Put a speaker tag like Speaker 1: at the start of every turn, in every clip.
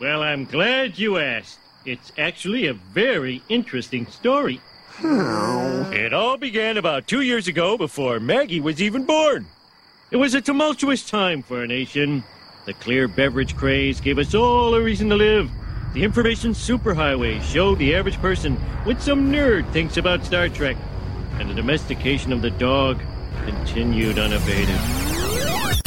Speaker 1: Well, I'm glad you asked. It's actually a very interesting story. It all began about two years ago before Maggie was even born. It was a tumultuous time for our nation. The clear beverage craze gave us all a reason to live. The information superhighway showed the average person what some nerd thinks about Star Trek. And the domestication of the dog continued unabated.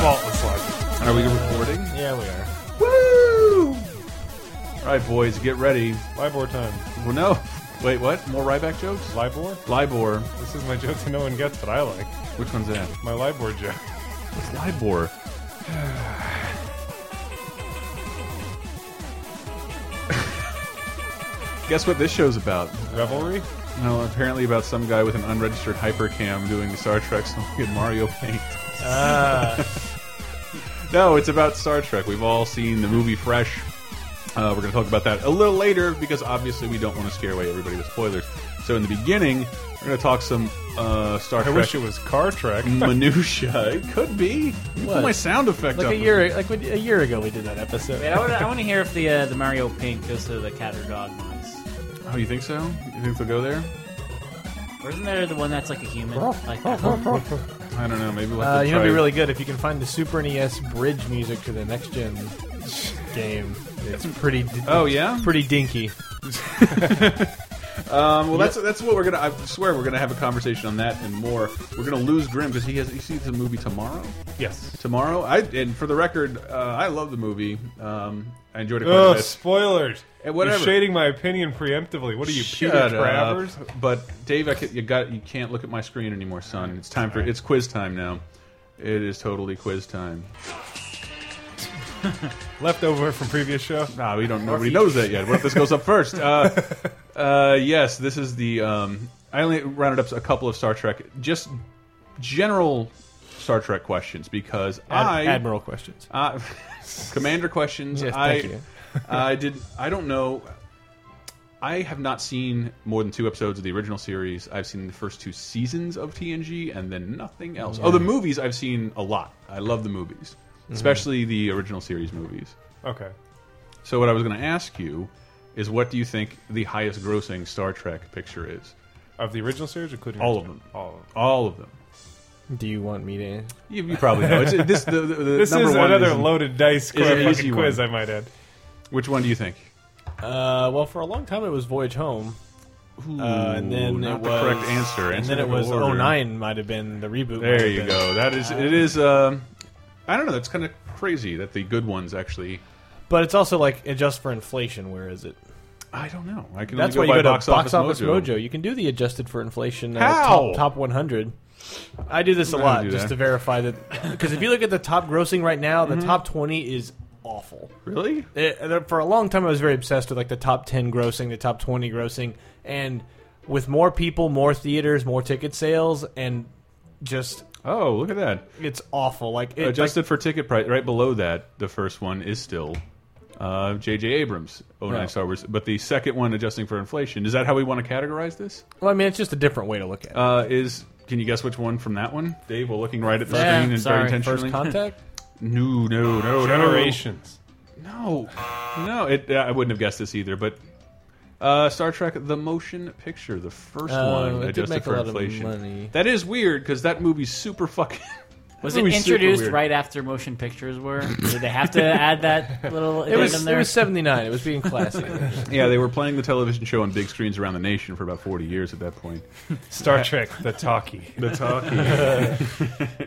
Speaker 2: Faultless logic.
Speaker 3: Are we recording?
Speaker 2: Yeah, we are.
Speaker 3: Woo! All right, boys, get ready.
Speaker 2: LIBOR time.
Speaker 3: Well, no. Wait, what? More Ryback jokes?
Speaker 2: LIBOR?
Speaker 3: Libor.
Speaker 2: This is my joke that no one gets, but I like.
Speaker 3: Which one's that?
Speaker 2: My LIBOR joke.
Speaker 3: What's Libor? Guess what this show's about?
Speaker 2: Revelry?
Speaker 3: No, apparently about some guy with an unregistered hypercam doing a Star Trek song in Mario Paint.
Speaker 4: Ah.
Speaker 3: no, it's about Star Trek. We've all seen the movie Fresh. Uh, we're going to talk about that a little later because obviously we don't want to scare away everybody with spoilers. So in the beginning, we're going to talk some uh, Star
Speaker 2: I
Speaker 3: Trek
Speaker 2: wish it was Car Trek.
Speaker 3: Mm. minutia. It could be. Put my sound effect
Speaker 4: Like
Speaker 3: up.
Speaker 4: a year, like we- a year ago, we did that episode.
Speaker 5: Wait, I want, I want to hear if the uh, the Mario Pink goes to the cat or dog ones.
Speaker 3: Oh, you think so? You think they'll go there?
Speaker 5: Or isn't there the one that's like a human?
Speaker 3: Oh.
Speaker 5: Like that one?
Speaker 3: I don't know. Maybe we'll have
Speaker 4: Uh,
Speaker 3: to
Speaker 4: you know,
Speaker 3: try.
Speaker 4: it'd be really good if you can find the Super NES bridge music to the next gen game. It's pretty. D-
Speaker 3: Oh, yeah?
Speaker 4: pretty dinky.
Speaker 3: Um, well, that's that's what we're gonna. I swear we're gonna have a conversation on that and more. We're gonna lose Grim because he has. He sees the movie tomorrow.
Speaker 2: Yes.
Speaker 3: Tomorrow. I and for the record, uh, I love the movie. Um, I enjoyed it quite a
Speaker 2: Ugh,
Speaker 3: bit.
Speaker 2: spoilers!
Speaker 3: And whatever.
Speaker 2: You're shading my opinion preemptively. What are you,
Speaker 3: Shut
Speaker 2: Peter
Speaker 3: up.
Speaker 2: Travers?
Speaker 3: But Dave, I can, you got you can't look at my screen anymore, son. It's time for it's quiz time now. It is totally quiz time.
Speaker 2: Leftover from previous show?
Speaker 3: Nah, Ah, we don't. Nobody knows that yet. What if this goes up first? Uh, uh, yes, this is the. Um, I only rounded up a couple of Star Trek, just general Star Trek questions because
Speaker 4: Ad-
Speaker 3: I
Speaker 4: Admiral questions.
Speaker 3: uh, commander questions.
Speaker 4: Yes,
Speaker 3: I,
Speaker 4: thank you.
Speaker 3: I did. I don't know. I have not seen more than two episodes of the original series. I've seen the first two seasons of TNG and then nothing else. Oh, the movies I've seen a lot. I love the movies,
Speaker 4: Mm-hmm.
Speaker 3: especially the original series movies.
Speaker 2: Okay.
Speaker 3: So what I was going to ask you is, what do you think the highest-grossing Star Trek picture is?
Speaker 2: Of the original series, including
Speaker 3: All of them.
Speaker 2: All of them.
Speaker 3: All of them.
Speaker 4: Do you want me to?
Speaker 3: You, you probably know. It's, this the, the, the
Speaker 2: This
Speaker 3: number
Speaker 2: is
Speaker 3: one
Speaker 2: another
Speaker 3: is-
Speaker 2: loaded dice
Speaker 3: is an
Speaker 2: quiz,
Speaker 3: easy
Speaker 2: fucking quiz,
Speaker 3: one.
Speaker 2: I might add.
Speaker 3: Which one do you think?
Speaker 4: Uh, well, for a long time it was Voyage Home, uh, and
Speaker 3: Ooh,
Speaker 4: then
Speaker 3: not
Speaker 4: it
Speaker 3: the
Speaker 4: was
Speaker 3: correct answer.
Speaker 4: and
Speaker 3: Answer
Speaker 4: then
Speaker 3: in
Speaker 4: it was
Speaker 3: order.
Speaker 4: oh nine might have been the reboot. might
Speaker 3: There
Speaker 4: have
Speaker 3: you
Speaker 4: been.
Speaker 3: go. That is. It is. Uh, I don't know. That's kind of crazy that the good ones actually.
Speaker 4: But it's also like adjust for inflation. Where is it?
Speaker 3: I don't know. I can.
Speaker 4: That's why
Speaker 3: only
Speaker 4: you go
Speaker 3: by
Speaker 4: to
Speaker 3: box, office,
Speaker 4: Mojo. You can do the adjusted for inflation uh,
Speaker 3: How?
Speaker 4: top top 100. I do this a
Speaker 3: I
Speaker 4: lot
Speaker 3: do
Speaker 4: just
Speaker 3: that.
Speaker 4: to verify that because if you look at the top grossing right now, the top 20 is awful.
Speaker 3: Really?
Speaker 4: It- uh, for a long time, I was very obsessed with like the top 10 grossing, the top 20 grossing, and with more people, more theaters, more ticket sales, and just
Speaker 3: Oh, look at that.
Speaker 4: it's awful. Like it,
Speaker 3: Adjusted for ticket price, right below that, the first one is still uh, J.J. Abrams, 09
Speaker 4: Right.
Speaker 3: Star Wars. But the second one, adjusting for inflation, is that how we want to categorize this?
Speaker 4: like- well, I mean, it's just a different way to look at it.
Speaker 3: Uh, is Can you guess which one from that one? Dave, we're looking right at the
Speaker 5: Yeah,
Speaker 3: screen and
Speaker 5: sorry,
Speaker 3: very intentionally.
Speaker 4: First contact.
Speaker 3: No, no, Oh, no,
Speaker 2: Generations.
Speaker 3: No, no. no it, I wouldn't have guessed this either, but. Uh, Star Trek: The Motion Picture, the first
Speaker 4: Oh,
Speaker 3: one
Speaker 4: it did
Speaker 3: adjusted
Speaker 4: make a
Speaker 3: for
Speaker 4: lot of
Speaker 3: inflation.
Speaker 4: money.
Speaker 3: That is weird because that movie's super fucking.
Speaker 5: Was
Speaker 3: that
Speaker 5: it
Speaker 3: movie's super
Speaker 5: introduced
Speaker 3: weird.
Speaker 5: right after motion pictures were? Did they have to add that little
Speaker 4: It was,
Speaker 5: addendum
Speaker 4: it
Speaker 5: there?
Speaker 4: was 79. It was being classic.
Speaker 3: Yeah, they were playing the television show on big screens around the nation for about 40 years at that point.
Speaker 2: Star Trek, the talkie.
Speaker 3: The talkie.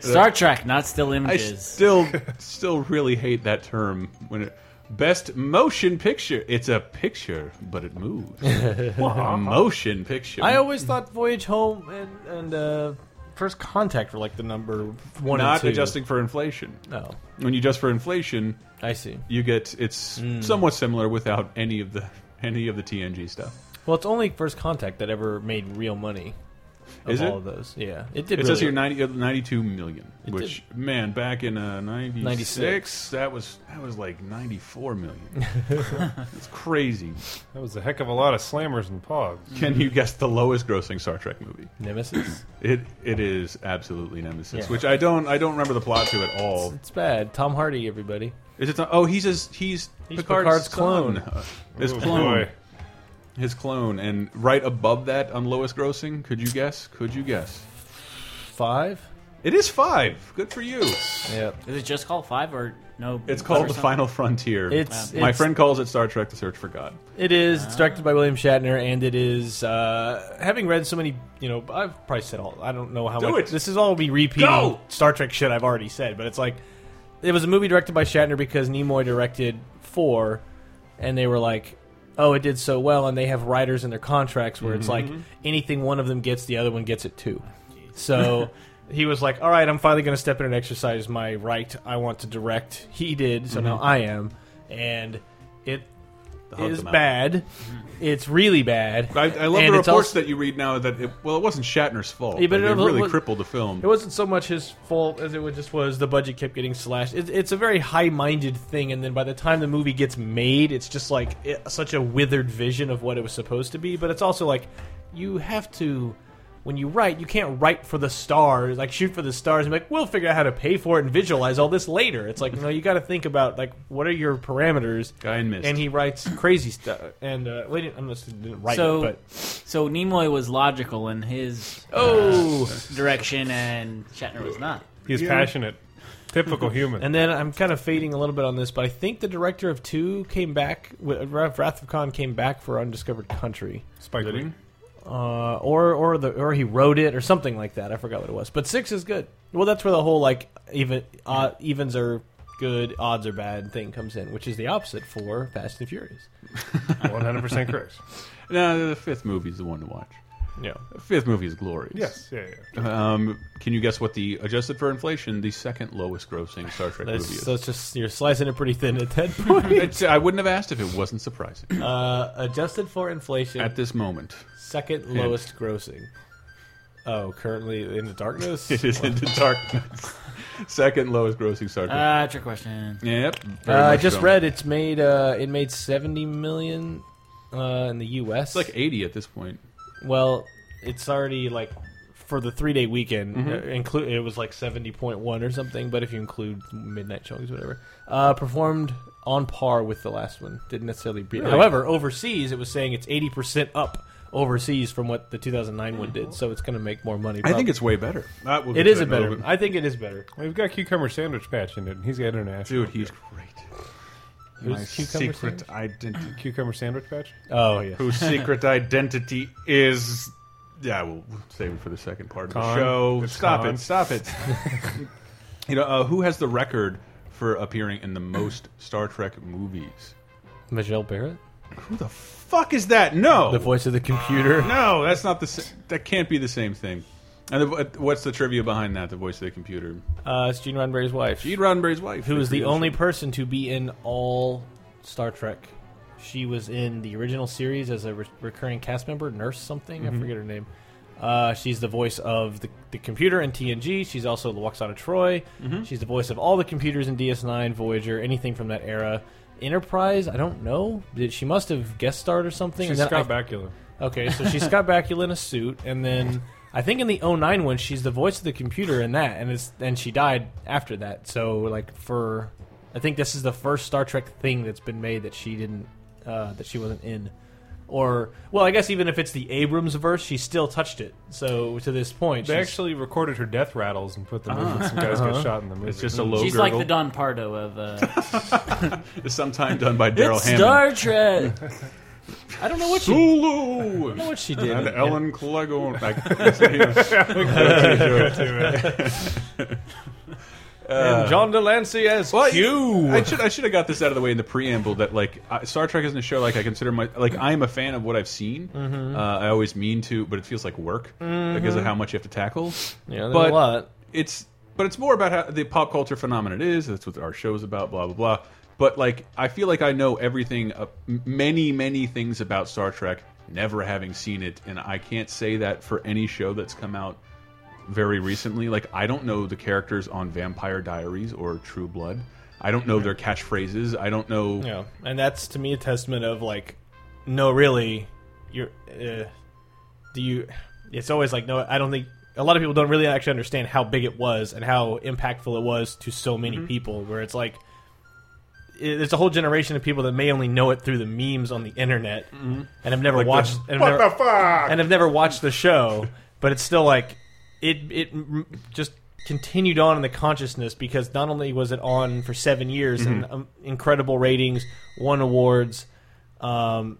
Speaker 5: Star Trek, not still
Speaker 3: I
Speaker 5: images.
Speaker 3: still, still really hate that term when it. Best motion picture. It's a picture, but it moves. A motion picture.
Speaker 4: Uh-huh. I always thought Voyage Home and, and uh, First Contact were like the number one and
Speaker 3: not
Speaker 4: two.
Speaker 3: adjusting for inflation.
Speaker 4: No,
Speaker 3: When you adjust for inflation,
Speaker 4: I see.
Speaker 3: you get it's
Speaker 4: Hmm.
Speaker 3: somewhat similar without any of the any of the TNG stuff.
Speaker 4: Well, it's only First Contact that ever made real money. of
Speaker 3: Is it?
Speaker 4: all of those. Yeah, it did.
Speaker 3: It
Speaker 4: really
Speaker 3: says here 90, uh, 92 million,
Speaker 4: It
Speaker 3: which man, back in uh, 96,
Speaker 4: 96.
Speaker 3: that was that was like 94 million. That's crazy.
Speaker 2: That was a heck of a lot of slammers and pogs.
Speaker 3: Can you guess the lowest grossing Star Trek movie?
Speaker 4: Nemesis.
Speaker 3: It it is absolutely Nemesis,
Speaker 4: Yeah.
Speaker 3: which I don't I don't remember the plot to at all.
Speaker 4: It's bad. Tom Hardy, everybody.
Speaker 3: Is it? Oh, he's his, he's,
Speaker 4: He's
Speaker 3: Picard's,
Speaker 4: Picard's clone.
Speaker 3: son. Uh, his
Speaker 2: Oh,
Speaker 3: clone.
Speaker 2: boy.
Speaker 3: His clone, and right above that on lowest grossing, could you guess? Could you guess?
Speaker 4: Five.
Speaker 3: It is five. Good for you.
Speaker 4: Yeah.
Speaker 5: Is it just called Five or no?
Speaker 3: It's called
Speaker 5: or
Speaker 3: The
Speaker 5: something?
Speaker 3: Final Frontier.
Speaker 4: It's-
Speaker 3: My
Speaker 4: it's-
Speaker 3: friend calls it Star Trek: The Search for God.
Speaker 4: It is. It's directed by William Shatner, and it is. Uh, having read so many, you know, I've probably said all. I don't know how
Speaker 3: Do
Speaker 4: much.
Speaker 3: it.
Speaker 4: This is all be repeating
Speaker 3: Go!
Speaker 4: Star Trek shit I've already said, but it's like it was a movie directed by Shatner because Nimoy directed four, and they were like, "Oh, it did so well," and they have writers in their contracts where it's
Speaker 3: Mm-hmm.
Speaker 4: like anything one of them gets, the other one gets it too. So. He was like, "All right, I'm finally going to step in and exercise my right. I want to direct." He did, so
Speaker 3: Mm-hmm.
Speaker 4: now I am, and it
Speaker 3: Hug
Speaker 4: is
Speaker 3: them out. Mm-hmm.
Speaker 4: bad. It's really bad.
Speaker 3: I, I love
Speaker 4: And
Speaker 3: the reports
Speaker 4: it's also-
Speaker 3: that you read now that it, well, it wasn't Shatner's fault.
Speaker 4: Yeah,
Speaker 3: but
Speaker 4: but it
Speaker 3: it really
Speaker 4: was-
Speaker 3: crippled the film.
Speaker 4: It wasn't so much his fault as it was just was the budget kept getting slashed. It, it's a very high-minded thing, and then by the time the movie gets made, it's just like it, such a withered vision of what it was supposed to be. But it's also like you have to. When you write, you can't write for the stars, like shoot for the stars, and be like we'll figure out how to pay for it and visualize all this later. It's like you know you got to think about like what are your parameters.
Speaker 3: Guy in Mist.
Speaker 4: And he writes crazy stuff. And uh, well, he didn't, I'm not didn't write
Speaker 5: So,
Speaker 4: it, but
Speaker 5: so Nimoy was logical in his uh,
Speaker 4: oh,
Speaker 5: direction, and Shatner was not.
Speaker 2: He's passionate. Typical human.
Speaker 4: And then I'm kind of fading a little bit on this, but I think the director of Two came back. wi- Wrath Wrath of Khan came back for Undiscovered Country,
Speaker 2: Spike
Speaker 3: Did he?
Speaker 2: Lee.
Speaker 4: uh, or or the or he wrote it or something like that. I forgot what it was. But six is good. Well, that's where the whole like even uh, evens are good, odds are bad thing comes in, which is the opposite for Fast and Furious.
Speaker 2: 100% correct.
Speaker 3: No, the fifth movie is the one to watch.
Speaker 4: Yeah,
Speaker 3: The fifth movie is glorious.
Speaker 2: Yes. Yeah, yeah.
Speaker 3: Um, can you guess what the adjusted for inflation, the second lowest grossing Star Trek movie
Speaker 4: that's,
Speaker 3: is?
Speaker 4: that's just you're slicing it pretty thin at that point.
Speaker 3: It's- I wouldn't have asked if it wasn't surprising.
Speaker 4: uh, adjusted for inflation,
Speaker 3: At this moment,
Speaker 4: second lowest grossing. Oh, currently in the darkness.
Speaker 3: it is into darkness. Second lowest grossing Star Trek.
Speaker 5: Ah, trick question.
Speaker 3: yep.
Speaker 4: Uh,
Speaker 3: very
Speaker 4: I
Speaker 3: much
Speaker 4: just
Speaker 3: so.
Speaker 4: read it's made uh, it made seventy million uh, in the
Speaker 3: It's
Speaker 4: U.S.
Speaker 3: like 80 at this point.
Speaker 4: well, it's already like for the three day weekend.
Speaker 3: Mm-hmm.
Speaker 4: uh, Include it was like seventy point one or something. But if you include midnight showings, whatever, uh, performed on par with the last one. Didn't necessarily beat. it.
Speaker 3: Really?
Speaker 4: However, overseas it was saying it's eighty percent up overseas from what the two thousand nine one did. So it's going to make more money.
Speaker 3: I think it's way better. That will
Speaker 4: it
Speaker 3: get
Speaker 4: is
Speaker 3: to that
Speaker 4: a
Speaker 3: in
Speaker 4: better.
Speaker 3: little bit.
Speaker 4: I think it is better.
Speaker 2: We've got Cucumber Sandwich Patch in it, and he's got international.
Speaker 3: Dude, he's great.
Speaker 4: Who's
Speaker 3: My
Speaker 4: Cucumber
Speaker 3: secret
Speaker 4: Sandwich?
Speaker 3: identity.
Speaker 2: Cucumber Sandwich Patch?
Speaker 4: Oh yeah.
Speaker 3: whose secret identity is. Yeah, we'll save it for the second part of
Speaker 2: Con.
Speaker 3: the show.
Speaker 2: It's
Speaker 3: stop
Speaker 2: con.
Speaker 3: it! Stop it! you know uh, who has the record for appearing in the most Star Trek movies?
Speaker 4: Michelle Barrett,
Speaker 3: Who the fuck is that? No,
Speaker 4: the voice of the computer.
Speaker 3: no, that's not the. Sa that can't be the same thing. And the, vo- what's the trivia behind that? The voice of the computer.
Speaker 4: Uh, it's Gene Roddenberry's wife.
Speaker 3: Gene Roddenberry's wife,
Speaker 4: who was the
Speaker 3: producer.
Speaker 4: only person to be in all Star Trek. She was in the original series as a re- recurring cast member, Nurse something, I forget her name. Uh, she's the voice of the, the computer in TNG. She's also Luoxana Troy. She's the voice of all the computers in DS9, Voyager, anything from that era. Enterprise, I don't know. Did, she must have guest starred or something.
Speaker 2: She's
Speaker 4: and then I-
Speaker 2: Scott Bakula.
Speaker 4: Okay, so she's Scott Bakula in a suit, and then I think in the 09 one, she's the voice of the computer in that, and it's and she died after that. So like for, I think this is the first Star Trek thing that's been made that she didn't, uh, that she wasn't in, or well, I guess even if it's the Abrams verse, she still touched it. So to this point,
Speaker 2: They
Speaker 4: she's-
Speaker 2: actually recorded her death rattles and put them in. and Some guys got shot in the movie.
Speaker 3: It's just a low
Speaker 5: She's like
Speaker 3: girdle.
Speaker 5: the Don Pardo of uh,
Speaker 3: sometime done by Daryl
Speaker 5: it's
Speaker 3: Hammond.
Speaker 5: Star Trek.
Speaker 4: I don't know what she,
Speaker 3: Zulu.
Speaker 4: I don't know what she did.
Speaker 3: And
Speaker 4: in-
Speaker 3: Ellen Clegon. Like,
Speaker 4: and John Delancey as
Speaker 3: Well,
Speaker 4: Q.
Speaker 3: I should I should have got this out of the way in the preamble that like I, Star Trek isn't a show like I consider my like I am a fan of what I've seen. Uh, I always mean to, but it feels like work because of how much you have to tackle.
Speaker 4: yeah, there's
Speaker 3: but
Speaker 4: a lot.
Speaker 3: it's but it's more about how the pop culture phenomenon it is. That's what our show's about. Blah blah blah. But like, I feel like I know everything, uh, m- many many things about Star Trek never having seen it, and I can't say that for any show that's come out very recently. Like I don't know the characters on Vampire Diaries or True Blood. I don't know their catchphrases. I don't know.
Speaker 4: Yeah, and that's to me a testament of like, no, really, you're. Uh, do you? It's always like, no, I don't think a lot of people don't really actually understand how big it was and how impactful it was to so many people. Where it's like, it, there's a whole generation of people that may only know it through the memes on the internet and have never watched. and have never, and have never watched the show, but it's still like it it m- just continued on in the consciousness because not only was it on for seven years and um, incredible ratings, won awards, um,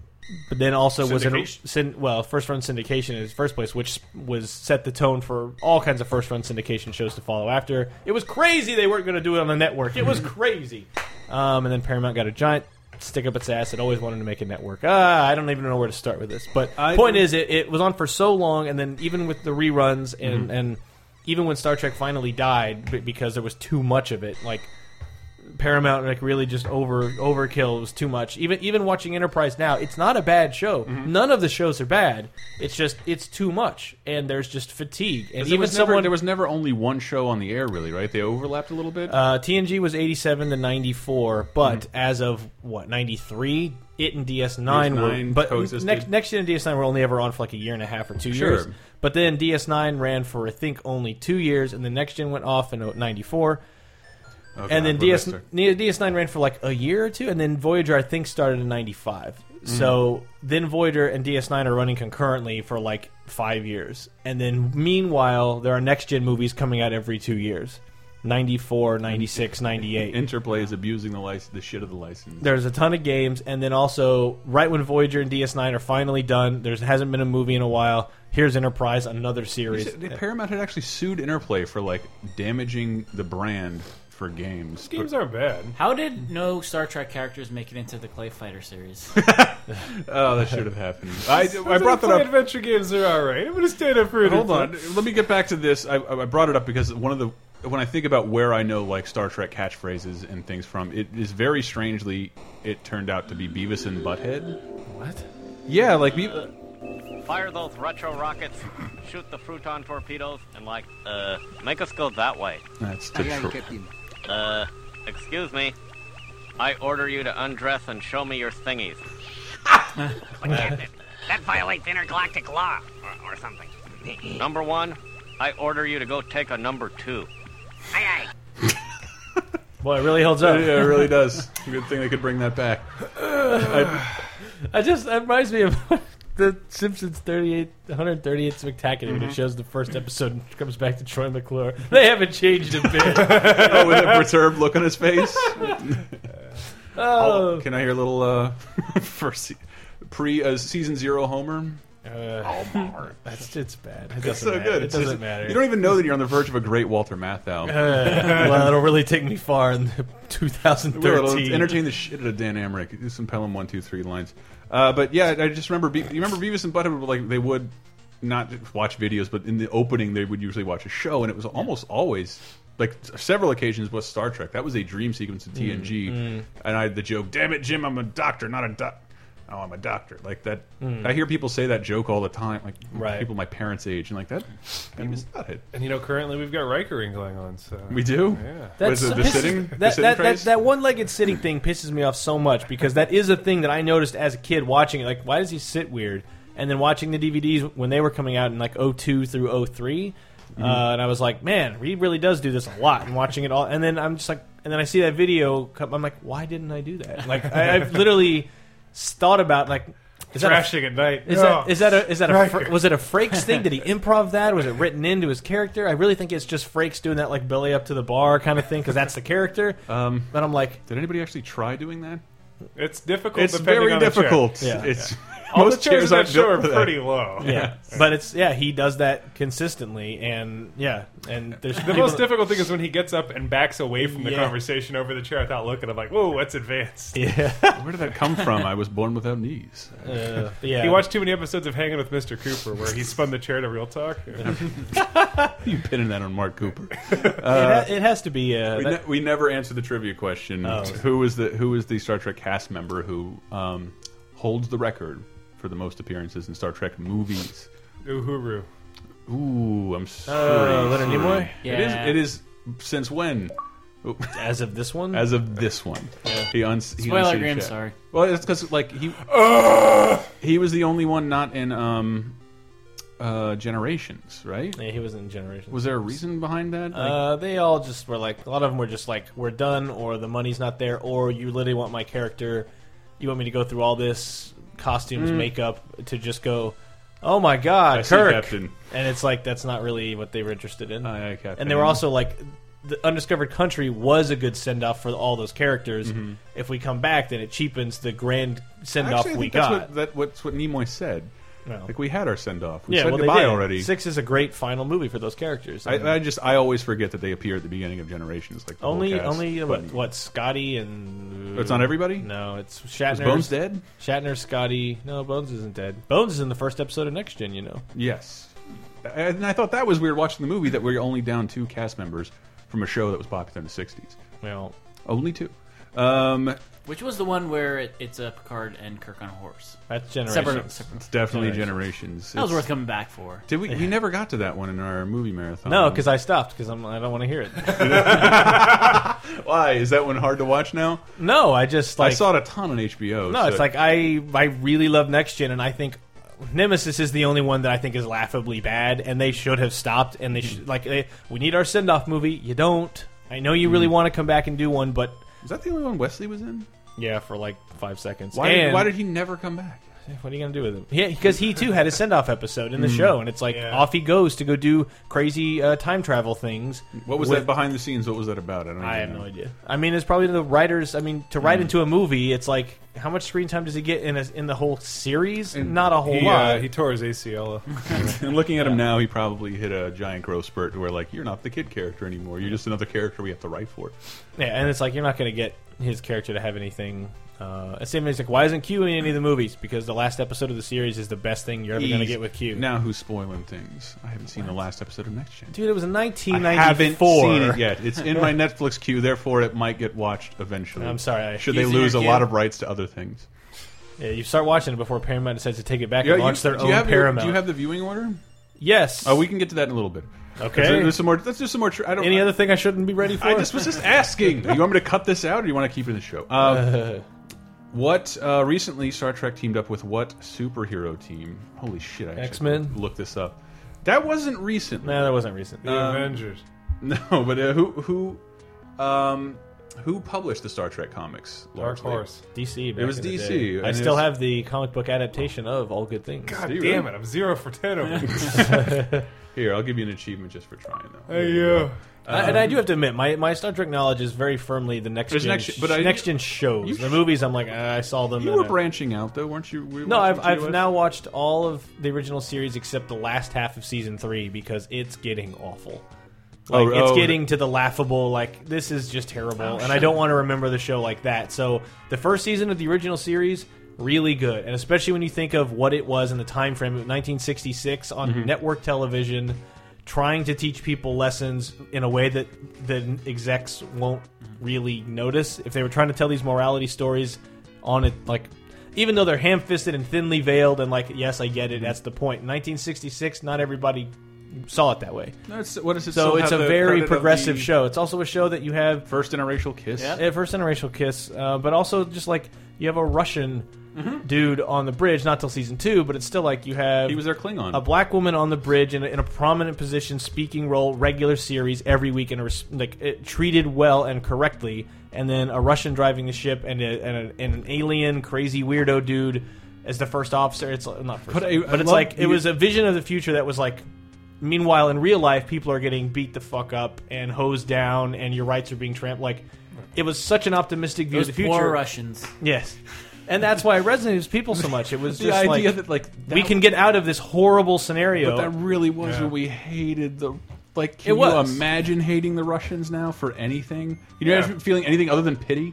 Speaker 4: but then also was it
Speaker 3: Syndication.
Speaker 4: syn, well first run syndication in its first place, which was set the tone for all kinds of first run syndication shows to follow after. It was crazy they weren't going to do it on the network. It was crazy, um, and then Paramount got a giant. Stick up its ass. It always wanted to make a network. Ah, I don't even know where to start with this. But
Speaker 3: I-
Speaker 4: point is is it, it was on for so long, and then even with the reruns, and
Speaker 3: Mm-hmm.
Speaker 4: and even when Star Trek finally died b- because there was too much of it, like Paramount like really just over overkill it was too much. Even even watching Enterprise now, it's not a bad show.
Speaker 3: Mm-hmm.
Speaker 4: None of the shows are bad. It's just it's too much, and there's just fatigue. And
Speaker 3: There
Speaker 4: even
Speaker 3: was, never,
Speaker 4: someone
Speaker 3: there was never only one show on the air, really, right? They overlapped a little bit.
Speaker 4: uh, TNG was 87 to 94, but
Speaker 3: Mm-hmm.
Speaker 4: as of what 93, it and DS9 were
Speaker 3: DS9
Speaker 4: but
Speaker 3: coexisted.
Speaker 4: next next gen and DS9 were only ever on for like a year and a half or two
Speaker 3: Sure.
Speaker 4: years. But then DS9 ran for I think only two years, and the next gen went off in oh, 94,
Speaker 3: Okay,
Speaker 4: and then
Speaker 3: I'm
Speaker 4: DS
Speaker 3: Lester.
Speaker 4: DS9 ran for like a year or two, and then Voyager I think started in 95.
Speaker 3: Mm-hmm.
Speaker 4: So then Voyager and DS9 are running concurrently for like five years, and then meanwhile there are next gen movies coming out every two years. 94, 96, 98.
Speaker 3: Interplay is abusing the license, the shit of the license.
Speaker 4: There's a ton of games, and then also right when Voyager and DS9 are finally done, there hasn't been a movie in a while. Here's Enterprise, another series.
Speaker 3: They- Paramount had actually sued Interplay for like damaging the brand for games.
Speaker 2: Games aren't bad.
Speaker 5: How did no Star Trek characters make it into the Clay Fighter series?
Speaker 3: Oh, that should have happened. I, I
Speaker 2: Those
Speaker 3: brought that
Speaker 2: play
Speaker 3: up.
Speaker 2: Adventure games are all right. I'm gonna stand up for it.
Speaker 3: Hold on, let me get back to this. I, I brought it up because one of the when I think about where I know like Star Trek catchphrases and things from, it is very strangely it turned out to be Beavis and Butthead.
Speaker 4: What?
Speaker 3: Yeah, like Beavis.
Speaker 6: Fire those retro rockets, shoot the fruton torpedoes, and like, uh, make us go that way.
Speaker 3: That's the
Speaker 7: Aye, aye,
Speaker 3: truth.
Speaker 7: Captain.
Speaker 6: Uh, excuse me. I order you to undress and show me your thingies.
Speaker 8: That violates intergalactic law or, or something. aye,
Speaker 6: Number one, I order you to go take a number two.
Speaker 8: aye.
Speaker 4: Boy, it really holds up.
Speaker 3: Yeah, it really does. Good thing they could bring that back. I,
Speaker 4: I just that reminds me of the Simpsons 38, 138 spectacular.
Speaker 3: Mm-hmm.
Speaker 4: It shows the first episode and comes back to Troy McClure. They haven't changed a bit.
Speaker 3: oh, with a perturbed look on his face.
Speaker 4: oh,
Speaker 3: Can I hear a little uh, first se- pre uh, season zero Homer?
Speaker 4: uh, that's it's bad. It
Speaker 3: It's so
Speaker 4: doesn't matter.
Speaker 3: good.
Speaker 4: It
Speaker 3: It's
Speaker 4: doesn't
Speaker 3: just-
Speaker 4: matter. Uh,
Speaker 3: You don't even know that you're on the verge of a great Walter Matthau.
Speaker 4: well, it'll really take me far in the
Speaker 3: We were- let's
Speaker 4: 2013.
Speaker 3: entertain the shit out of Dan Amric. Do some Pelham one two three lines. Uh, but yeah, I just remember. Be you remember Beavis and Butthead? were Like they would not watch videos, but in the opening they would usually watch a show, and it was almost always. Like several occasions was Star Trek. That was a dream sequence of
Speaker 4: Mm,
Speaker 3: TNG, and I had the joke, "Damn it, Jim, I'm a doctor, not a doc." Oh, I'm a doctor. Like that. I hear people say that joke all the time. Like
Speaker 4: Mm. Right.
Speaker 3: people my parents' age, and like that. Beavis and Butthead.
Speaker 2: And you know, currently we've got Rikering going on. So
Speaker 3: We do.
Speaker 2: Yeah.
Speaker 3: What is
Speaker 4: That's-
Speaker 3: it, the
Speaker 4: pisses-
Speaker 3: sitting?
Speaker 4: That,
Speaker 3: the sitting
Speaker 4: that, that,
Speaker 3: phrase?
Speaker 4: that one-legged sitting thing pisses me off so much because that is a thing that I noticed as a kid watching it. Like, why does he sit weird? And then watching the DVDs when they were coming out in like 02 through 3
Speaker 3: Mm-hmm.
Speaker 4: uh, and I was like, man, he really does do this a lot. And watching it all, and then I'm just like, and then I see that video, come, I'm like, why didn't I do that? Like, I, I've literally s- thought about like. Is that a-
Speaker 2: Thrashing at night. Oh,
Speaker 4: Is that is that a is that a Fra- was it a Frakes thing? Did he improv that? Was it written into his character? I really think it's just Frakes doing that like Billy up to the bar kind of thing because that's the character.
Speaker 3: um,
Speaker 4: But I'm like,
Speaker 3: Did anybody actually try doing that?
Speaker 2: It's difficult.
Speaker 3: It's
Speaker 2: depending
Speaker 3: very
Speaker 2: on the chair.
Speaker 3: difficult.
Speaker 4: Yeah.
Speaker 3: It's
Speaker 2: All
Speaker 3: most
Speaker 2: the chairs,
Speaker 3: chairs
Speaker 2: on
Speaker 3: aren't
Speaker 2: that show
Speaker 3: built
Speaker 2: are
Speaker 3: for that.
Speaker 2: pretty low.
Speaker 4: yeah, but it's yeah he does that consistently and yeah and there's
Speaker 2: The most difficult thing is when he gets up and backs away from the
Speaker 4: Yeah.
Speaker 2: conversation over the chair without looking. I'm like, whoa, that's advanced.
Speaker 4: yeah
Speaker 3: Where did that come from? I was born without knees.
Speaker 4: uh, yeah
Speaker 2: He watched too many episodes of Hanging with Mr. Cooper where he spun the chair to real talk.
Speaker 3: You pinning that on Mark Cooper?
Speaker 4: it, ha- it has to be uh,
Speaker 3: We,
Speaker 4: that-
Speaker 3: ne we never answered the trivia Oh. question. Who is the Who is the Star Trek cast member who um, holds the record for for the most appearances in Star Trek movies.
Speaker 2: Uhuru.
Speaker 3: Ooh, I'm sorry.
Speaker 4: Uh, Leonard Nimoy?
Speaker 5: Yeah.
Speaker 3: It is. It is since when?
Speaker 4: As of this one?
Speaker 3: As of this one, he uns. he
Speaker 5: Spoiler,
Speaker 3: unseated
Speaker 5: Grim,
Speaker 3: Shatner.
Speaker 5: sorry.
Speaker 3: Well, it's because like he he was the only one not in um uh Generations, right?
Speaker 4: yeah, he was in Generations.
Speaker 3: Was there a reason behind that? Like,
Speaker 4: Uh, they all just were like a lot of them were just like we're done or the money's not there or you literally want my character you want me to go through all this costumes makeup to just go oh my god
Speaker 3: Mm. I see,
Speaker 4: Kirk
Speaker 3: Captain.
Speaker 4: and it's like that's not really what they were interested in
Speaker 3: Aye, aye, Captain.
Speaker 4: and they were also like the undiscovered country was a good send off for all those characters
Speaker 3: Mm-hmm.
Speaker 4: if we come back then it cheapens the grand send off
Speaker 3: Actually, I
Speaker 4: we
Speaker 3: think that's
Speaker 4: got
Speaker 3: what that, what's what Nimoy said.
Speaker 4: No.
Speaker 3: Like we had our send off. We
Speaker 4: yeah
Speaker 3: said
Speaker 4: well they
Speaker 3: goodbye
Speaker 4: did.
Speaker 3: already.
Speaker 4: six is a great final movie for those characters And-
Speaker 3: I, I just I always forget that they appear at the beginning of Generations. Like the whole
Speaker 4: Only,
Speaker 3: cast.
Speaker 4: only uh,
Speaker 3: But-
Speaker 4: what, what Scotty and
Speaker 3: It's not everybody?
Speaker 4: No, it's
Speaker 3: Is
Speaker 4: Shatner.
Speaker 3: Bones dead?
Speaker 4: Shatner, Scotty. No, Bones isn't dead. Bones is in the first episode of Next Gen. You know,
Speaker 3: Yes. And I thought that was weird watching the movie that we're only down two cast members from a show that was popular in the '60s.
Speaker 4: well,
Speaker 3: Only two. Um,
Speaker 5: Which was the one where it, it's uh, Picard and Kirk on a horse?
Speaker 4: that's generation.
Speaker 5: Separate, separate.
Speaker 3: it's definitely Generations.
Speaker 5: That was
Speaker 3: It's-
Speaker 5: worth coming back for.
Speaker 3: Did we? We never got to that one in our movie marathon.
Speaker 4: No, because I stopped because I'm I don't want to hear it.
Speaker 3: why is that one hard to watch now?
Speaker 4: no, I just like
Speaker 3: I saw it a ton on HBO.
Speaker 4: no. It's
Speaker 3: so-
Speaker 4: like I I really love Next Gen, and I think Nemesis is the only one that I think is laughably bad, and they should have stopped. And they
Speaker 2: Mm-hmm.
Speaker 4: should like they, we need our send off movie. You don't. I know you
Speaker 2: Mm-hmm.
Speaker 4: really want to come back and do one, but
Speaker 3: is that the only one Wesley was in?
Speaker 4: yeah, for like five seconds.
Speaker 3: Why?
Speaker 4: and,
Speaker 3: why did he never come back?
Speaker 4: What are you gonna do with him? Yeah, because he too had a send off episode in the
Speaker 2: Mm.
Speaker 4: show, and it's like off he goes to go do crazy uh, time travel things.
Speaker 3: What was
Speaker 4: with-
Speaker 3: that behind the scenes? What was that about? I don't.
Speaker 4: I
Speaker 3: even
Speaker 4: have
Speaker 3: know.
Speaker 4: no idea. I mean, it's probably the writers. I mean, to
Speaker 3: Mm.
Speaker 4: write into a movie, it's like how much screen time does he get in a, in the whole series? Not a whole
Speaker 2: He,
Speaker 4: lot.
Speaker 2: uh, he tore his ACL.
Speaker 3: And looking at him now, he probably hit a giant growth spurt to where like you're not the kid character anymore. You're just another character we have to write for.
Speaker 4: yeah, and it's like you're not gonna get his character to have anything. Uh, same thing. It's like why isn't Q in any of the movies? Because the last episode of the series is the best thing you're ever gonna
Speaker 3: He's-
Speaker 4: get with Q.
Speaker 3: Now who's spoiling things? I haven't seen the last episode of Next Gen.
Speaker 4: Dude, it was in
Speaker 3: I haven't
Speaker 4: 1994.
Speaker 3: seen it yet. It's in my Netflix queue, therefore it might get watched eventually.
Speaker 4: I'm sorry, I-
Speaker 3: Should they
Speaker 5: He's in your
Speaker 3: lose a
Speaker 5: queue.
Speaker 3: lot of rights to other things?
Speaker 4: Yeah, you start watching it before Paramount decides to take it back and launch their
Speaker 3: do
Speaker 4: own
Speaker 3: you have your-
Speaker 4: Paramount.
Speaker 3: do you have the viewing order?
Speaker 4: yes.
Speaker 3: Oh, we can get to that in a little bit.
Speaker 4: Okay.
Speaker 3: There's, there's some more. Let's do some more. Tra I don't.
Speaker 4: Any other thing I shouldn't be ready for?
Speaker 3: I just was just asking. you want me to cut this out, or do you want to keep it in the show? Uh, what uh, recently Star Trek teamed up with what superhero team? Holy shit! I actually
Speaker 4: X-Men?
Speaker 3: Look this up. That wasn't Um, recently.
Speaker 4: No, that wasn't recent.
Speaker 2: The Avengers.
Speaker 3: No, but uh, who who um, who published the Star Trek comics?
Speaker 2: Dark
Speaker 3: largely?
Speaker 2: Horse.
Speaker 4: DC. back
Speaker 3: It was
Speaker 4: in the
Speaker 3: DC,
Speaker 4: day.
Speaker 3: and
Speaker 4: I
Speaker 3: it
Speaker 4: still
Speaker 3: was-
Speaker 4: have the comic book adaptation of All Good Things.
Speaker 2: God
Speaker 3: you
Speaker 2: damn
Speaker 3: really?
Speaker 2: it! I'm zero for ten over here.
Speaker 3: Here, I'll give you an achievement just for trying though.
Speaker 2: Hey, you.
Speaker 4: I- and I do have to admit, my, my Star Trek knowledge is very firmly the next
Speaker 3: um, There's
Speaker 4: gen,
Speaker 3: next- but I-
Speaker 4: next gen shows.
Speaker 3: you-
Speaker 4: the movies, I'm like, ah, I saw them.
Speaker 3: You
Speaker 4: and
Speaker 3: were
Speaker 4: I-
Speaker 3: branching out though, weren't you? Were you
Speaker 4: No, I've,
Speaker 3: watching
Speaker 4: I've
Speaker 3: TOS?
Speaker 4: now watched all of the original series except the last half of season three because it's getting awful.
Speaker 3: Oh,
Speaker 4: Like it's
Speaker 3: oh.
Speaker 4: getting to the laughable. Like this is just terrible, and I don't want to remember the show like that. So the first season of the original series really good, and especially when you think of what it was in the time frame of 1966 on
Speaker 3: Mm-hmm.
Speaker 4: network television, trying to teach people lessons in a way that the execs won't really notice. If they were trying to tell these morality stories on it, like even though they're ham-fisted and thinly veiled, and like yes, I
Speaker 3: Mm-hmm.
Speaker 4: get it. That's the point. 1966, not everybody saw it that way.
Speaker 3: No, it's- what is it?
Speaker 4: So
Speaker 3: still
Speaker 4: it's
Speaker 3: have
Speaker 4: a
Speaker 3: the
Speaker 4: very
Speaker 3: credit of
Speaker 4: progressive
Speaker 3: the
Speaker 4: show. It's also a show that you have
Speaker 3: First interracial kiss.
Speaker 4: at first interracial kiss, uh, but also just like you have a Russian dude on the bridge, not till season two, but it's still like you have
Speaker 3: Mm-hmm. He was their Klingon.
Speaker 4: a black woman on the bridge in a, in a prominent position, speaking role, regular series every week, and a res- like it, treated well and correctly. And then a Russian driving the ship, and, a, and, a, and an alien crazy weirdo dude as the first officer. It's like- not first,
Speaker 3: But
Speaker 4: but,
Speaker 3: I- I
Speaker 4: it's
Speaker 3: love-
Speaker 4: like it was a vision of the future that was like. Meanwhile, in real life, people are getting beat the fuck up and hosed down, and your rights are being trampled. Like, it was such an optimistic view
Speaker 5: Those
Speaker 4: of the
Speaker 5: poor
Speaker 4: future.
Speaker 5: Russians.
Speaker 4: Yes. And that's why it resonated with people so much. It was
Speaker 3: The
Speaker 4: just
Speaker 3: idea
Speaker 4: like,
Speaker 3: that, like, that-
Speaker 4: we can get out of this horrible scenario.
Speaker 3: But that really was
Speaker 2: Yeah.
Speaker 3: what we hated the. Like,
Speaker 4: It
Speaker 3: can you
Speaker 4: was.
Speaker 3: imagine hating the Russians now for anything? Can you
Speaker 2: Yeah.
Speaker 3: imagine feeling anything other than pity?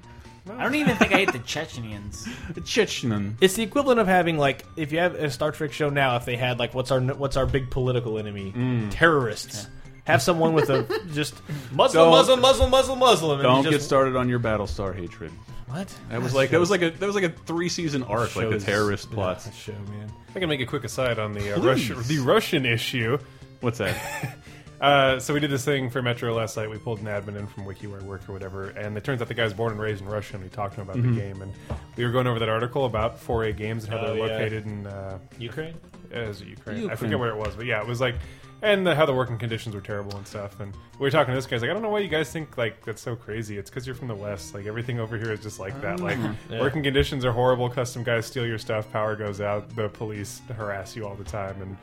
Speaker 5: I don't even think I hate the Chechenians.
Speaker 3: The Chechen.
Speaker 4: it's the equivalent of having like if you have a Star Trek show now, if they had like what's our what's our big political enemy? Terrorists. Have someone with a just Muslim,
Speaker 3: Don't-
Speaker 4: Muslim, Muslim, Muslim, Muslim. and
Speaker 3: Don't
Speaker 4: you
Speaker 3: get
Speaker 4: just,
Speaker 3: started on your Battlestar hatred.
Speaker 4: What?
Speaker 3: That was like that was like a that was like a three season arc, like the
Speaker 2: Shows-
Speaker 3: terrorist
Speaker 2: yeah,
Speaker 3: plots.
Speaker 2: that show, man. If I can make a quick aside on the uh, Russian
Speaker 3: Please.
Speaker 2: the Russian issue.
Speaker 3: What's that?
Speaker 2: Uh, so we did this thing for Metro last night. We pulled an admin in from Wiki where I work or whatever, and it turns out the guy's born and raised in Russia. And we talked to him about the game, and we were going over that article about 4A games and how
Speaker 4: Oh,
Speaker 2: they're
Speaker 4: yeah.
Speaker 2: located in uh,
Speaker 4: Ukraine?
Speaker 2: as Ukraine. I
Speaker 5: Ukraine.
Speaker 2: forget where it was, but yeah, it was like, and the, how the working conditions were terrible and stuff. And we were talking to this guy. He's like, I don't know why you guys think like that's so crazy. It's because you're from the West. Like everything over here is just like that. Like working conditions are horrible. Custom guys steal your stuff. Power goes out. The police harass you all the time. And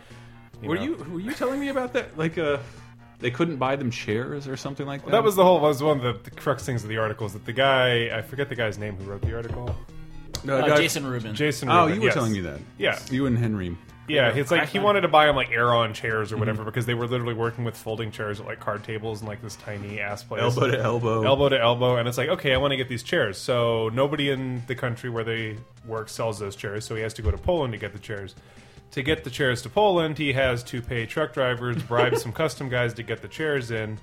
Speaker 2: you
Speaker 3: were
Speaker 2: know.
Speaker 3: you were you telling me about that? Like uh, they couldn't buy them chairs or something like that.
Speaker 2: That was the whole was one of the, the crux things of the article is that the guy I forget the guy's name who wrote the article.
Speaker 3: No,
Speaker 5: Uh,
Speaker 3: guys-
Speaker 5: Jason Rubin.
Speaker 2: Jason.
Speaker 3: Oh,
Speaker 2: Rubin,
Speaker 3: you were
Speaker 2: yes.
Speaker 3: telling me that.
Speaker 2: Yeah.
Speaker 3: you and Henry.
Speaker 2: Yeah, it's like he wanted to buy him like Aeron chairs or whatever because they were literally working with folding chairs at like card tables and like this tiny ass place.
Speaker 3: Elbow to elbow.
Speaker 2: Elbow to elbow. And it's like, okay, I want to get these chairs. So nobody in the country where they work sells those chairs. So he has to go to Poland to get the chairs. To get the chairs to Poland, he has to pay truck drivers, bribe some custom guys to get the chairs in,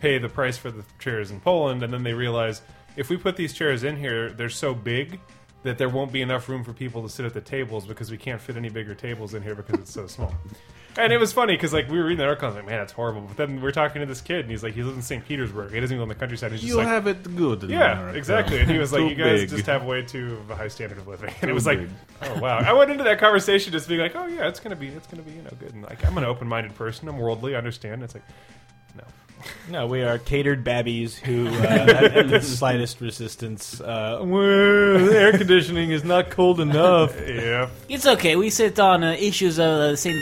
Speaker 2: pay the price for the chairs in Poland. And then they realize if we put these chairs in here, they're so big. That there won't be enough room for people to sit at the tables because we can't fit any bigger tables in here because it's so small. And it was funny because like we were reading the article, I was like, man, that's horrible. But then we we're talking to this kid, and he's like, he lives in St. Petersburg. He doesn't even live in the countryside. He's just
Speaker 3: You'll
Speaker 2: like,
Speaker 3: have it good. in
Speaker 2: yeah,
Speaker 3: America.
Speaker 2: exactly. And he was like,
Speaker 3: Too
Speaker 2: you guys
Speaker 3: big.
Speaker 2: just have way too of a high standard of living. And it
Speaker 3: Too
Speaker 2: was like,
Speaker 3: big.
Speaker 2: oh wow. I went into that conversation just being like, oh yeah, it's gonna be, it's gonna be, you know, good. And like, I'm an open-minded person. I'm worldly. I understand. It's like, no.
Speaker 4: No, we are catered babbies who uh, have have the slightest resistance. Uh, "Well, the air conditioning is not cold enough.
Speaker 2: Yeah.
Speaker 5: It's okay. We sit on uh, issues of the St.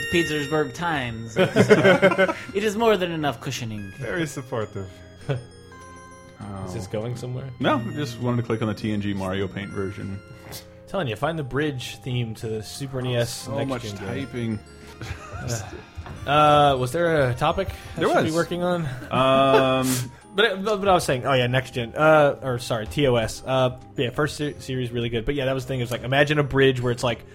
Speaker 5: Petersburg Times. It's, uh, it is more than enough cushioning.
Speaker 2: Very supportive.
Speaker 4: Is this going somewhere?
Speaker 3: Oh. No, I just wanted to click on the TNG Mario Paint version.
Speaker 4: telling you, find the bridge theme to the Super NES.
Speaker 3: So
Speaker 4: next
Speaker 3: much
Speaker 4: gen game.
Speaker 3: typing.
Speaker 4: Uh, was there a topic I
Speaker 3: There
Speaker 4: should
Speaker 3: was.
Speaker 4: be working on?
Speaker 3: Um,
Speaker 4: But, but but I was saying, oh yeah, next gen, uh, or sorry, TOS. Uh, yeah, first se- series really good. But yeah, that was the thing. It was like imagine a bridge where it's like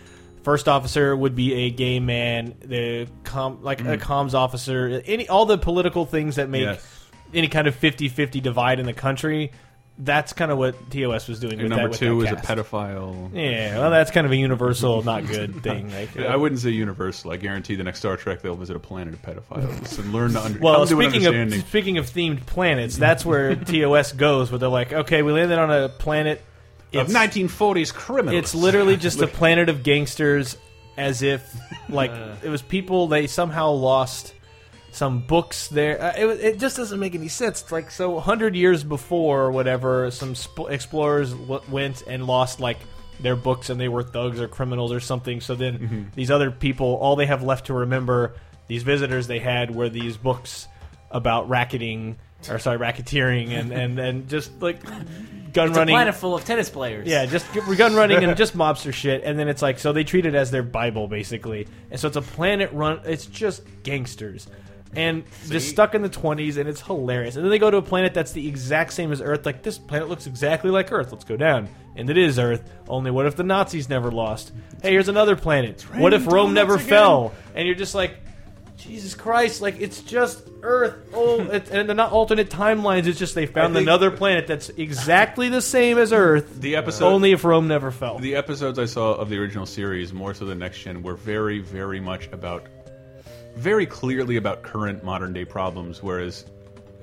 Speaker 4: first officer would be a gay man, the com like
Speaker 3: Mm.
Speaker 4: a comms officer, any all the political things that make
Speaker 3: Yes.
Speaker 4: any kind of 50-50 divide in the country. That's kind of what TOS was doing.
Speaker 3: your
Speaker 4: with
Speaker 3: number
Speaker 4: that, with
Speaker 3: two
Speaker 4: that
Speaker 3: is a
Speaker 4: cast.
Speaker 3: pedophile.
Speaker 4: Yeah, well, that's kind of a universal, not good thing. Like,
Speaker 3: I wouldn't say universal. I guarantee the next Star Trek they'll visit a planet of pedophiles and learn to under-
Speaker 4: Well,
Speaker 3: come to an
Speaker 4: speaking of
Speaker 3: understanding.
Speaker 4: speaking of themed planets, that's where TOS goes, where they're like, okay, we landed on a planet. It's,
Speaker 3: 1940s criminals.
Speaker 4: it's literally just a planet of gangsters, as if like
Speaker 5: Uh.
Speaker 4: it was people they somehow lost some books there. Uh, it, wa- it just doesn't make any sense. It's like so, hundred years before or whatever, some sp- explorers w- went and lost like their books, and they were thugs or criminals or something. So then these other people, all they have left to remember, these visitors they had were these books about racketing or sorry, racketeering and and and just like gun
Speaker 5: It's a
Speaker 4: running.
Speaker 5: planet full of tennis players.
Speaker 4: Yeah, just g- gun running and just mobster shit, and then it's like so they treat it as their bible basically, and so it's a planet run. It's just gangsters, and just stuck in the twenties, and it's hilarious. And then they go to a planet that's the exact same as Earth. Like this planet looks exactly like Earth. Let's go down, and it is Earth. Only what if the Nazis never lost? Hey, here's another planet. What if Rome never fell? And you're just like. Jesus Christ! Like it's just Earth. Oh, it, and they're not alternate timelines. It's just they found
Speaker 3: think-
Speaker 4: another planet that's exactly the same as Earth.
Speaker 3: the episode.
Speaker 4: Only if Rome never fell.
Speaker 3: the episodes I saw of the original series, more so than next gen, were very, very much about, very clearly about current modern day problems. Whereas,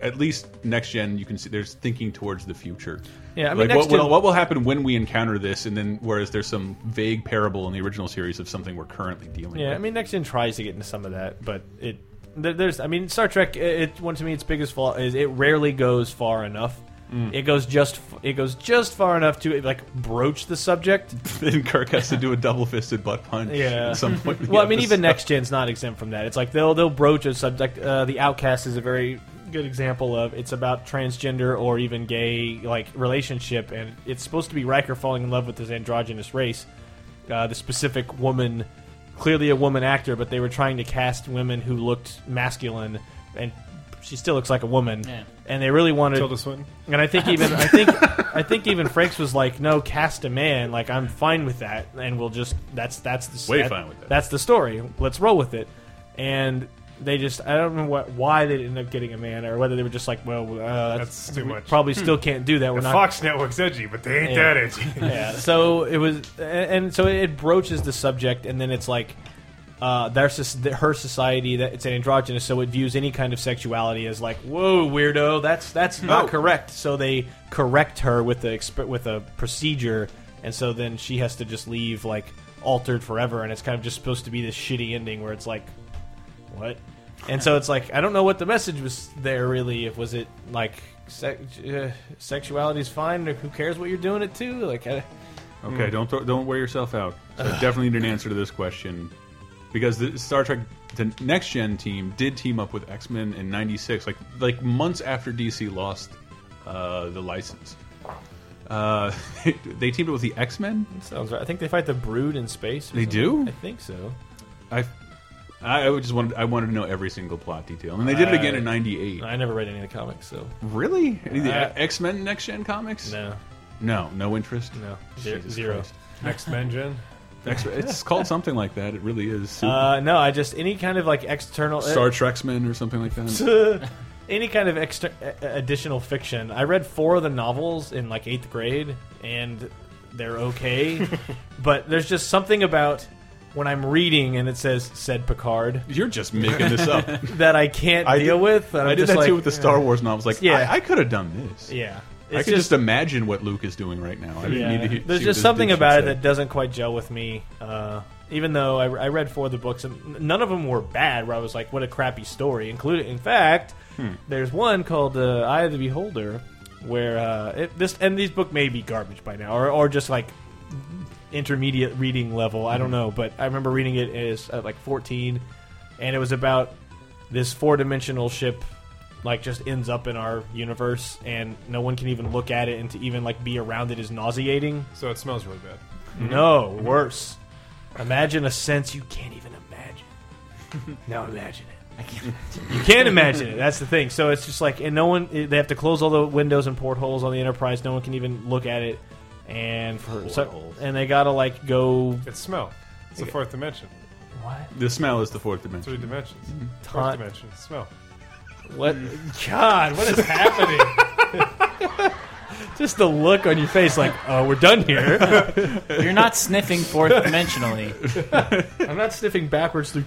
Speaker 3: at least next gen, you can see there's thinking towards the future.
Speaker 4: Yeah, I mean,
Speaker 3: like
Speaker 4: next
Speaker 3: what, will-
Speaker 4: gen-
Speaker 3: what will happen when we encounter this, and then whereas there's some vague parable in the original series of something we're currently dealing
Speaker 4: yeah,
Speaker 3: with.
Speaker 4: I mean, next gen tries to get into some of that, but it there, there's. I mean, Star Trek. It, it one to me, its biggest flaw is it rarely goes far enough.
Speaker 3: Mm.
Speaker 4: It goes just f- it goes just far enough to like broach the subject.
Speaker 3: then Kirk has to do a double-fisted butt punch
Speaker 4: Yeah.
Speaker 3: at some point. in the
Speaker 4: Well, I mean, even
Speaker 3: episode.
Speaker 4: next gen's not exempt from that. It's like they'll they'll broach a subject. Uh, the Outcast is a very good example of it's about transgender or even gay like relationship, and it's supposed to be Riker falling in love with this androgynous race, uh, the specific woman, clearly a woman actor, but they were trying to cast women who looked masculine, and she still looks like a woman,
Speaker 5: Yeah.
Speaker 4: and they really wanted
Speaker 2: Tilda Swinton.
Speaker 4: and I think even I think I think even Franks was like, "No, cast a man. Like I'm fine with that, and we'll just that's that's the
Speaker 3: Way
Speaker 4: that-
Speaker 3: fine with that.
Speaker 4: That's the story. Let's roll with it." And they just I don't know what why they ended up getting a man or whether they were just like, well, uh,
Speaker 2: That's too
Speaker 4: we
Speaker 2: much.
Speaker 3: Hmm.
Speaker 4: Probably still can't do that. We're
Speaker 2: The
Speaker 4: not
Speaker 2: Fox Network's edgy, but they ain't
Speaker 4: Yeah.
Speaker 2: that edgy.
Speaker 4: yeah. So it was, and- and so it broaches the subject, and then it's like, uh, their soc- her society that it's androgynous, so it views any kind of sexuality as like, whoa, weirdo, that's that's not
Speaker 3: Oh.
Speaker 4: correct. So they correct her with the exp- with a procedure, and so then she has to just leave like altered forever, and it's kind of just supposed to be this shitty ending where it's like, what? And so it's like I don't know what the message was there really. If was it like sex, uh, sexuality's fine, or who cares what you're doing it to? Like I,
Speaker 3: Okay,
Speaker 4: Mm.
Speaker 3: don't throw, don't wear yourself out. I definitely need an answer to this question because the Star Trek the Next Gen team did team up with X Men in '96, like like months after DC lost uh, the license. Uh, they teamed up with the X Men.
Speaker 4: sounds right. I think they fight the Brood in space. or
Speaker 3: They
Speaker 4: something.
Speaker 3: do?
Speaker 4: I think so.
Speaker 3: I I would just wanted I wanted to know every single plot detail, and they did it again in '98.
Speaker 4: Uh, I never read any of the comics, so
Speaker 3: Really? Any of the
Speaker 4: I-
Speaker 3: X Men Next Gen comics?
Speaker 4: no,
Speaker 3: no, no interest.
Speaker 4: no, Ze-
Speaker 3: Jesus
Speaker 4: zero.
Speaker 3: Christ.
Speaker 2: Next Mengen.
Speaker 3: X- it's called something like that. It really is.
Speaker 4: Uh, no, I just any kind of like external uh,
Speaker 3: Star Treksmen or something like that.
Speaker 4: any kind of extra a- additional fiction. I read four of the novels in like eighth grade, and they're okay. but there's just something about when I'm reading and it says "said Picard"
Speaker 3: You're just making this up.
Speaker 4: that I can't
Speaker 3: I
Speaker 4: deal
Speaker 3: did-
Speaker 4: with. and
Speaker 3: I
Speaker 4: I'm
Speaker 3: did
Speaker 4: just
Speaker 3: that
Speaker 4: like,
Speaker 3: too with the Star Wars novels. Like,
Speaker 4: Yeah.
Speaker 3: yeah, I, could have done this.
Speaker 4: Yeah,
Speaker 3: I could just, imagine what Luke is doing right now. I didn't
Speaker 4: yeah.
Speaker 3: need to hear,
Speaker 4: There's
Speaker 3: see
Speaker 4: just
Speaker 3: what
Speaker 4: something
Speaker 3: this
Speaker 4: about it
Speaker 3: dude
Speaker 4: that doesn't quite gel with me. Uh, even though I, I read four of the books, and n- none of them were bad. Where I was like, "What a crappy story!" Included, in fact,
Speaker 3: Hmm.
Speaker 4: there's one called uh, "Eye of the Beholder," where uh, it, this and these book may be garbage by now, or, or just like intermediate reading level. I don't
Speaker 3: Hmm.
Speaker 4: know, but I remember reading it as at like 14, and it was about this four dimensional ship, like just ends up in our universe, and no one can even look at it, and to even like be around it is nauseating.
Speaker 2: So it smells really bad.
Speaker 4: No, worse. Imagine a sense you can't even imagine. now imagine it. I can't. You can't imagine it. That's the thing. So it's just like, and no one. They have to close all the windows and portholes on the Enterprise. No one can even look at it. And for so,
Speaker 3: Portholes.
Speaker 4: and they gotta like go
Speaker 2: It's smell. It's the fourth dimension.
Speaker 4: what?
Speaker 3: The smell is the fourth
Speaker 2: Three
Speaker 3: dimension.
Speaker 2: dimensions.
Speaker 3: Mm-hmm.
Speaker 2: Fourth
Speaker 4: Hot.
Speaker 2: dimension. Smell.
Speaker 4: What? God, what is happening? Just the look on your face, like, oh, we're done here.
Speaker 5: You're not sniffing fourth dimensionally.
Speaker 4: I'm not sniffing backwards through
Speaker 3: Uh,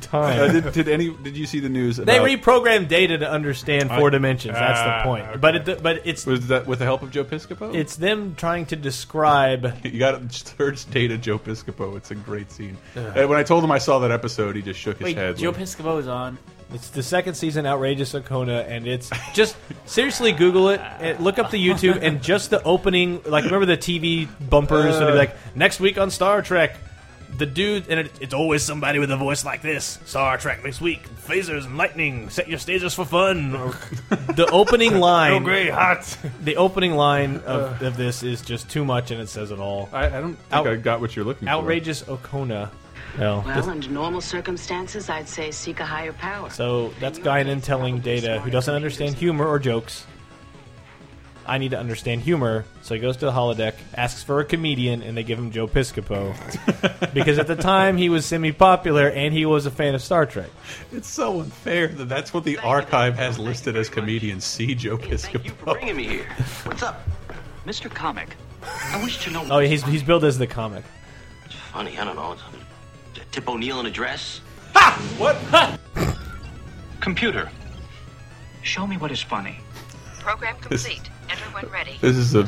Speaker 4: time.
Speaker 3: did, did any? Did you see the news? About,
Speaker 4: They reprogram data to understand four dimensions. That's
Speaker 2: Ah,
Speaker 4: the point.
Speaker 2: okay.
Speaker 4: But it, but it's
Speaker 3: was that with the help of Joe Piscopo?
Speaker 4: it's them trying to describe.
Speaker 3: you got to search data Joe Piscopo. It's a great scene. Uh, when I told him I saw that episode, he just shook his
Speaker 5: Wait,
Speaker 3: head.
Speaker 5: Joe
Speaker 3: like,
Speaker 5: Piscopo is on.
Speaker 4: It's the second season, outrageous Okona, and it's just seriously Google it, and look up the YouTube, and just the opening. Like remember the TV bumpers, and it'd be like next week on Star Trek. The dude, and it, it's always somebody with a voice like this. Star Trek this week, phasers and lightning, set your stages for fun. Or the opening line,
Speaker 2: Great hot.
Speaker 4: the opening line of, of this is just too much, and it says it all.
Speaker 2: Uh.
Speaker 3: I, I don't think
Speaker 4: Out-
Speaker 3: I got what you're looking
Speaker 4: Outrageous Okona. No.
Speaker 7: Well, under normal circumstances, I'd say seek a higher power.
Speaker 4: So that's Guinan telling Data, who doesn't understand humor or jokes, I need to understand humor. So he goes to the holodeck, asks for a comedian, and they give him Joe Piscopo. because at the time, he was semi popular and he was a fan of Star Trek.
Speaker 3: for. It's so unfair that that's what the archive has listed as comedian C. Joe
Speaker 9: Thank you for
Speaker 3: Piscopo.
Speaker 9: bringing me here. What's up, Mr. Comic? I wish to know.
Speaker 4: Oh, he's, he's billed as the comic.
Speaker 9: funny. I don't know. It's Tip O'Neill in a dress. Ha! What? Computer, show me what is funny.
Speaker 7: Program complete. Everyone ready.
Speaker 3: This is a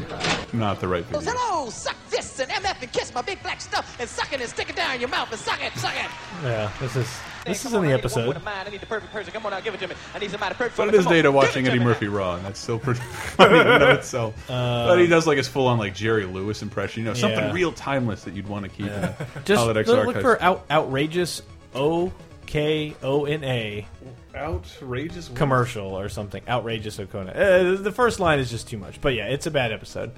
Speaker 3: not the right thing.
Speaker 10: Hello, "Oh, suck this and MF and kiss my big black stuff and suck it and stick it down your mouth and suck it, suck it.
Speaker 4: Yeah, this is this
Speaker 10: Hey,
Speaker 4: is
Speaker 10: come
Speaker 4: in
Speaker 10: on, I
Speaker 4: the
Speaker 10: need one with
Speaker 4: episode.
Speaker 10: a mind. I need the perfect person. Come on, now give it to me. I need somebody perfect.
Speaker 3: So
Speaker 10: for
Speaker 3: it
Speaker 10: me.
Speaker 3: is
Speaker 10: Come on,
Speaker 3: Data
Speaker 10: give
Speaker 3: watching
Speaker 10: it to
Speaker 3: Eddie
Speaker 10: me.
Speaker 3: Murphy Raw, and that's still pretty funny in and of itself. but he does like his full-on like Jerry Lewis impression, you know, something
Speaker 4: Uh, Yeah.
Speaker 3: real timeless that you'd want to keep. in a
Speaker 4: Just
Speaker 3: Holodeck's
Speaker 4: look,
Speaker 3: archives.
Speaker 4: for out, outrageous O K O N A
Speaker 3: outrageous
Speaker 4: commercial or something. Outrageous Okona. Uh, the first line is just too much. But yeah, it's a bad episode.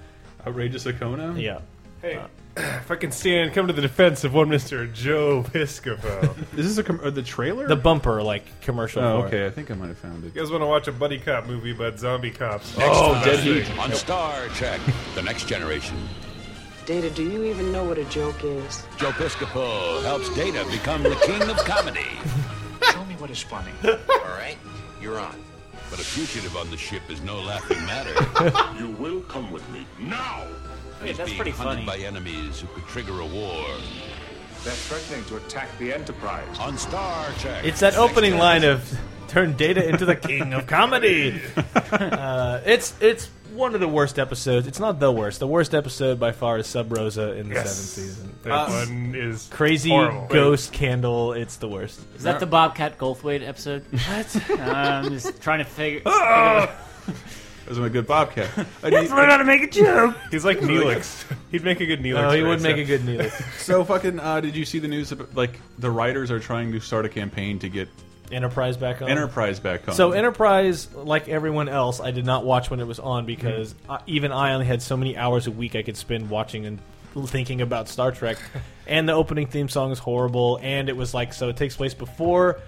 Speaker 3: outrageous Akona.
Speaker 4: Yeah.
Speaker 2: Hey, if I can stand, come to the defense of one Mr. Joe Piscopo. you
Speaker 3: is this a com- uh, the trailer?
Speaker 4: the bumper like commercial.
Speaker 3: oh,
Speaker 4: for
Speaker 3: okay,
Speaker 4: It.
Speaker 3: I think I might have found it.
Speaker 2: guys want to watch a buddy cop movie about zombie cops?
Speaker 3: Oh, Dead Heat.
Speaker 11: On Star Trek, The Next Generation,
Speaker 10: Data, do you even know what a joke is?
Speaker 11: Joe Piscopo helps Data become the king of comedy.
Speaker 9: Show me
Speaker 12: What is funny?
Speaker 11: All right, you're on. But a fugitive on the ship is no laughing matter. you will come with me now.
Speaker 12: Hey,
Speaker 11: He's
Speaker 12: that's
Speaker 11: being
Speaker 12: pretty
Speaker 11: hunted by enemies who could trigger a war.
Speaker 12: They're threatening to attack the Enterprise.
Speaker 11: On Star Trek.
Speaker 4: It's that opening line of "Turn Data into the King of Comedy." uh, it's it's one of the worst episodes. It's not the worst. The worst episode by far is Sub Rosa in the
Speaker 2: Yes.
Speaker 4: seventh season.
Speaker 2: That Uh, one is
Speaker 4: crazy
Speaker 2: horrible.
Speaker 4: ghost candle. It's the worst.
Speaker 5: Is that the Bobcat Goldthwait episode? What? I'm just trying to figure.
Speaker 3: Ah! Those are my good Bobcat.
Speaker 5: Let's learn how to make a joke.
Speaker 2: He's like Neelix. He'd make a good Neelix.
Speaker 4: oh,
Speaker 2: No, he would make a good
Speaker 4: Neelix.
Speaker 3: so fucking. Uh, did you see the news? About, like the writers are trying to start a campaign to get
Speaker 4: Enterprise back on.
Speaker 3: Enterprise back on.
Speaker 4: Oh. So Enterprise, like everyone else, I did not watch when it was on because uh, even I only had so many hours a week I could spend watching and thinking about Star Trek. and the opening theme song is horrible, and it was like so it takes place before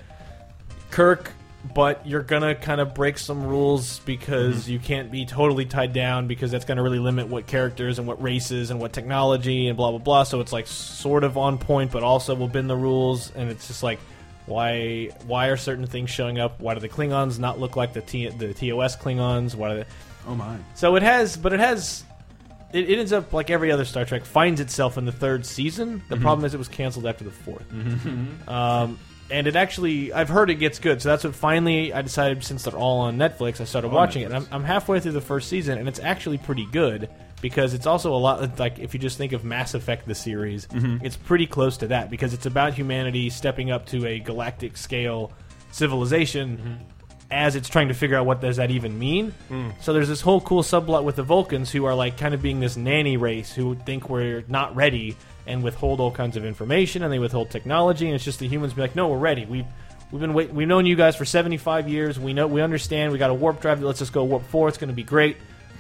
Speaker 4: Kirk, but you're gonna kind of break some rules because
Speaker 2: Mhm.
Speaker 4: you can't be totally tied down because that's gonna really limit what characters and what races and what technology and blah blah blah. So it's like sort of on point, but also will bend the rules, and it's just like. Why? Why are certain things showing up? Why do the Klingons not look like the T, the TOS Klingons? Why? Do they,
Speaker 3: Oh my.
Speaker 4: So it has, but it has. It, it ends up like every other Star Trek finds itself in the third season. The
Speaker 3: Mhm.
Speaker 4: problem is it was canceled after the 4th
Speaker 3: Mhm.
Speaker 4: Um, and it actually, I've heard it gets good. So that's what finally I decided. Since they're all on Netflix, I started
Speaker 3: On
Speaker 4: watching it. And I'm, I'm halfway through the first season, and it's actually pretty good because it's also a lot like if you just think of Mass Effect the series,
Speaker 3: Mhm.
Speaker 4: it's pretty close to that because it's about humanity stepping up to a galactic scale civilization as it's trying to figure out what does that even mean.
Speaker 2: Mm.
Speaker 4: So there's this whole cool subplot with the Vulcans who are like kind of being this nanny race who think we're not ready and withhold all kinds of information and they withhold technology and it's just the humans be like, no, we're ready. We've we've been wait- we've known you guys for 75 years. We know we understand. We got a warp drive that lets us go warp four. It's going to be great.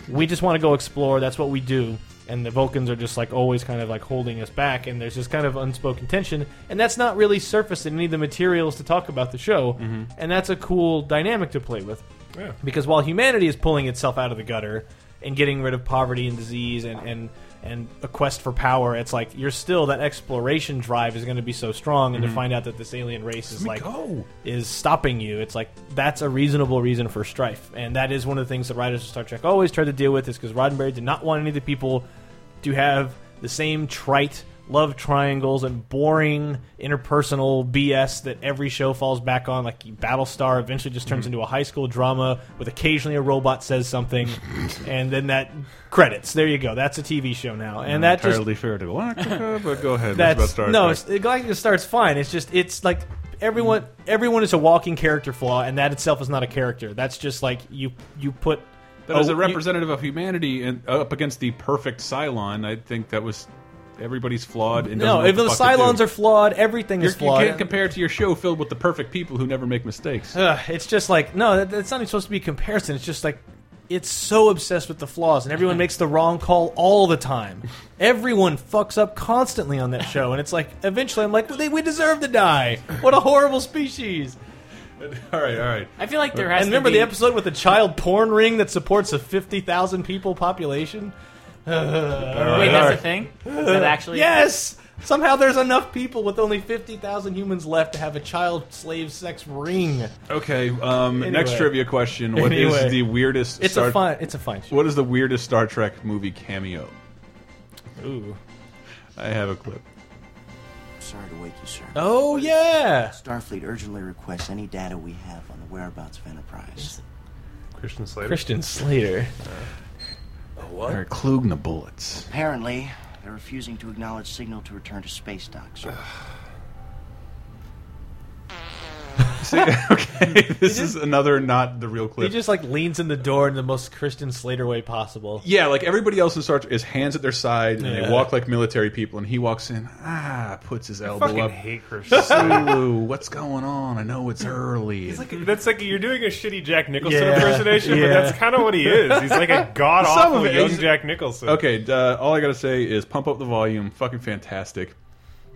Speaker 4: We just want to go explore. That's what we do. And the Vulcans are just like always kind of like holding us back, and there's this kind of unspoken tension, and that's not really surfaced in any of the materials to talk about the show,
Speaker 3: Mm-hmm.
Speaker 4: and that's a cool dynamic to play with.
Speaker 2: Yeah.
Speaker 4: Because while humanity is pulling itself out of the gutter and getting rid of poverty and disease and, and, and a quest for power, it's like you're still that exploration drive is going to be so strong, and
Speaker 3: Mhm.
Speaker 4: to find out that this alien race is
Speaker 3: Let me
Speaker 4: like
Speaker 3: go.
Speaker 4: is stopping you, it's like that's a reasonable reason for strife, and that is one of the things that writers of Star Trek always tried to deal with, is because Roddenberry did not want any of the people to have the same trite love triangles and boring interpersonal BS that every show falls back on. Like Battlestar eventually just turns
Speaker 3: Mhm.
Speaker 4: into a high school drama with occasionally a robot says something, and then that credits. There you go. That's a TV show now, and
Speaker 3: Not
Speaker 4: that just
Speaker 3: entirely fair to Galactica, but go ahead.
Speaker 4: that's,
Speaker 3: That's about Star
Speaker 4: no,
Speaker 3: Trek.
Speaker 4: it's- Galactica starts fine. It's just it's like everyone everyone is a walking character flaw, and that itself is not a character. That's just like you you put.
Speaker 3: But as
Speaker 4: oh,
Speaker 3: a
Speaker 4: you-
Speaker 3: representative of humanity and up against the perfect Cylon, I think that was everybody's flawed. And
Speaker 4: no, if the Cylons are flawed, everything
Speaker 3: You're,
Speaker 4: is flawed.
Speaker 3: You can't compare it to your show filled with the perfect people who never make mistakes.
Speaker 4: Ugh, it's just like no, that, that's not even supposed to be a comparison. It's just like it's so obsessed with the flaws, and everyone makes the wrong call all the time. Everyone fucks up constantly on that show, and it's like eventually I'm like, well, they, we deserve to die. What a horrible species.
Speaker 3: all right, all right.
Speaker 5: I feel like there has
Speaker 4: And
Speaker 5: to
Speaker 4: remember
Speaker 5: be-
Speaker 4: the episode with the child porn ring that supports a fifty thousand people population.
Speaker 5: Wait, that's a thing? Is that actually?
Speaker 4: yes. Somehow there's enough people with only fifty thousand humans left to have a child slave sex ring.
Speaker 3: Okay. Um,
Speaker 4: Anyway.
Speaker 3: Next trivia question: What is
Speaker 4: Anyway.
Speaker 3: the weirdest?
Speaker 4: It's a fine- it's a fine show.
Speaker 3: What is the weirdest Star Trek movie cameo?
Speaker 4: Ooh.
Speaker 3: I have a clip.
Speaker 13: Sorry to wake you, sir.
Speaker 4: Oh yeah.
Speaker 13: Starfleet urgently requests any data we have on the whereabouts of Enterprise.
Speaker 2: Christian Slater.
Speaker 4: Christian Slater.
Speaker 13: what?
Speaker 3: They're Klugna bullets.
Speaker 13: Apparently, they're refusing to acknowledge signal to return to space dock, sir.
Speaker 11: Uh,
Speaker 3: okay, this is another not the real
Speaker 4: He
Speaker 3: clip.
Speaker 4: just like leans in the door in the most Christian Slater way possible.
Speaker 3: Yeah, like everybody else in Star Trek is hands at their side and
Speaker 4: Yeah.
Speaker 3: they walk like military people, and he walks in, ah, puts his elbow
Speaker 2: fucking
Speaker 3: up.
Speaker 2: hate Christian Slater.
Speaker 3: Sulu, what's going on? I know it's early.
Speaker 2: He's like, that's like you're doing a shitty Jack Nicholson
Speaker 3: Yeah.
Speaker 2: impersonation,
Speaker 3: Yeah.
Speaker 2: but that's kind of what he is. He's like a god
Speaker 3: Some of
Speaker 2: awful
Speaker 3: it
Speaker 2: young
Speaker 3: is-
Speaker 2: Jack Nicholson.
Speaker 3: Okay, uh, all I gotta say is pump up the volume. Fucking fantastic.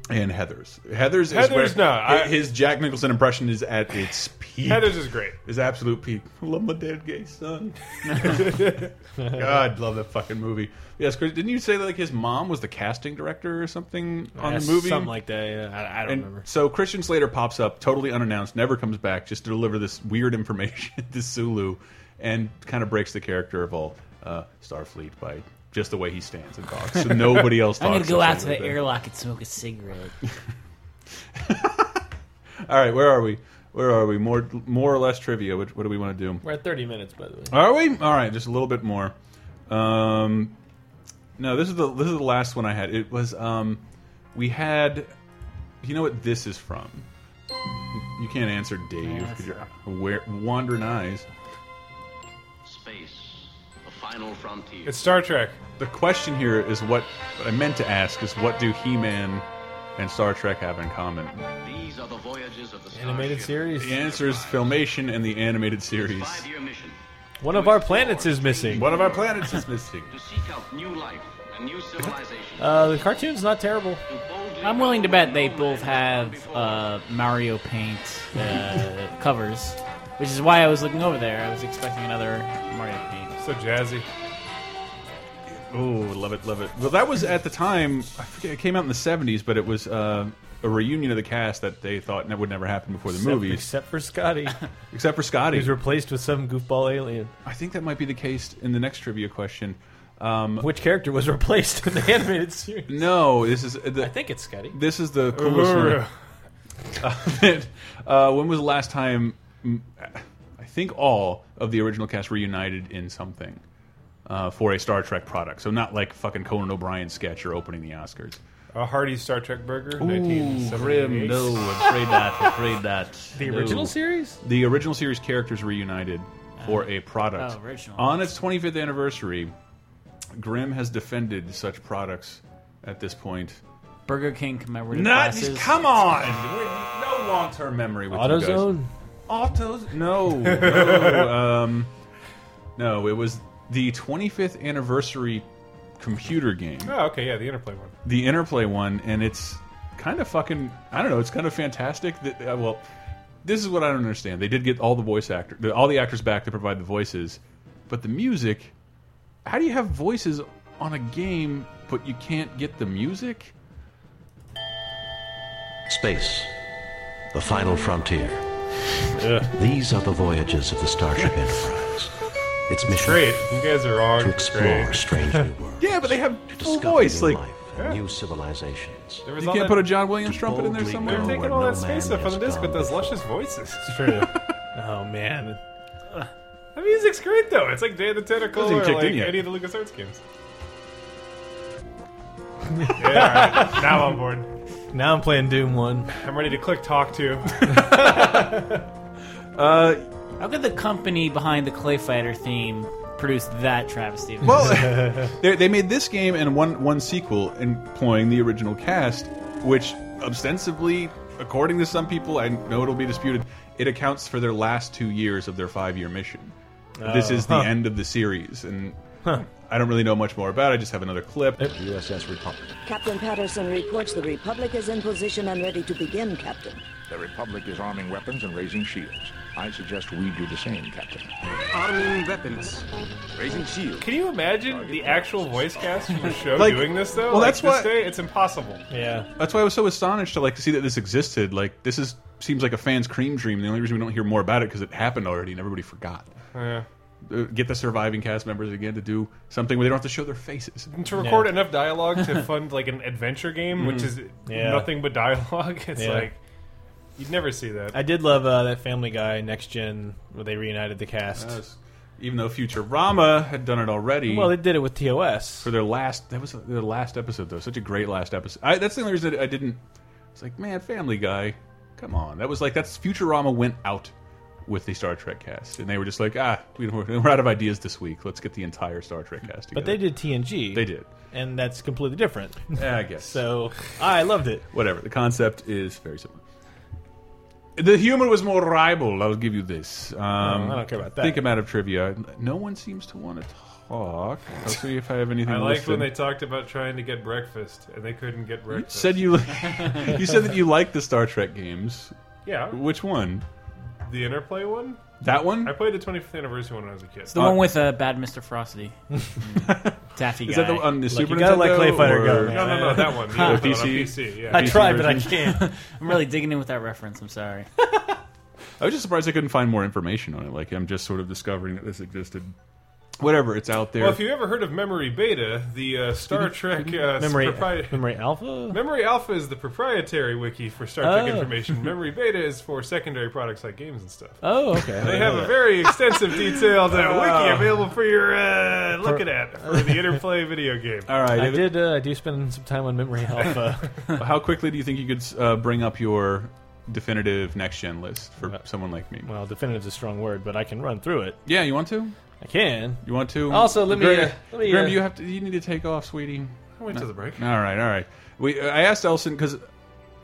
Speaker 3: and Heather's. Heather's,
Speaker 2: Heather's,
Speaker 3: is where
Speaker 2: no, I-
Speaker 3: his Jack Nicholson impression is at its peak.
Speaker 2: Heather's is great.
Speaker 3: His absolute peak. Love my dead gay son. God, love that fucking movie. Yes, Chris, didn't you say that, like his mom was the casting director or something on
Speaker 4: Yeah,
Speaker 3: the movie?
Speaker 4: something like that. Yeah, I, I don't
Speaker 3: And
Speaker 4: remember.
Speaker 3: So Christian Slater pops up totally unannounced, never comes back, just to deliver this weird information to Sulu, and kind of breaks the character of all uh, Starfleet by just the way he stands and talks. So nobody else.
Speaker 5: I'm gonna
Speaker 3: talks
Speaker 5: go
Speaker 3: same
Speaker 5: out to
Speaker 3: way
Speaker 5: the
Speaker 3: there.
Speaker 5: airlock and smoke a cigarette.
Speaker 3: All right, where are we? Where are we? More, more or less trivia. What, what do we want to do?
Speaker 4: We're at 30 minutes, by the way.
Speaker 3: Are we? All right, just a little bit more. Um, no, this is the this is the last one I had. It was um, we had. You know what this is from? You can't answer, Dave,
Speaker 9: Yeah,
Speaker 3: because you're aware, wandering eyes.
Speaker 9: Space, the final frontier.
Speaker 2: Star Trek.
Speaker 3: The question here is what, what I meant to ask is what do He-Man and Star Trek have in common?
Speaker 9: These are the voyages of the starship.
Speaker 4: Animated series.
Speaker 3: The answer is Filmation and the animated series.
Speaker 9: Five-year mission
Speaker 4: One of our planets is missing.
Speaker 3: One of our planets is missing.
Speaker 9: to seek out new life and new civilization.
Speaker 4: Uh, the cartoon's not terrible.
Speaker 5: I'm willing to bet they both have uh, Mario Paint uh, covers, which is why I was looking over there. I was expecting another Mario Paint.
Speaker 2: So jazzy.
Speaker 3: Oh, love it, love it. Well, that was at the time. I forget it came out in the '70s, but it was uh, a reunion of the cast that they thought ne- would never happen before the
Speaker 4: Except-
Speaker 3: movies,
Speaker 4: Except for Scotty.
Speaker 3: except for Scotty.
Speaker 4: He's replaced with some goofball alien.
Speaker 3: I think that might be the case in the next trivia question. Um,
Speaker 4: Which character was replaced in the animated series?
Speaker 3: no, this is uh, the,
Speaker 4: I think it's Scotty.
Speaker 3: This is the coolest one. uh, when was the last time? mm, I think all of the original cast reunited in something uh, for a Star Trek product. So not like fucking Conan O'Brien sketch or opening the Oscars.
Speaker 2: A hearty Star Trek burger.
Speaker 3: Ooh,
Speaker 2: 1978.
Speaker 3: grim. No, afraid not. Afraid not.
Speaker 4: The
Speaker 3: No.
Speaker 4: original series?
Speaker 3: The original series characters reunited for a product.
Speaker 5: Oh, original.
Speaker 3: On its 25th anniversary, Grimm has defended such products at this point.
Speaker 5: Burger King commemorative
Speaker 3: Not,
Speaker 5: glasses.
Speaker 3: come on! We're- No long-term memory with you guys.
Speaker 4: AutoZone?
Speaker 3: Autos? No, no, um, no. It was the 25th anniversary computer game
Speaker 2: Oh, okay, yeah, the Interplay one.
Speaker 3: the interplay one and it's kind of fucking i don't know it's kind of fantastic that uh, well this is what i don't understand they did get all the voice actor the, all the actors back to provide the voices but the music how do you have voices on a game but you can't get the music
Speaker 11: Space, the final frontier. These are the voyages of the Starship Enterprise. Its mission
Speaker 2: Great. You guys are on
Speaker 11: to explore strange new worlds,
Speaker 3: yeah but they have full
Speaker 11: discover
Speaker 3: voice
Speaker 11: new
Speaker 3: like
Speaker 11: life and new civilizations.
Speaker 2: There was
Speaker 3: you
Speaker 2: all
Speaker 3: can't
Speaker 2: that-
Speaker 3: put a john williams trumpet in there
Speaker 11: boldly
Speaker 3: somewhere
Speaker 11: go
Speaker 4: Oh,
Speaker 2: They're
Speaker 11: where
Speaker 2: taking all
Speaker 11: no
Speaker 2: that space
Speaker 11: man
Speaker 2: up on the
Speaker 11: has
Speaker 2: disc with
Speaker 11: gone
Speaker 2: those luscious voices.
Speaker 4: It's true. oh, man.
Speaker 2: The music's great though. It's like Day of the Tentacle
Speaker 3: Hasn't
Speaker 2: or
Speaker 3: even kicked
Speaker 2: like
Speaker 3: in yet.
Speaker 2: any of the LucasArts games. yeah, all right. Now I'm bored.
Speaker 4: Now I'm playing Doom 1.
Speaker 2: I'm ready to click talk to.
Speaker 5: How could the company behind the Clay Fighter theme produce that travesty? Of
Speaker 3: Well, they, they made this game and one one sequel employing the original cast, which ostensibly, according to some people, I know it'll be disputed, it accounts for their last two years of their five year mission. this is the
Speaker 4: huh.
Speaker 3: end of the series, and I don't really know much more about. it. I just have another clip.
Speaker 11: USS Republic.
Speaker 14: Captain Patterson reports the Republic is in position and ready to begin, Captain.
Speaker 12: The Republic is arming weapons and raising shields. I suggest we do the same, Captain.
Speaker 15: Arming weapons, raising shield.
Speaker 2: Can you imagine the actual voice cast from the show
Speaker 3: Like-
Speaker 2: doing this though?
Speaker 3: well,
Speaker 2: Like,
Speaker 3: that's
Speaker 2: this
Speaker 3: what-
Speaker 2: day, it's impossible.
Speaker 4: Yeah.
Speaker 3: That's why I was so astonished to like see that this existed. Like this is seems like a fan's cream dream. The only reason we don't hear more about it because it happened already and everybody forgot.
Speaker 4: Oh,
Speaker 2: Yeah.
Speaker 3: Uh, Get the surviving cast members again to do something where they don't have to show their faces.
Speaker 2: And to record enough dialogue to fund like an adventure game, which is
Speaker 4: Mm. Yeah.
Speaker 2: nothing but dialogue, it's
Speaker 4: Yeah.
Speaker 2: like you'd never see that.
Speaker 4: I did love uh, that Family Guy Next Gen where they reunited the cast.
Speaker 3: Yes. Even though Futurama had done it already
Speaker 4: well, they did it with TOS.
Speaker 3: for their last, that was their last episode though. Such a great last episode. I, that's the only reason I didn't. It's like, man, Family Guy, come on. That was like that's Futurama went out with the Star Trek cast, and they were just like, ah, we, we're, we're out of ideas this week. Let's get the entire Star Trek cast together.
Speaker 4: But they did TNG.
Speaker 3: They did.
Speaker 4: And that's completely different.
Speaker 3: Yeah, I guess.
Speaker 4: so, I loved it.
Speaker 3: Whatever. The concept is very similar. The humor was more rival. I'll give you this. Um,
Speaker 4: I don't care about that.
Speaker 3: Think amount of trivia. No one seems to want to talk. talk. Let's see if I have anything.
Speaker 2: I liked when
Speaker 3: listed.
Speaker 2: they talked about trying to get breakfast and they couldn't get
Speaker 3: You
Speaker 2: breakfast.
Speaker 3: said you you said that you liked the Star Trek games.
Speaker 2: Yeah.
Speaker 3: Which one?
Speaker 2: the Interplay one.
Speaker 3: That one?
Speaker 2: I played the 25th anniversary one when I was a kid. Oh,
Speaker 5: It's the one with uh, bad Mr. Frosty. Mm. Taffy guy.
Speaker 3: Is that the- on the Look, Super
Speaker 2: you gotta let Nintendo Clay Fighter go, or- man. No, no, no, that one. Yeah,
Speaker 5: Huh.
Speaker 2: the PC. on PC, yeah.
Speaker 5: I
Speaker 2: PC
Speaker 5: tried, but I
Speaker 2: version.
Speaker 5: can't. I'm really digging in with that reference. I'm sorry.
Speaker 3: I was just surprised I couldn't find more information on it. Like I'm just sort of discovering that this existed. Whatever, it's out there.
Speaker 2: Well, if you ever heard of Memory Beta, the uh, Star Trek uh,
Speaker 4: Memory-
Speaker 2: Memory Alpha. Memory Alpha is the proprietary wiki for Star Trek
Speaker 4: Oh.
Speaker 2: information. Memory Beta is for secondary products like games and stuff.
Speaker 4: Oh, okay.
Speaker 2: They have a very extensive, detailed uh, wiki
Speaker 4: Oh.
Speaker 2: available for your uh, looking at for the Interplay video game.
Speaker 3: All right,
Speaker 4: I
Speaker 3: if it-
Speaker 4: did. Uh, I do spend some time on Memory uh, Alpha.
Speaker 3: How quickly do you think you could uh, bring up your definitive next gen list for someone like me?
Speaker 4: well, definitive is a strong word, but I can run through it.
Speaker 3: Yeah, you want to?
Speaker 4: I can.
Speaker 3: You want to?
Speaker 4: Also, let me.
Speaker 3: Graham,
Speaker 4: Uh, let me.
Speaker 3: Graham,
Speaker 4: uh,
Speaker 3: you have to. You need to take off, sweetie.
Speaker 2: I'll wait till the break.
Speaker 3: All right, all right. We I asked Elson because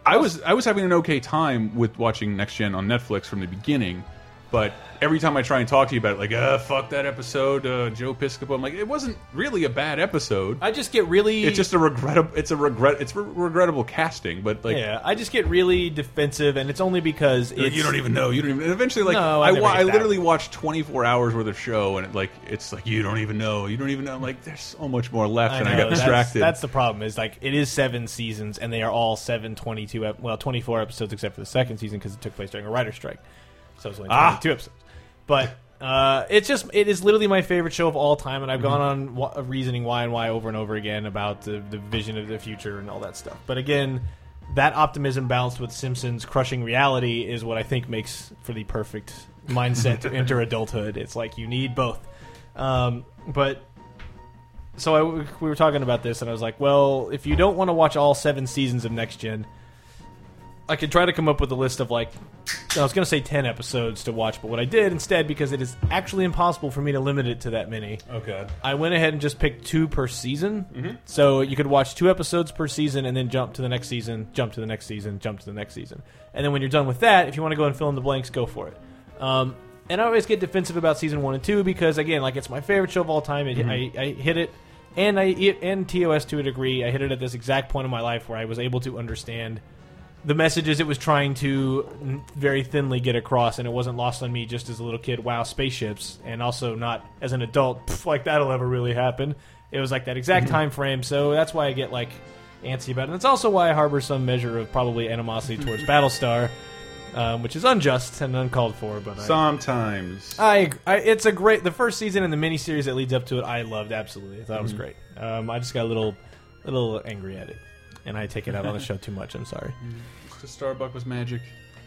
Speaker 3: I was I was having an okay time with watching Next Gen on Netflix from the beginning, but every time I try and talk to you about it, like, uh, fuck that episode, uh, Joe Piscopo. I'm like, it wasn't really a bad episode.
Speaker 4: I just get really.
Speaker 3: It's just a regrettable. It's a regret. It's re regrettable casting, but like,
Speaker 4: yeah, I just get really defensive, and it's only because
Speaker 3: You
Speaker 4: it's,
Speaker 3: don't even know. You don't even. And eventually, like,
Speaker 4: No, I
Speaker 3: I,
Speaker 4: never
Speaker 3: wa-
Speaker 4: get
Speaker 3: I
Speaker 4: that.
Speaker 3: literally watched 24 hours worth of show, and it like, it's like you don't even know. You don't even know. I'm like, there's so much more left, and I
Speaker 4: know,
Speaker 3: got
Speaker 4: that's-
Speaker 3: distracted.
Speaker 4: That's, the problem. Is like it is seven seasons, and they are all seven 22, ep- well, twenty four episodes, except for the second season because it took place during a writer strike. So it's only twenty two
Speaker 3: Ah.
Speaker 4: episodes. But uh, it's just it is literally my favorite show of all time, and I've gone on wa- uh, reasoning why and why over and over again about the, the vision of the future and all that stuff. But again. That optimism balanced with Simpsons crushing reality is what I think makes for the perfect mindset to enter adulthood. It's like you need both. Um, but so I, we were talking about this, and I was like, well, if you don't want to watch all seven seasons of Next Gen, I could try to come up with a list of like, I was going to say 10 episodes to watch, but what I did instead, because it is actually impossible for me to limit it to that many,
Speaker 2: Oh god.
Speaker 4: I went ahead and just picked two per season. So you could watch two episodes per season and then jump to the next season, jump to the next season, jump to the next season. And then when you're done with that, if you want to go and fill in the blanks, go for it. Um, and I always get defensive about season one and two because, again, like it's my favorite show of all time. It,
Speaker 16: Mhm.
Speaker 4: I, I hit it, and I and TOS to a degree. I hit it at this exact point in my life where I was able to understand the messages it was trying to n- very thinly get across, and it wasn't lost on me just as a little kid. Wow, spaceships, and also not as an adult. Pff, like that'll ever really happen. It was like that exact
Speaker 16: Mhm.
Speaker 4: time frame, so that's why I get like antsy about it. And it's also why I harbor some measure of probably animosity towards Battlestar, um, which is unjust and uncalled for. But I,
Speaker 3: Sometimes.
Speaker 4: I, I it's a great the first season and the miniseries that leads up to it. I loved absolutely. I thought it was
Speaker 16: Mhm.
Speaker 4: great. Um, I just got a little, a little angry at it, and I take it out on the show too much. I'm sorry.
Speaker 3: Starbucks was magic.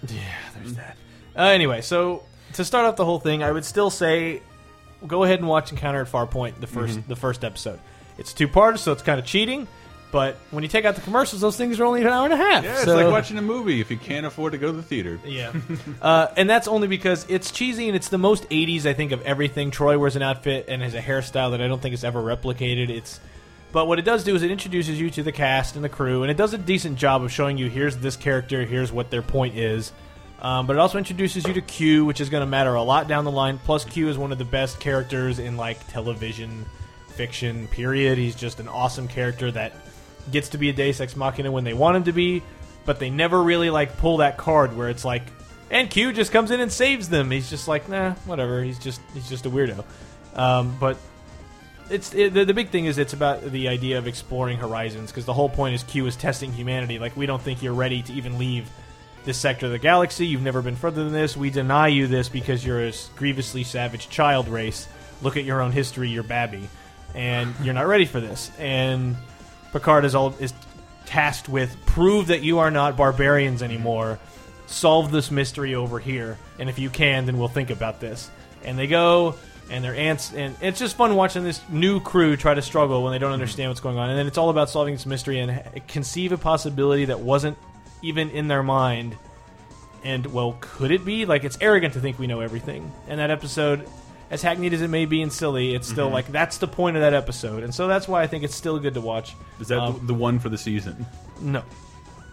Speaker 4: Yeah, there's that. Uh, anyway, so to start off the whole thing, I would still say go ahead and watch Encounter at Farpoint the 1st
Speaker 3: Mm-hmm.
Speaker 16: Mhm.
Speaker 4: the first episode. It's two parts, so it's kind of cheating. But when you take out the commercials, those things are only an hour and a half.
Speaker 3: Yeah, it's
Speaker 4: so-
Speaker 3: like watching a movie if you can't afford to go to the theater.
Speaker 4: Yeah. uh, and that's only because it's cheesy and it's the most 80s I think of everything. Troy wears an outfit and has a hairstyle that I don't think is ever replicated. It's but what it does do is it introduces you to the cast and the crew, and it does a decent job of showing you here's this character, here's what their point is. Um, but it also introduces you to Q, which is going to matter a lot down the line. Plus, Q is one of the best characters in like television fiction. Period. He's just an awesome character that gets to be a Deus Ex Machina when they want him to be, but they never really like pull that card where it's like, and Q just comes in and saves them. He's just like, nah, whatever. He's just he's just a weirdo. Um, but it's it, the, the big thing is it's about the idea of exploring horizons because the whole point is Q is testing humanity. Like we don't think you're ready to even leave this sector of the galaxy. You've never been further than this. We deny you this because you're a s- grievously savage child race. Look at your own history. You're babby, and you're not ready for this. And Picard is all is tasked with prove that you are not barbarians anymore. Solve this mystery over here, and if you can, then we'll think about this. And they go, and their ants, and it's just fun watching this new crew try to struggle when they don't understand what's going on. And then it's all about solving this mystery and h- conceive a possibility that wasn't even in their mind. And well, could it be? Like it's arrogant to think we know everything. And that episode, as hackneyed as it may be and silly, it's still
Speaker 3: Mhm.
Speaker 4: like that's the point of that episode. And so that's why I think it's still good to watch.
Speaker 3: Is that
Speaker 4: Um,
Speaker 3: the one for the season?
Speaker 4: No.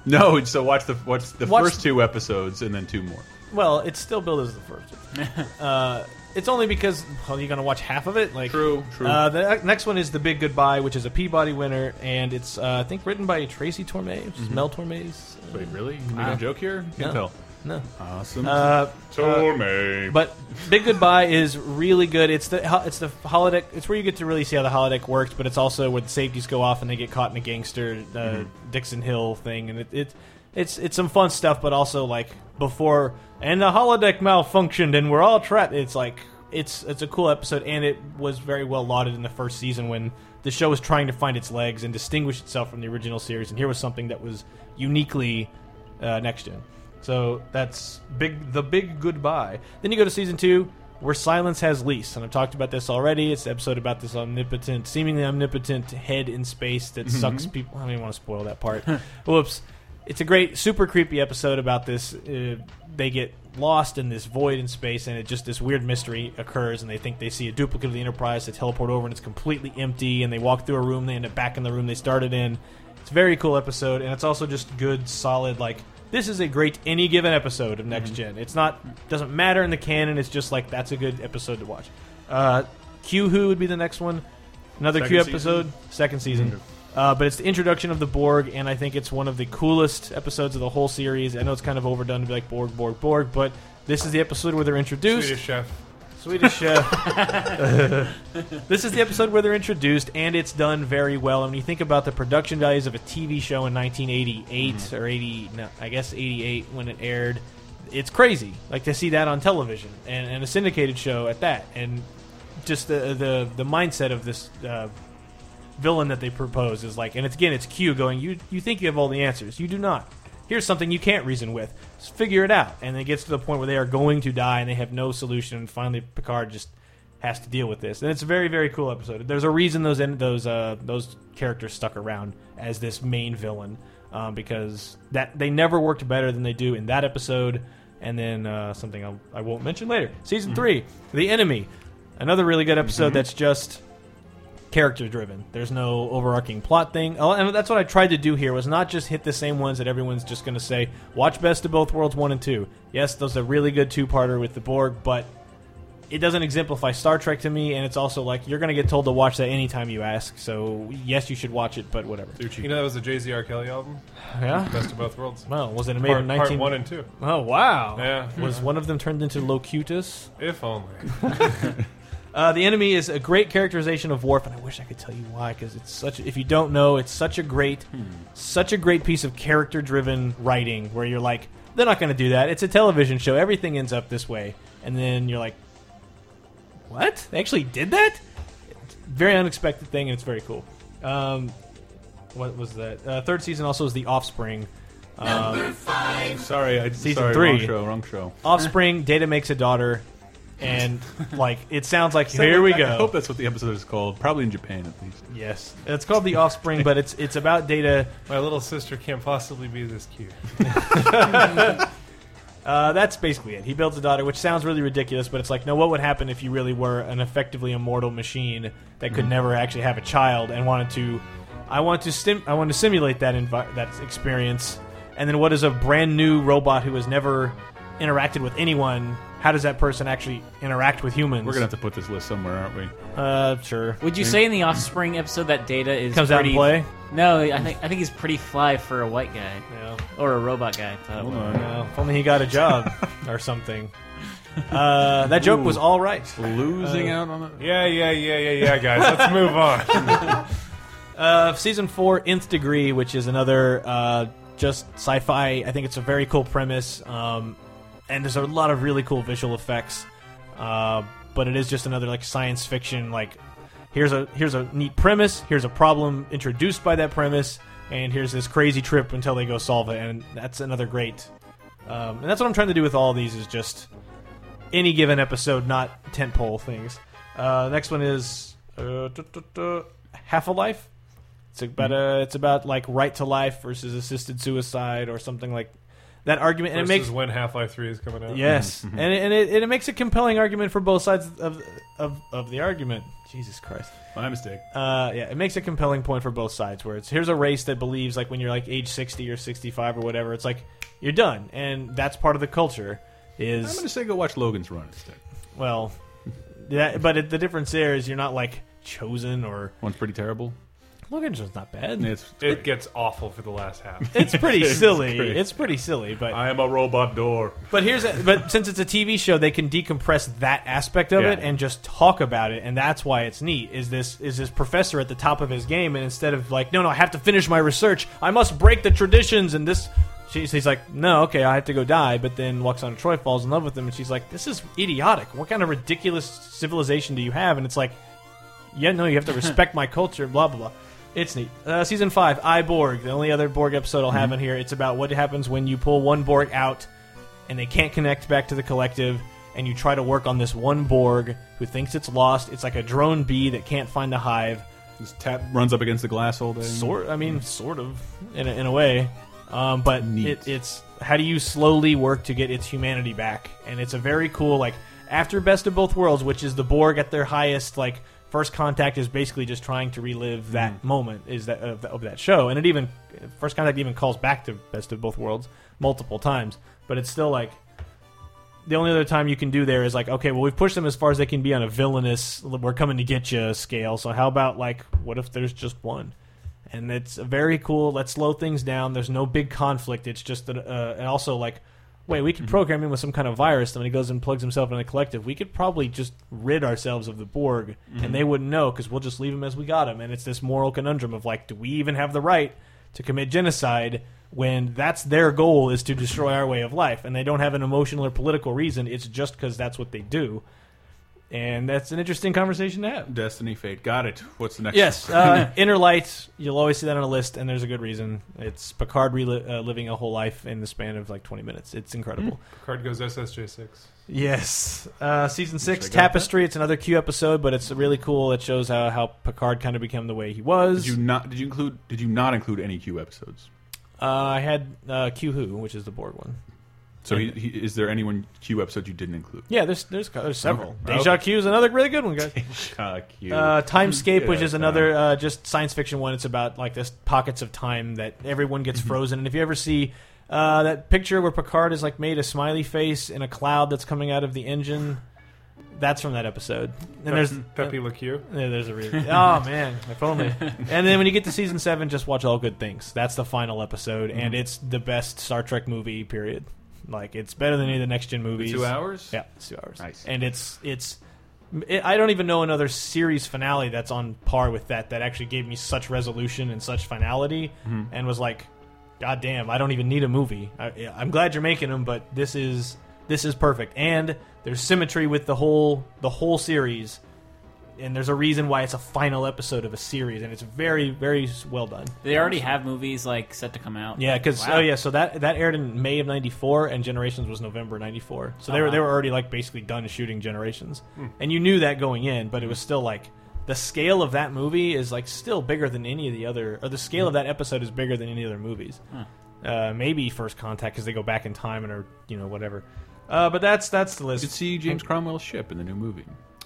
Speaker 3: No, so watch the watch the
Speaker 4: Watch-
Speaker 3: first two episodes and then two more.
Speaker 4: Well, it's still billed as the first. uh, It's only because well, you're going to watch half of it. Like
Speaker 3: true, true.
Speaker 4: Uh, the next one is the Big Goodbye, which is a Peabody winner, and it's uh, I think written by Tracy Torme, which is
Speaker 3: Mm-hmm.
Speaker 4: Mel Torme's. uh,
Speaker 3: Wait, really? You making a joke here? Can't
Speaker 4: no.
Speaker 3: tell.
Speaker 4: No.
Speaker 3: Awesome.
Speaker 4: Uh,
Speaker 3: Torme.
Speaker 4: uh, but Big Goodbye is really good. It's the ho- it's the holodeck. It's where you get to really see how the holodeck works, but it's also where the safeties go off and they get caught in a gangster uh,
Speaker 3: Mhm.
Speaker 4: Dixon Hill thing, and it, it it's it's some fun stuff, but also like before and the holodeck malfunctioned and we're all trapped. It's like it's it's a cool episode, and it was very well lauded in the first season when the show was trying to find its legs and distinguish itself from the original series, and here was something that was uniquely uh, next gen. So that's big the big goodbye. Then you go to season two, where silence has lease, and I've talked about this already. It's the episode about this omnipotent, seemingly omnipotent head in space that
Speaker 3: Mhm.
Speaker 4: sucks people. I don't even want to spoil that part. Whoops! It's a great, super creepy episode about this. Uh, they get lost in this void in space, and it just this weird mystery occurs, and they think they see a duplicate of the Enterprise. They teleport over, and it's completely empty. And they walk through a room, they end up back in the room they started in. It's a very cool episode, and it's also just good, solid. Like this is a great any given episode of
Speaker 3: Mm-hmm.
Speaker 4: Next Gen. It's not doesn't matter in the canon. It's just like that's a good episode to watch. Uh, Q Who would be the next one. Another
Speaker 3: Second
Speaker 4: Q
Speaker 3: season? Mm-hmm.
Speaker 4: episode, second season. Uh, but it's the introduction of the Borg, and I think it's one of the coolest episodes of the whole series. I know it's kind of overdone to be like Borg, Borg, Borg, but this is the episode where they're introduced.
Speaker 2: Swedish chef.
Speaker 4: Swedish chef. this is the episode where they're introduced, and it's done very well. And when you think about the production values of a TV show in 1988 or 80, no, I guess 88 when it aired, it's crazy. Like to see that on television and, and a syndicated show at that, and just the the the mindset of this. Uh, villain that they propose is like and it's again it's q going you you think you have all the answers you do not here's something you can't reason with just figure it out and it gets to the point where they are going to die and they have no solution and finally picard just has to deal with this and it's a very very cool episode there's a reason those en- those uh those characters stuck around as this main villain um, because that they never worked better than they do in that episode and then uh, something I'll, i won't mention later season three the enemy another really good episode that's just character driven. There's no overarching plot thing. Oh, And that's what I tried to do here was not just hit the same ones that everyone's just going to say, watch Best of Both Worlds 1 and 2. Yes, those are really good two-parter with the Borg, but it doesn't exemplify Star Trek to me and it's also like you're going to get told to watch that anytime you ask. So, yes, you should watch it, but whatever.
Speaker 2: You know that was a Jay Z R Kelly album.
Speaker 4: Yeah.
Speaker 2: Best of both worlds.
Speaker 4: Well, was it made Hmm.
Speaker 2: part,
Speaker 4: in 19
Speaker 2: part one and two?
Speaker 4: Oh, wow.
Speaker 2: Yeah.
Speaker 4: Was one of them turned into Locutus?
Speaker 2: If only.
Speaker 4: Uh, the enemy is a great characterization of Worf, and I wish I could tell you why, because it's such. If you don't know, it's such a great, such a great piece of character-driven writing where you're like, they're not going to do that. It's a television show. Everything ends up this way, and then you're like, what? They actually did that? It's a very unexpected thing, and it's very cool. Um, what was that? Uh, third season also is the Offspring. Um,
Speaker 3: Sorry, I,
Speaker 4: season
Speaker 3: sorry,
Speaker 4: three.
Speaker 3: Wrong show. Wrong show.
Speaker 4: Offspring, Data makes a daughter, and like it sounds like
Speaker 3: So
Speaker 4: here we
Speaker 3: I
Speaker 4: go.
Speaker 3: hope that's what the episode is called. Probably in Japan at least.
Speaker 4: Yes, it's called The Offspring, but it's it's about Data.
Speaker 2: My little sister can't possibly be this cute.
Speaker 4: Uh, that's basically it. He builds a daughter, which sounds really ridiculous, but it's like, no, what would happen if you really were an effectively immortal machine that could
Speaker 3: Mhm.
Speaker 4: never actually have a child and wanted to? I want to stim- I want to simulate that envi- that experience, and then what is a brand new robot who has never interacted with anyone? How does that person actually interact with humans?
Speaker 3: We're gonna have to put this list somewhere, aren't we?
Speaker 4: Uh, sure.
Speaker 5: Would you say in the Offspring episode that Data is
Speaker 4: Comes out and
Speaker 5: pretty,
Speaker 4: play?
Speaker 5: No, I think I think he's pretty fly for a white guy, or a robot guy. but-
Speaker 4: No, if only he got a job or something. Uh, that joke was
Speaker 3: Ooh.
Speaker 4: all right.
Speaker 3: Losing
Speaker 4: Uh,
Speaker 3: out on it.
Speaker 2: Yeah, yeah, yeah, yeah, yeah, guys. Let's move on.
Speaker 4: Uh, season four, Nth Degree, which is another uh, just sci-fi. I think it's a very cool premise, um, and there's a lot of really cool visual effects. Uh, but it is just another like science fiction. Like here's a here's a neat premise. Here's a problem introduced by that premise, and here's this crazy trip until they go solve it. And that's another great. Um, and that's what I'm trying to do with all these is just any given episode, not tentpole things. Uh, next one is uh, Half a Life. It's about a, it's about like right to life versus assisted suicide or something like that argument, and
Speaker 2: Versus
Speaker 4: it makes
Speaker 2: when Half Life Three is coming out.
Speaker 4: Yes, and it, and it, and it makes a compelling argument for both sides of of, of the argument. Jesus Christ,
Speaker 3: my mistake.
Speaker 4: Uh, yeah, it makes a compelling point for both sides. Where it's here's a race that believes like when you're like age sixty or sixty five or whatever, it's like you're done, and that's part of the culture. Is
Speaker 3: I'm gonna say go watch Logan's Run instead.
Speaker 4: well, Yeah, but it, the difference there is you're not like chosen or
Speaker 3: one's pretty terrible.
Speaker 4: Logan's was not bad.
Speaker 3: It's-
Speaker 2: it gets awful for the last half.
Speaker 4: It's pretty
Speaker 2: It's
Speaker 4: silly.
Speaker 2: great.
Speaker 4: It's pretty silly, but I
Speaker 3: am a robot door.
Speaker 4: But here's a, but since it's a TV show, they can decompress that aspect of
Speaker 2: Yeah.
Speaker 4: it and just talk about it, and that's why it's neat. Is this is this professor at the top of his game, and instead of like, no, no, I have to finish my research. I must break the traditions, and this. She's, he's like, no, okay, I have to go die. But then Luxana Troy falls in love with him, and she's like, this is idiotic. What kind of ridiculous civilization do you have? And it's like, yeah, no, you have to respect my culture, blah, blah, blah. It's neat. Uh, season 5, I Borg. The only other Borg episode I'll have in here. It's about what happens when you pull one Borg out and they can't connect back to the collective, and you try to work on this one Borg who thinks it's lost. It's like a drone bee that can't find the hive.
Speaker 3: Just tap runs up against the glass all day.
Speaker 4: Sort, I mean, sort of, in a, in a way. Um, but it, it's how do you slowly work to get its humanity back? And it's a very cool, like, after Best of Both Worlds, which is the Borg at their highest, like, First Contact is basically just trying to relive that moment is that of, of that show. And it even, First Contact even calls back to Best of Both Worlds multiple times. But it's still like, the only other time you can do there is like, okay, well, we've pushed them as far as they can be on a villainous, we're coming to get you scale. So how about like, what if there's just one? And it's a very cool. Let's slow things down. There's no big conflict. It's just that, uh, and also like, wait, we could program him with some kind of virus. And when he goes and plugs himself in a collective, we could probably just rid ourselves of the Borg,
Speaker 16: Mhm.
Speaker 4: and they wouldn't know because we'll just leave him as we got him. And it's this moral conundrum of like, do we even have the right to commit genocide when that's their goal is to destroy our way of life and they don't have an emotional or political reason it's just because that's what they do and that's an interesting conversation to have
Speaker 3: Destiny Fate. Got it. What's the next?
Speaker 4: yes uh, inner light you'll always see that on a list and there's a good reason it's picard reli- uh, living a whole life in the span of like 20 minutes it's incredible
Speaker 2: Card goes SSJ6.
Speaker 4: Yes, uh, season six,
Speaker 2: I got that.
Speaker 4: Tapestry. It's another Q episode, but it's really cool. It shows how, how Picard kind of became the way he was.
Speaker 3: Did you not? Did you include? Did you not include any Q episodes?
Speaker 4: Uh, I had uh, Q Who, which is the Borg one.
Speaker 3: So he, he, is there anyone Q episode you didn't include?
Speaker 4: Yeah, there's there's, there's several.
Speaker 3: Okay.
Speaker 4: Deja Q is another really good one, guys.
Speaker 3: Q.
Speaker 4: Uh, Timescape, which
Speaker 3: Yeah,
Speaker 4: is another uh, just science fiction one. It's about like this pockets of time that everyone
Speaker 3: Mm-hmm.
Speaker 4: gets frozen. And if you ever see uh, that picture where Picard is like made a smiley face in a cloud that's coming out of the engine, that's from that episode. And
Speaker 2: Pe-
Speaker 4: there's uh,
Speaker 2: Pepe Le Pew?
Speaker 4: Yeah, there's a reason. oh man, if only. And then when you get to season seven, just watch All Good Things. That's the final episode, and
Speaker 3: Mm-hmm.
Speaker 2: Mhm.
Speaker 4: it's the best Star Trek movie. Period. Like it's better than any of the next gen movies.
Speaker 3: two hours?
Speaker 4: Yeah, it's two hours.
Speaker 3: Nice.
Speaker 4: And it's it's. It, I don't even know another series finale that's on par with that. That actually gave me such resolution and such finality,
Speaker 16: Mhm.
Speaker 4: and was like, God damn, I don't even need a movie. I, I'm glad you're making them, but this is this is perfect. And there's symmetry with the whole the whole series, and there's a reason why it's a final episode of a series, and it's very very well done.
Speaker 5: They already have movies like set to come out.
Speaker 4: Yeah, because
Speaker 5: Wow.
Speaker 4: oh yeah, so that that aired in May of '94, and Generations was November '94. So they
Speaker 5: Oh,
Speaker 3: Uh-huh.
Speaker 4: were
Speaker 5: wow.
Speaker 4: they were already like basically done shooting Generations,
Speaker 5: Hmm.
Speaker 4: and you knew that going in, but it was still like the scale of that movie is like still bigger than any of the other, or the scale of that episode is bigger than any other movies.
Speaker 3: Hmm.
Speaker 5: Huh.
Speaker 4: Uh, maybe First Contact because they go back in time and are you know whatever. Uh, but that's that's the list.
Speaker 3: You could see Mm-hmm. James Cromwell's ship in the new movie.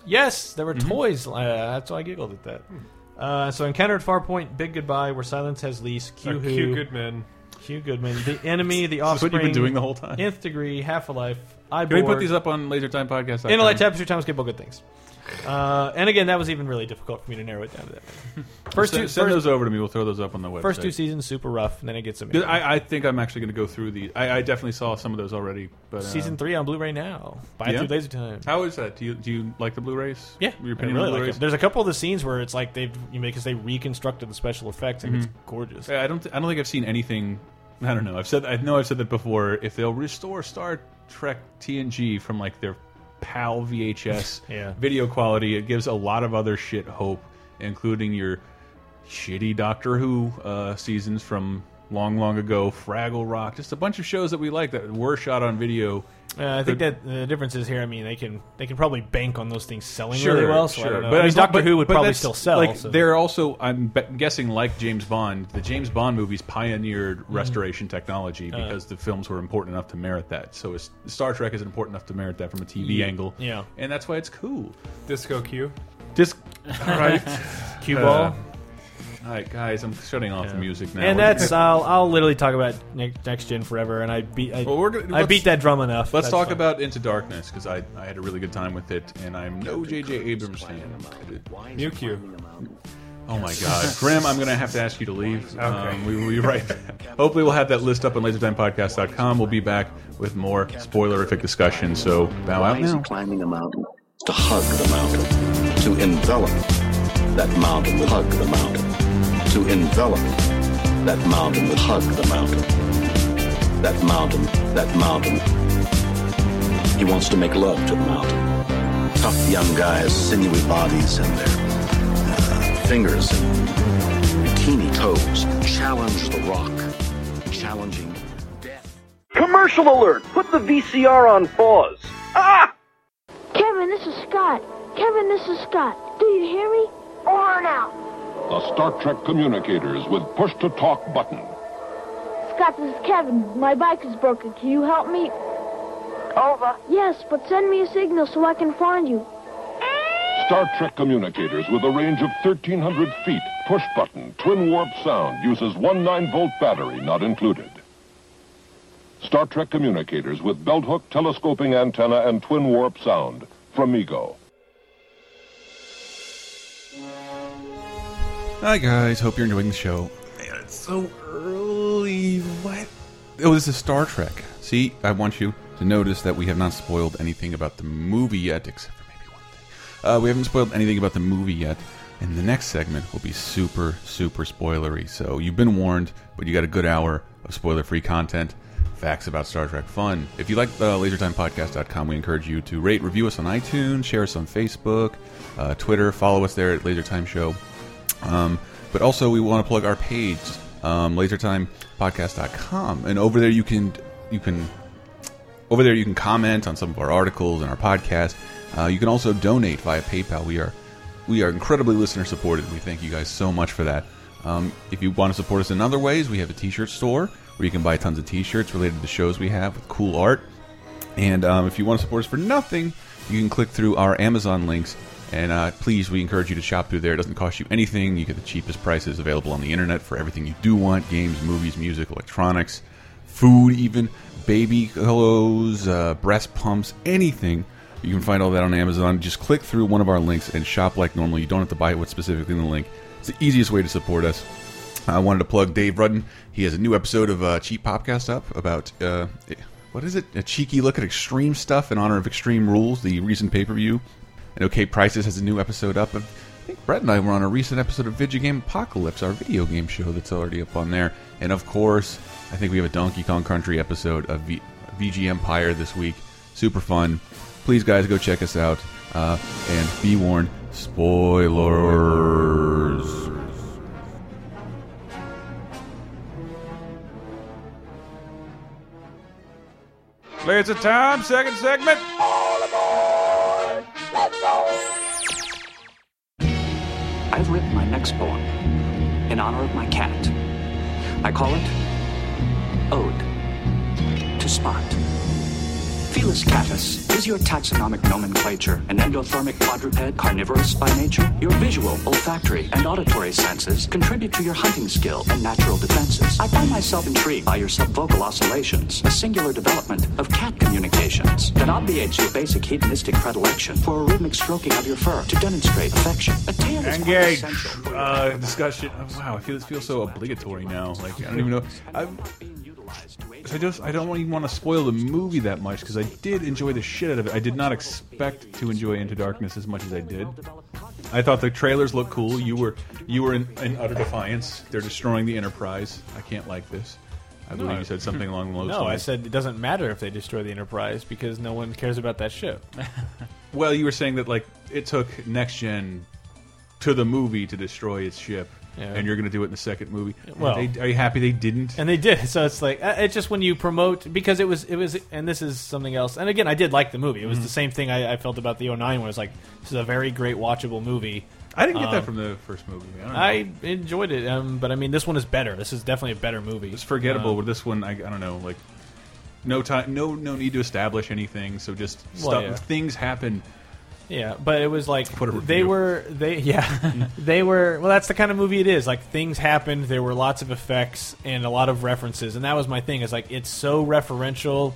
Speaker 4: Yes, there were toys. Uh, that's why I giggled at that.
Speaker 3: Hmm.
Speaker 4: Uh, so Encounter at Farpoint, Big Goodbye, Where Silence Has Lease, Q
Speaker 2: Uh,
Speaker 4: Who,
Speaker 2: Q Goodman.
Speaker 4: Q Goodman, The Enemy, The
Speaker 3: Is this what
Speaker 4: Offspring.
Speaker 3: you've been doing the whole time?
Speaker 4: Nth Degree, Half a Life, I
Speaker 3: Can we put these up on LaserTimePodcast.com?
Speaker 4: Intellect, Tapestry, Time Skip, All Good Things. Uh, and again, that was even really difficult for me to narrow it down to that. First
Speaker 3: send,
Speaker 4: two,
Speaker 3: send
Speaker 4: first,
Speaker 3: those over to me. We'll throw those up on the website.
Speaker 4: first two seasons super rough, and then it gets amazing.
Speaker 3: I, I think I'm actually going to go through the. I, I definitely saw some of those already. But uh,
Speaker 4: Season three on Blu-ray now. Buy
Speaker 3: Yeah?
Speaker 4: it through Lasertime.
Speaker 3: How is that? Do you do you like the Blu-rays?
Speaker 4: Yeah,
Speaker 3: your
Speaker 4: I
Speaker 3: opinion
Speaker 4: really
Speaker 3: on the
Speaker 4: like
Speaker 3: Blu-rays?
Speaker 4: it. There's a couple of the scenes where it's like they've you know, because they reconstructed the special effects and it's
Speaker 3: Mhm.
Speaker 4: gorgeous.
Speaker 3: Yeah, I don't. Th I don't think I've seen anything. I don't know. I've said. I know I've said that before. If they'll restore Star Trek TNG from like their PAL VHS
Speaker 4: Yeah.
Speaker 3: video quality, it gives a lot of other shit hope, including your shitty Doctor Who uh, seasons from long, long ago, Fraggle Rock, just a bunch of shows that we like that were shot on video.
Speaker 4: Uh, I think
Speaker 3: But-
Speaker 4: that the difference is here. I mean, they can they can probably bank on those things selling
Speaker 3: Sure,
Speaker 4: really well. So
Speaker 3: sure.
Speaker 4: I don't know.
Speaker 3: But
Speaker 4: I mean,
Speaker 3: as long-
Speaker 4: Doctor
Speaker 3: but-
Speaker 4: Who would
Speaker 3: but
Speaker 4: probably
Speaker 3: that's-
Speaker 4: still sell.
Speaker 3: Like
Speaker 4: so-
Speaker 3: they're also, I'm be- guessing, like James Bond, the James Bond movies pioneered restoration technology
Speaker 4: Mm-hmm. Uh.
Speaker 3: because the films were important enough to merit that. So is, Star Trek is important enough to merit that from a TV
Speaker 2: Yeah.
Speaker 3: angle.
Speaker 4: Yeah.
Speaker 3: and that's why it's cool.
Speaker 2: Disco Q.
Speaker 3: Disc, all right,
Speaker 4: Cue ball?
Speaker 3: Uh, All right, guys, I'm shutting off the music now.
Speaker 4: and that's I'll, I'll literally talk about next, next gen forever, and I beat I,
Speaker 3: Well, we're gonna-
Speaker 4: I
Speaker 3: let's-
Speaker 4: beat that drum enough.
Speaker 3: Let's
Speaker 4: That's
Speaker 3: talk
Speaker 4: fine.
Speaker 3: about Into Darkness because I, I had a really good time with it, and I'm no J.J. Abrams fan.
Speaker 2: Nuke you.
Speaker 3: Oh my God, Grim! I'm going to have to ask you to leave.
Speaker 2: Okay.
Speaker 3: Um, we will be right. Back. Hopefully, we'll have that list up on LaserTimePodcast.com. We'll be back with more spoilerific discussion. So bow out now.
Speaker 16: climbing a mountain? To hug the mountain. To envelop that mountain with hug the mountain. To envelop that mountain with hug the mountain. That mountain, that mountain. He wants to make love to the mountain. Tough young guys, sinewy bodies, and their uh, fingers and bikini toes challenge the rock, challenging
Speaker 17: Commercial alert! Put the VCR on pause.
Speaker 18: Kevin, this is Scott. Kevin, this is Scott. Do you hear me? Over and out.
Speaker 19: The Star Trek communicators with push to talk button.
Speaker 18: Scott, this is Kevin. My bike is broken. Can you help me? Over. Yes, but send me a signal so I can find you.
Speaker 19: Star Trek communicators with a range of 1,300 feet. Push button, twin warp sound, uses one 9 volt battery not included. Star Trek communicators with belt hook, telescoping antenna, and twin warp sound from Mego.
Speaker 3: Hi guys, hope you're enjoying the show. Man, it's so early. What? Oh, this is Star Trek. See, I want you to notice that we have not spoiled anything about the movie yet, except for maybe one thing. Uh, we haven't spoiled anything about the movie yet, and the next segment will be super, super spoilery. So you've been warned, but you got a good hour of spoiler-free content, facts about Star Trek fun. If you like uh, LaserTimePodcast.com, we encourage you to rate, review us on iTunes, share us on Facebook, uh, Twitter, follow us there at LaserTime Show. Um, but also, we want to plug our page, um, LaserTimePodcast.com, and over there you can you can over there you can comment on some of our articles and our podcast. Uh, you can also donate via PayPal. We are we are incredibly listener supported. We thank you guys so much for that. Um, if you want to support us in other ways, we have a T-shirt store where you can buy tons of T-shirts related to the shows we have with cool art. And um, if you want to support us for nothing, you can click through our Amazon links. And uh, please, we encourage you to shop through there. It doesn't cost you anything. You get the cheapest prices available on the internet for everything you do want games, movies, music, electronics, food, even baby clothes, uh, breast pumps, anything. You can find all that on Amazon. Just click through one of our links and shop like normal. You don't have to buy what's specifically in the link. It's the easiest way to support us. I wanted to plug Dave Rudden. He has a new episode of uh, Cheap Popcast up about uh, what is it? A cheeky look at extreme stuff in honor of Extreme Rules, the recent pay per view. And OK Prices has a new episode up. And I think Brett and I were on a recent episode of Video Game Apocalypse, our video game show that's already up on there. And of course, I think we have a Donkey Kong Country episode of v- VG Empire this week. Super fun. Please, guys, go check us out. Uh, and be warned spoilers.
Speaker 2: Laser time, second segment.
Speaker 15: I've written my next poem in honor of my cat. I call it Ode to Spot. Felis catus is your taxonomic nomenclature, an endothermic quadruped carnivorous by nature. Your visual, olfactory, and auditory senses contribute to your hunting skill and natural defenses. I find myself intrigued by your subvocal oscillations, a singular development of cat communications that obviates your basic hedonistic predilection for a rhythmic stroking of your fur to demonstrate affection. A tail is quite
Speaker 3: Engage.
Speaker 15: essential.
Speaker 3: Uh, discussion. Oh, wow, I feel this feels so obligatory now. Like I don't even know. i I just I don't even want to spoil the movie that much because I did enjoy the shit out of it. I did not expect to enjoy Into Darkness as much as I did. I thought the trailers looked cool. You were you were in, in utter defiance. They're destroying the Enterprise. I can't like this. I believe you said something along those
Speaker 4: No,
Speaker 3: lines.
Speaker 4: I said it doesn't matter if they destroy the Enterprise because no one cares about that ship.
Speaker 3: Well, you were saying that like it took next gen to the movie to destroy its ship,
Speaker 4: Yeah.
Speaker 3: and you're going to do it in the second movie.
Speaker 4: Well-
Speaker 3: They- are you happy they didn't?
Speaker 4: and they did. So it's like uh, it's just when you promote because it was it was and this is something else. And again, I did like the movie. It was
Speaker 3: Mhm.
Speaker 4: the same thing I, I felt about the 09 when it was like this is a very great watchable movie.
Speaker 3: I didn't get that
Speaker 4: Um,
Speaker 3: from the first movie. I, don't know.
Speaker 4: I enjoyed it, um, but I mean, this one is better. This is definitely a better movie. It's
Speaker 3: forgettable. with this one, I, I don't know. Like no time, no no need to establish anything. So just
Speaker 4: Well,
Speaker 3: stuff,
Speaker 4: yeah.
Speaker 3: things happen.
Speaker 4: Yeah, but it was like they were they yeah they were well that's the kind of movie it is like things happened there were lots of effects and a lot of references and that was my thing is like it's so referential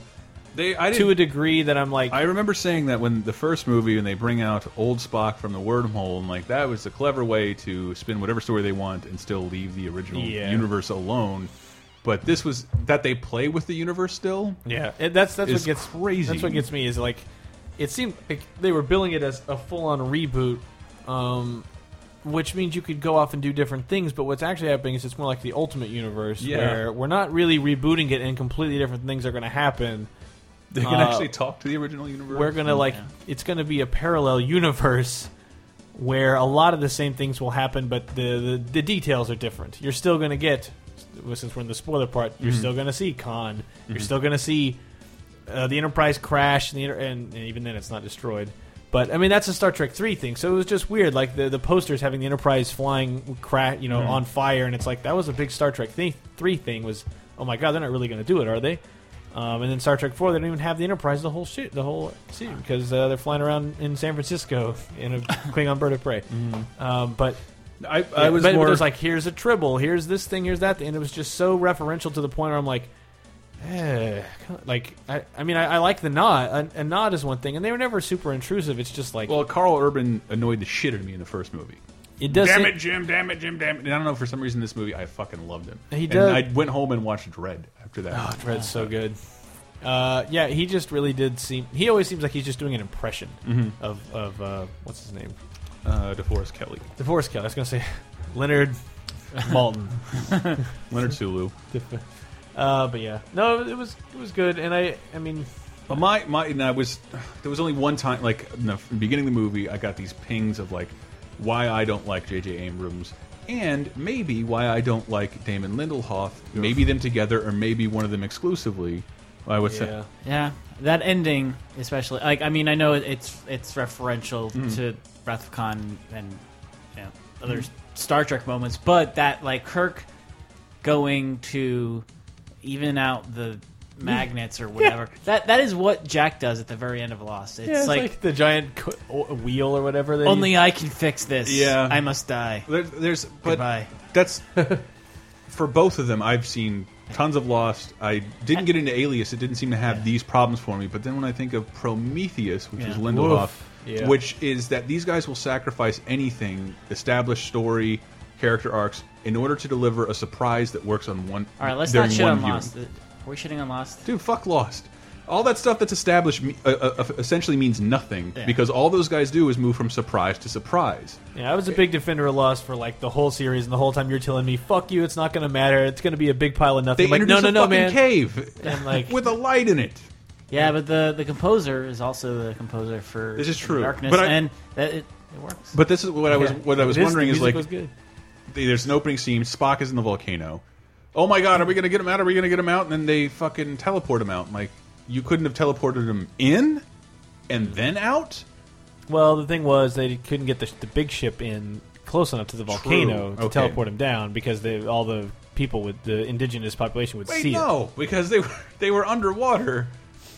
Speaker 3: They, I
Speaker 4: to a degree that I'm like
Speaker 3: I remember saying that when the first movie when they bring out old Spock from the wormhole and like that was a clever way to spin whatever story they want and still leave the original
Speaker 4: Yeah.
Speaker 3: universe alone. But this was that they play with the universe still.
Speaker 4: Yeah, it, that's that's
Speaker 3: is
Speaker 4: what gets
Speaker 3: crazy.
Speaker 4: That's what gets me is like, it seemed like they were billing it as a full-on reboot, um, which means you could go off and do different things. But what's actually happening is it's more like the Ultimate Universe,
Speaker 3: Yeah.
Speaker 4: where we're not really rebooting it, and completely different things are going to happen.
Speaker 3: They can
Speaker 4: Uh,
Speaker 3: actually talk to the original universe.
Speaker 4: we're gonna like it's gonna be a parallel universe where a lot of the same things will happen, but the the, the details are different. You're still gonna get well, since we're in the spoiler part, you're
Speaker 5: Mhm.
Speaker 4: still gonna see Khan. You're
Speaker 5: Mhm.
Speaker 4: still gonna see uh, the Enterprise crash, and, the inter- and, and even then, it's not destroyed. But I mean, that's a Star Trek three thing, so it was just weird. Like the, the posters having the Enterprise flying, cra- you know,
Speaker 5: Mhm.
Speaker 4: on fire, and it's like that was a big Star Trek thing, three thing. Was oh my god, they're not really going to do it, are they? Um, and then Star Trek four, they don't even have the Enterprise the whole shit, the whole season because uh, they're flying around in San Francisco in a Klingon bird of prey. Um, but
Speaker 3: I, I was
Speaker 4: but
Speaker 3: more-
Speaker 4: it was like here's a tribble, here's this thing, here's that thing, and it was just so referential to the point where I'm like. Eh, like I, I mean, I, I like the nod. A, a nod is one thing, and they were never super intrusive. It's just like
Speaker 3: well, Carl Urban annoyed the shit out of me in the first movie.
Speaker 4: It does
Speaker 3: Damn
Speaker 4: seem-
Speaker 3: it, Jim! Damn it, Jim! Damn it! And I don't know for some reason this movie I fucking loved him.
Speaker 4: He
Speaker 3: And
Speaker 4: does-
Speaker 3: I went home and watched Dread after that.
Speaker 4: Oh, Dread's so good. Uh, yeah, he just really did seem. He always seems like he's just doing an impression
Speaker 3: Mhm.
Speaker 4: of of uh, what's his name,
Speaker 3: uh, DeForest Kelly.
Speaker 4: DeForest Kelly. I was gonna say Leonard Malton,
Speaker 3: Leonard Sulu.
Speaker 4: uh, but yeah, no, it was it was good, and I I mean,
Speaker 3: But my my and I was there was only one time like in the beginning of the movie I got these pings of like why I don't like J.J. Abrams and maybe why I don't like Damon Lindelhoff. Maybe them together or maybe one of them exclusively. I would say
Speaker 5: Yeah, that ending especially. Like, I mean, I know it's it's referential
Speaker 3: Mm.
Speaker 5: to Wrath of Khan and you know, other
Speaker 3: Mm.
Speaker 5: Star Trek moments, but that like Kirk going to even out the
Speaker 3: Mm.
Speaker 5: magnets or whatever. That that is what Jack does at the very end of Lost. It's,
Speaker 4: yeah, it's like,
Speaker 5: like
Speaker 4: the giant co- o- wheel or whatever. They
Speaker 5: Only I can fix this.
Speaker 3: Yeah.
Speaker 5: I must die.
Speaker 3: There, there's but that's for both of them. I've seen tons of Lost. I didn't get into Alias. It didn't seem to have these problems for me. But then when I think of Prometheus, which is
Speaker 2: Yeah.
Speaker 3: Lindelof,
Speaker 2: Woof. Yeah.
Speaker 3: which is that these guys will sacrifice anything, established story, character arcs, in order to deliver a surprise that works on one.
Speaker 5: All right, let's
Speaker 3: during
Speaker 5: not shit
Speaker 3: one
Speaker 5: on
Speaker 3: viewing.
Speaker 5: Lost. Are we shitting on Lost?
Speaker 3: Dude, fuck Lost. All that stuff that's established me- uh, uh, essentially means nothing
Speaker 4: Yeah.
Speaker 3: because all those guys do is move from surprise to surprise.
Speaker 4: Yeah, I was a big defender of Lost for like the whole series, and the whole time you're telling me, "Fuck you, it's not going to matter. It's going to be a big pile of nothing."
Speaker 3: They
Speaker 4: I'm like, no,
Speaker 3: introduce
Speaker 4: no,
Speaker 3: a
Speaker 4: no,
Speaker 3: fucking
Speaker 4: man.
Speaker 3: cave
Speaker 4: And, like-
Speaker 3: with a light in it.
Speaker 5: Yeah, but the the composer is also the composer for
Speaker 3: This is
Speaker 5: for
Speaker 3: true.
Speaker 5: Darkness,
Speaker 3: But I-
Speaker 5: and that, it, it works.
Speaker 3: But this is what I was
Speaker 5: Yeah.
Speaker 3: what I was
Speaker 5: This-
Speaker 3: wondering
Speaker 5: the
Speaker 3: is
Speaker 5: music
Speaker 3: like
Speaker 5: was good.
Speaker 3: they- there's an opening scene. Spock is in the volcano. Oh my god, are we gonna get him out? Are we gonna get him out? And then they fucking teleport him out. I'm Like you couldn't have teleported him in and then out.
Speaker 4: Well, the thing was they couldn't get the, sh- the big ship in close enough to the volcano to
Speaker 3: Okay.
Speaker 4: teleport him down because they, all the people with the indigenous population would
Speaker 3: Wait,
Speaker 4: see
Speaker 3: no,
Speaker 4: it.
Speaker 3: because they were they were underwater,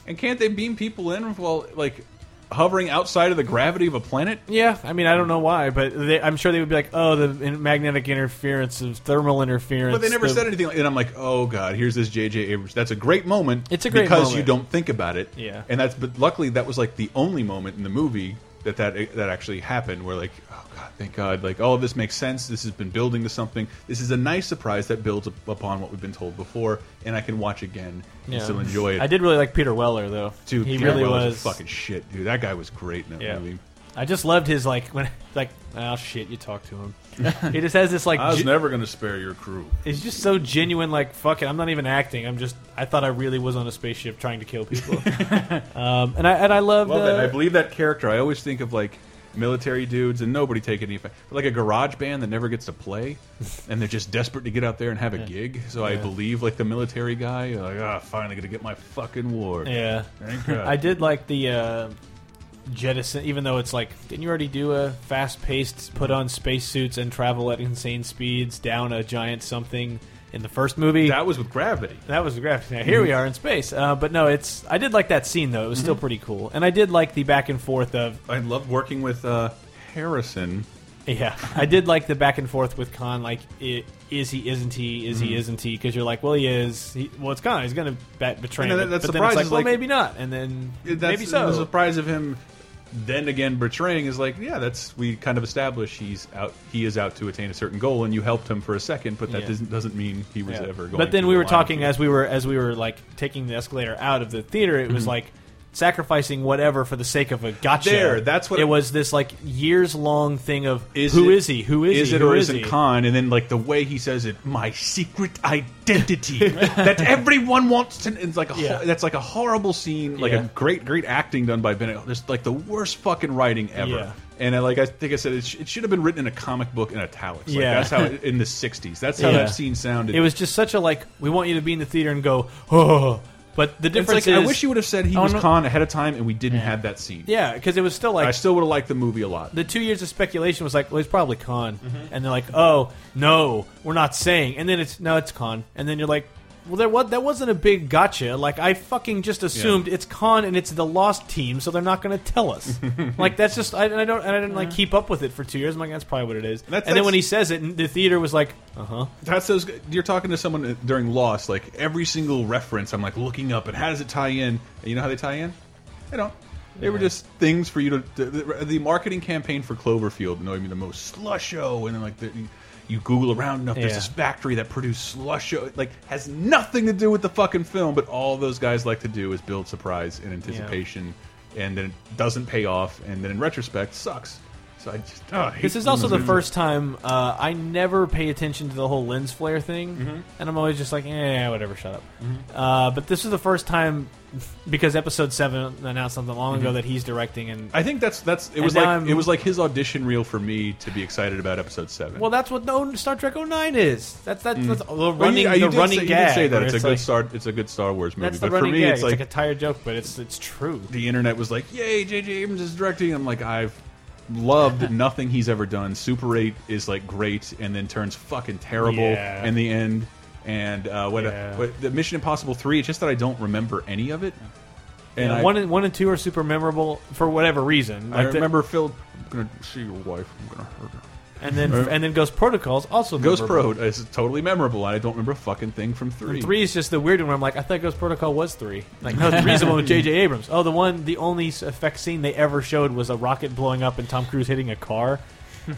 Speaker 3: and can't they beam people in while like hovering outside of the gravity of a planet?
Speaker 4: Yeah, I mean, I don't know why, but they, I'm sure they would be like, "Oh, the in- magnetic interference, of thermal interference."
Speaker 3: But they never
Speaker 4: the-
Speaker 3: said anything, like- and I'm like, oh god, here's this J.J. Abrams. That's a great moment.
Speaker 4: It's a great
Speaker 3: because
Speaker 4: moment.
Speaker 3: you don't think about it.
Speaker 4: Yeah.
Speaker 3: and that's but luckily that was like the only moment in the movie that that that actually happened. Where like, oh god, thank God, like all of this makes sense. This has been building to something. This is a nice surprise that builds up upon what we've been told before, and I can watch again and
Speaker 4: Yeah.
Speaker 3: still enjoy it.
Speaker 4: I did really like Peter Weller though.
Speaker 3: Dude,
Speaker 4: he
Speaker 3: Peter
Speaker 4: really
Speaker 3: Weller's
Speaker 4: was.
Speaker 3: fucking shit, dude. That guy was great in that
Speaker 4: Yeah.
Speaker 3: movie.
Speaker 4: I just loved his like when like oh shit, you talk to him. he just has this like
Speaker 3: I was
Speaker 4: ge-
Speaker 3: never going to spare your crew.
Speaker 4: It's just so genuine. Like fuck it, I'm not even acting. I'm just. I thought I really was on a spaceship trying to kill people. um, and I and I loved.
Speaker 3: Love
Speaker 4: uh,
Speaker 3: that. I believe that character. I always think of like military dudes and nobody taking any offense. But like a garage band that never gets to play and they're just desperate to get out there and have a
Speaker 4: Yeah.
Speaker 3: gig. So I
Speaker 4: Yeah.
Speaker 3: believe like the military guy, uh, like, ah, finally gonna get my fucking war.
Speaker 4: Yeah,
Speaker 3: Thank God.
Speaker 4: I did like the uh, jettison, even though it's like, didn't you already do a fast paced, put on spacesuits and travel at insane speeds down a giant something in the first movie?
Speaker 3: That was with gravity.
Speaker 4: That was with gravity. Now, here we are in space. Uh, but no, it's. I did like that scene though. It was still
Speaker 3: Mhm.
Speaker 4: pretty cool, and I did like the back and forth of.
Speaker 3: I love working with uh, Harrison.
Speaker 4: Yeah, I did like the back and forth with Khan. Like, i is he? Isn't he? Is he?
Speaker 3: Mhm.
Speaker 4: Isn't he? Because you're like, well, he is. He, well, it's Khan. He's going to betray.
Speaker 3: And
Speaker 4: him.
Speaker 3: that- that
Speaker 4: but then it's
Speaker 3: surprises,
Speaker 4: like, well,
Speaker 3: like-
Speaker 4: maybe not. And then
Speaker 3: That's,
Speaker 4: maybe so.
Speaker 3: The surprise of him then again betraying is like, yeah, that's we kind of establish he's out. He is out to attain a certain goal, and you helped him for a second, but that
Speaker 4: Yeah.
Speaker 3: doesn't, doesn't mean he was
Speaker 4: Yeah.
Speaker 3: ever going.
Speaker 4: But then
Speaker 3: to
Speaker 4: we were
Speaker 3: align
Speaker 4: talking as we were as we were like taking the escalator out of the theater. It was
Speaker 3: Mhm.
Speaker 4: like sacrificing whatever for the sake of a gotcha.
Speaker 3: There, that's what-
Speaker 4: it was. This like years long thing of who is
Speaker 3: Who is
Speaker 4: he? Who is,
Speaker 3: is
Speaker 4: he?
Speaker 3: it
Speaker 4: Who
Speaker 3: or
Speaker 4: is
Speaker 3: isn't
Speaker 4: he?
Speaker 3: Khan? And then like the way he says it, my secret identity that everyone wants to. It's like a
Speaker 4: Yeah.
Speaker 3: ho- that's like a horrible scene, like
Speaker 4: Yeah.
Speaker 3: a great great acting done by Bennett. Just like the worst fucking writing ever.
Speaker 4: Yeah.
Speaker 3: And I, like I think I said, it, sh it should have been written in a comic book in italics. Like,
Speaker 4: Yeah.
Speaker 3: that's how it, in the '60s. That's how
Speaker 4: Yeah.
Speaker 3: that scene sounded.
Speaker 4: It was just such a like. We want you to be in the theater and go. Oh, but the
Speaker 3: It's like,
Speaker 4: difference
Speaker 3: I
Speaker 4: is-
Speaker 3: wish you would have said he
Speaker 4: Oh,
Speaker 3: was
Speaker 4: no-
Speaker 3: Khan ahead of time, and we didn't have that scene.
Speaker 4: Yeah, because it was still like
Speaker 3: I still would have liked the movie a lot.
Speaker 4: the two years of speculation was like, well, it's probably Khan,
Speaker 3: Mm-hmm.
Speaker 4: and they're like, oh no, we're not saying, and then it's no, it's Khan, and then you're like, well, there was that wasn't a big gotcha. Like I fucking just assumed it's Khan and it's the Lost team, so they're not going to tell us. like that's just I, I don't and I didn't like keep up with it for two years. I'm like that's probably what it is. and then
Speaker 3: that's-
Speaker 4: when he says it, the theater was like, uh huh.
Speaker 3: That's those. You're talking to someone during Lost. Like every single reference, I'm like looking up, and how does it tie in? And you know how they tie in? They don't. They were just things for you to. The, the, the marketing campaign for Cloverfield annoyed me the most. Slusho, and then like the, you Google around enough, there's
Speaker 4: Yeah.
Speaker 3: this factory that produced Slusho. It, Like has nothing to do with the fucking film, but all those guys like to do is build surprise and anticipation, and then it doesn't pay off, and then in retrospect sucks. So I just oh, I hate
Speaker 4: This is also the
Speaker 3: movies.
Speaker 4: first time uh, I never pay attention to the whole lens flare thing,
Speaker 3: Mm-hmm.
Speaker 4: and I'm always just like, eh, whatever, shut up. Uh, but this is the first time because episode seven announced something long ago
Speaker 3: Mhm.
Speaker 4: that he's directing, and
Speaker 3: I think that's that's it
Speaker 4: And
Speaker 3: was
Speaker 4: now
Speaker 3: like
Speaker 4: I'm-
Speaker 3: it was like his audition reel for me to be excited about episode seven.
Speaker 4: well, that's what no Star Trek 09 is. That's that's, that's the running
Speaker 3: Mm. Well, you- you
Speaker 4: the
Speaker 3: did
Speaker 4: running
Speaker 3: say,
Speaker 4: gag.
Speaker 3: You did say that
Speaker 4: where
Speaker 3: it's, a
Speaker 4: it's
Speaker 3: good
Speaker 4: like-
Speaker 3: Star it's a good Star Wars movie,
Speaker 4: That's the
Speaker 3: but for
Speaker 4: running
Speaker 3: me
Speaker 4: gag.
Speaker 3: it's
Speaker 4: It's
Speaker 3: like,
Speaker 4: like a tired joke, but it's it's true.
Speaker 3: the internet was like, "Yay, J.J. Abrams is directing." I'm like, I've loved nothing he's ever done. Super Eight is like great, and then turns fucking terrible
Speaker 4: Yeah.
Speaker 3: in the end. And uh, what,
Speaker 4: Yeah.
Speaker 3: what the Mission Impossible Three? It's just that I don't remember any of it.
Speaker 4: And
Speaker 3: And I,
Speaker 4: one and one and two are super memorable for whatever reason.
Speaker 3: I
Speaker 4: the-
Speaker 3: remember Phil. I'm gonna see your wife. I'm gonna hurt her.
Speaker 4: and then
Speaker 3: Right.
Speaker 4: and then Ghost Protocols also
Speaker 3: Ghost
Speaker 4: memorable.
Speaker 3: Pro is totally memorable, and I don't remember a fucking thing from three.
Speaker 4: And Three is just the weird one. Where I'm like, I thought Ghost Protocol was three. Like, no, three's the one with J.J. Abrams. Oh, the one, the only s- effect scene they ever showed was a rocket blowing up and Tom Cruise hitting a car.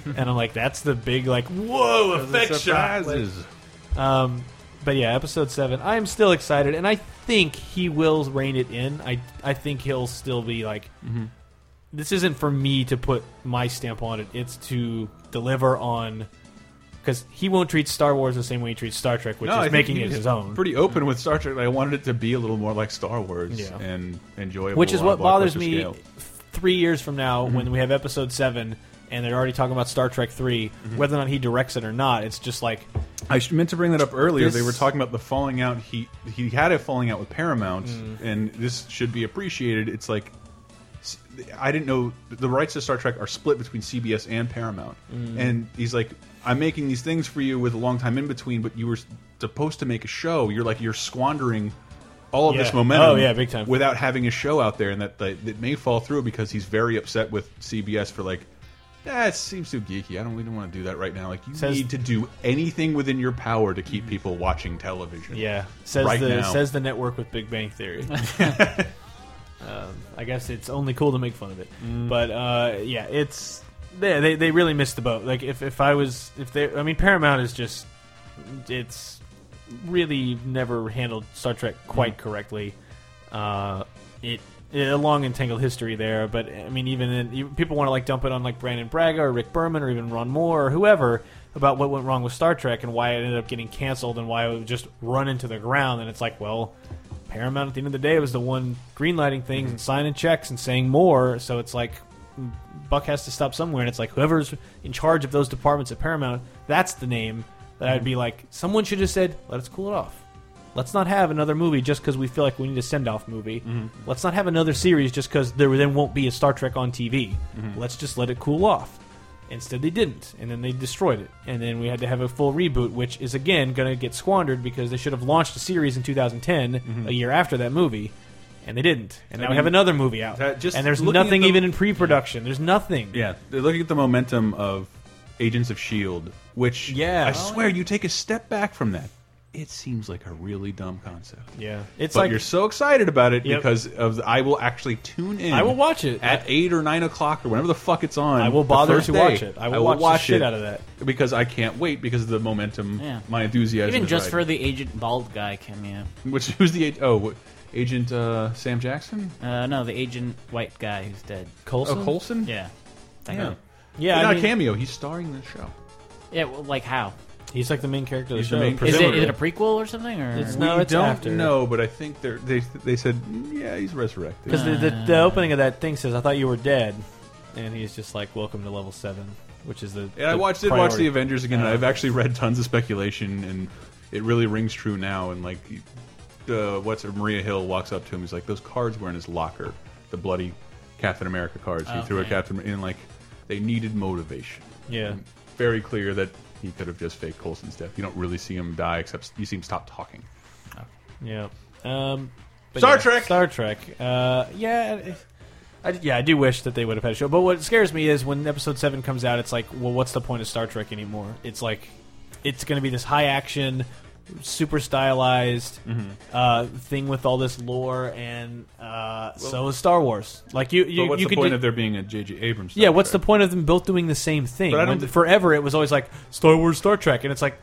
Speaker 4: and I'm like, that's the big like, whoa,
Speaker 3: Those are
Speaker 4: effect shot. Like,
Speaker 3: surprises.
Speaker 4: um, but yeah, episode seven. I am still excited, and I think he will rein it in. I I think he'll still be like,
Speaker 3: Mhm.
Speaker 4: this isn't for me to put my stamp on it. It's to deliver on. Because he won't treat Star Wars the same way he treats Star Trek, which
Speaker 3: No, I think
Speaker 4: is making
Speaker 3: he
Speaker 4: it
Speaker 3: was
Speaker 4: his own.
Speaker 3: Pretty open with Star Trek. I wanted it to be a little more like Star Wars
Speaker 4: Yeah.
Speaker 3: and enjoyable.
Speaker 4: Which is
Speaker 3: on a
Speaker 4: what bothers
Speaker 3: blockbuster
Speaker 4: me
Speaker 3: scale. Mm-hmm.
Speaker 4: three years from now when we have episode seven and they're already talking about Star Trek 3
Speaker 3: Mm-hmm.
Speaker 4: whether or not he directs it or not. It's just like
Speaker 3: I sh- meant to bring that up earlier. They
Speaker 4: This-
Speaker 3: were talking about the falling out. He he had a falling out with Paramount,
Speaker 4: Mm.
Speaker 3: and this should be appreciated. It's like s- I didn't know the rights to Star Trek are split between CBS and Paramount,
Speaker 4: Mm.
Speaker 3: and he's like, "I'm making these things for you with a long time in between, but you were s- supposed to make a show. You're like you're squandering." All of
Speaker 4: Yeah.
Speaker 3: this momentum,
Speaker 4: Oh, yeah, big time.
Speaker 3: without having a show out there, and that that that may fall through because he's very upset with CBS for like that seems too geeky. I don't even want to do that right now. Like you
Speaker 4: Says-
Speaker 3: need to do anything within your power to keep people watching television.
Speaker 4: yeah, says
Speaker 3: right
Speaker 4: the
Speaker 3: now.
Speaker 4: says the network with Big Bang Theory. um, I guess it's only cool to make fun of it,
Speaker 3: Mm.
Speaker 4: but uh, yeah, it's they, they they really missed the boat. Like if if I was if they, I mean Paramount is just it's really never handled Star Trek quite correctly. Uh, it, it a long and tangled history there, but I mean, even in, you- people want to like dump it on like Brandon Braga or Rick Berman or even Ron Moore or whoever about what went wrong with Star Trek and why it ended up getting canceled and why it would just run into the ground. And it's like, well, Paramount at the end of the day was the one greenlighting things and signing checks and saying more. So it's like. mm, Buck has to stop somewhere, and it's like whoever's in charge of those departments at Paramount, that's the name that I'd be like, someone should have said, let us cool it off. Let's not have another movie just because we feel like we need a send off movie. Let's not have another series just because there then won't be a Star Trek on TV.
Speaker 2: Mhm.
Speaker 4: Let's just let it cool off. Instead, they didn't, and then they destroyed it, and then we had to have a full reboot, which is again going to get squandered because they should have launched a series in 2010, a year after that movie, and they didn't.
Speaker 3: Mm-hmm.
Speaker 4: And
Speaker 3: I
Speaker 4: now we
Speaker 3: mean,
Speaker 4: have another movie out,
Speaker 3: that- just
Speaker 4: and there's
Speaker 3: looking at
Speaker 4: nothing
Speaker 3: the-
Speaker 4: even in pre-production. There's nothing.
Speaker 3: Yeah, they're looking at the momentum of Agents of Shield, E which yeah, I swear you take a step back from that. It seems like a really dumb concept.
Speaker 4: Yeah, it's
Speaker 3: but
Speaker 4: like
Speaker 3: you're so excited about it
Speaker 4: Yep.
Speaker 3: because of the, I will actually tune in.
Speaker 4: I will watch it.
Speaker 3: at eight or nine o'clock or whenever the fuck it's on.
Speaker 4: I will
Speaker 3: the
Speaker 4: bother
Speaker 3: first
Speaker 4: to
Speaker 3: day.
Speaker 4: watch it. I will watch the shit out of that.
Speaker 3: because I can't wait because of the momentum,
Speaker 5: Yeah.
Speaker 3: my enthusiasm.
Speaker 5: Even
Speaker 3: is
Speaker 5: just
Speaker 3: right.
Speaker 5: for the agent bald guy cameo.
Speaker 3: which who's the ag- oh what, agent uh, Sam Jackson?
Speaker 5: Uh, no, the agent white guy who's dead.
Speaker 3: Coulson? Oh, Coulson?
Speaker 5: Yeah. That
Speaker 3: Yeah.
Speaker 5: guy.
Speaker 3: Yeah, Not I a mean- cameo, he's starring in the show.
Speaker 5: Yeah, well, like how?
Speaker 4: He's like the main character of the
Speaker 3: He's the
Speaker 4: show.
Speaker 3: main
Speaker 5: Is it,
Speaker 3: presenter.
Speaker 5: is it a prequel or something? Or
Speaker 4: It's
Speaker 3: we
Speaker 4: no, it's
Speaker 3: don't
Speaker 4: after.
Speaker 3: know, but I think they're, they they said "Mm, yeah he's resurrected
Speaker 4: Because the, the,
Speaker 3: Ah.
Speaker 4: the opening of that thing says, "I thought you were dead," and he's just like, "Welcome to level seven, which is the.
Speaker 3: And I watched did watch the Avengers again, and I've actually read tons of speculation, and it really rings true now. And like, uh, what's her- Maria Hill walks up to him, he's like, "Those cards were in his locker, the bloody Captain America cards he threw at
Speaker 4: Okay.
Speaker 3: Captain." And like, they needed motivation.
Speaker 4: Yeah.
Speaker 3: And very clear that he could have just faked Colson's death. You don't really see him die, except you see him stop talking.
Speaker 4: Yeah. Um, but
Speaker 3: Star
Speaker 4: yeah,
Speaker 3: Trek!
Speaker 4: Star Trek. Uh, yeah. I, I- yeah, I do wish that they would have had a show. But what scares me is when Episode Seven comes out, it's like, well, what's the point of Star Trek anymore? It's like, it's going to be this high action, super stylized
Speaker 3: Mhm.
Speaker 4: uh, thing with all this lore, and uh, so is Star Wars. Like you, you,
Speaker 3: but what's
Speaker 4: you
Speaker 3: the
Speaker 4: could
Speaker 3: point
Speaker 4: do-
Speaker 3: of there being a J.J. Abrams?
Speaker 4: yeah, what's the point of them both doing the same thing?
Speaker 3: But I don't
Speaker 4: When
Speaker 3: thi-
Speaker 4: forever, it was always like Star Wars, Star Trek, and it's like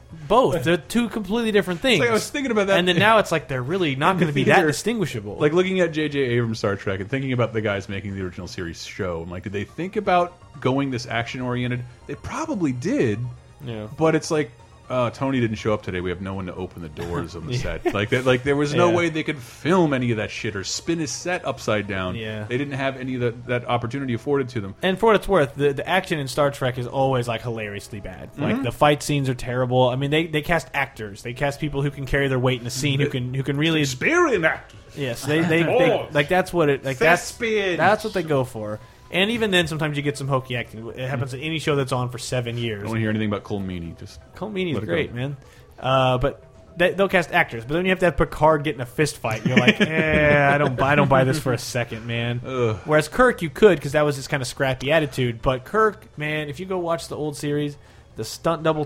Speaker 4: both. They're two completely different things.
Speaker 3: like I was thinking about that.
Speaker 4: and then now it's like they're really not going to be that
Speaker 3: They're-
Speaker 4: distinguishable.
Speaker 3: Like looking at J.J. Abrams Star Trek and thinking about the guys making the original series show. I'm like, did they think about going this action oriented? They probably did.
Speaker 4: Yeah.
Speaker 3: But it's like uh, Tony didn't show up today. We have no one to open the doors on the
Speaker 4: Yeah.
Speaker 3: set. Like that. Like there was no
Speaker 4: Yeah.
Speaker 3: way they could film any of that shit or spin a set upside down.
Speaker 4: Yeah.
Speaker 3: They didn't have any of that, that opportunity afforded to them.
Speaker 4: and for what it's worth, the, the action in Star Trek is always like hilariously bad. Like
Speaker 3: Mhm.
Speaker 4: the fight scenes are terrible. I mean, they, they cast actors. They cast people who can carry their weight in a scene. Who can who can really
Speaker 2: experience actors.
Speaker 4: Yes, they they, they
Speaker 2: Oh.
Speaker 4: like that's what it like that's
Speaker 2: Thespians.
Speaker 4: that's what they go for. And even then, sometimes you get some hokey acting. It happens at any show that's on for seven
Speaker 3: I
Speaker 4: years.
Speaker 3: don't want to hear anything about Cole Meany. Just
Speaker 4: Colm Meaney's
Speaker 3: let it go.
Speaker 4: great, man. Uh, but they, they'll cast actors, but then you have to have Picard get in a fist fight. You're like, eh, I don't, buy, I don't buy this for a second, man. Whereas Kirk, you could because that was his kind of scrappy attitude. But Kirk, man, if you go watch the old series, the stunt double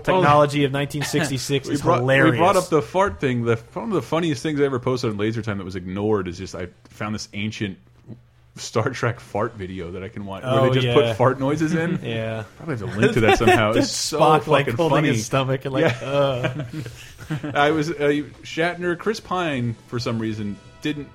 Speaker 4: technology of
Speaker 3: Oh.
Speaker 4: 1966
Speaker 3: We
Speaker 4: is
Speaker 3: brought-
Speaker 4: hilarious.
Speaker 3: We brought up the fart thing. The, one of the funniest things I ever posted on Laser Time that was ignored is just I found this ancient Star Trek fart video that I can watch where
Speaker 4: Oh,
Speaker 3: they just
Speaker 4: yeah.
Speaker 3: put fart noises in.
Speaker 4: yeah,
Speaker 3: probably have to link to that somehow.
Speaker 4: That's
Speaker 3: it's so
Speaker 4: Spock, like
Speaker 3: fucking
Speaker 4: holding
Speaker 3: funny.
Speaker 4: his stomach and like,
Speaker 3: Yeah.
Speaker 4: uh.
Speaker 3: I was uh, Shatner, Chris Pine for some reason didn't.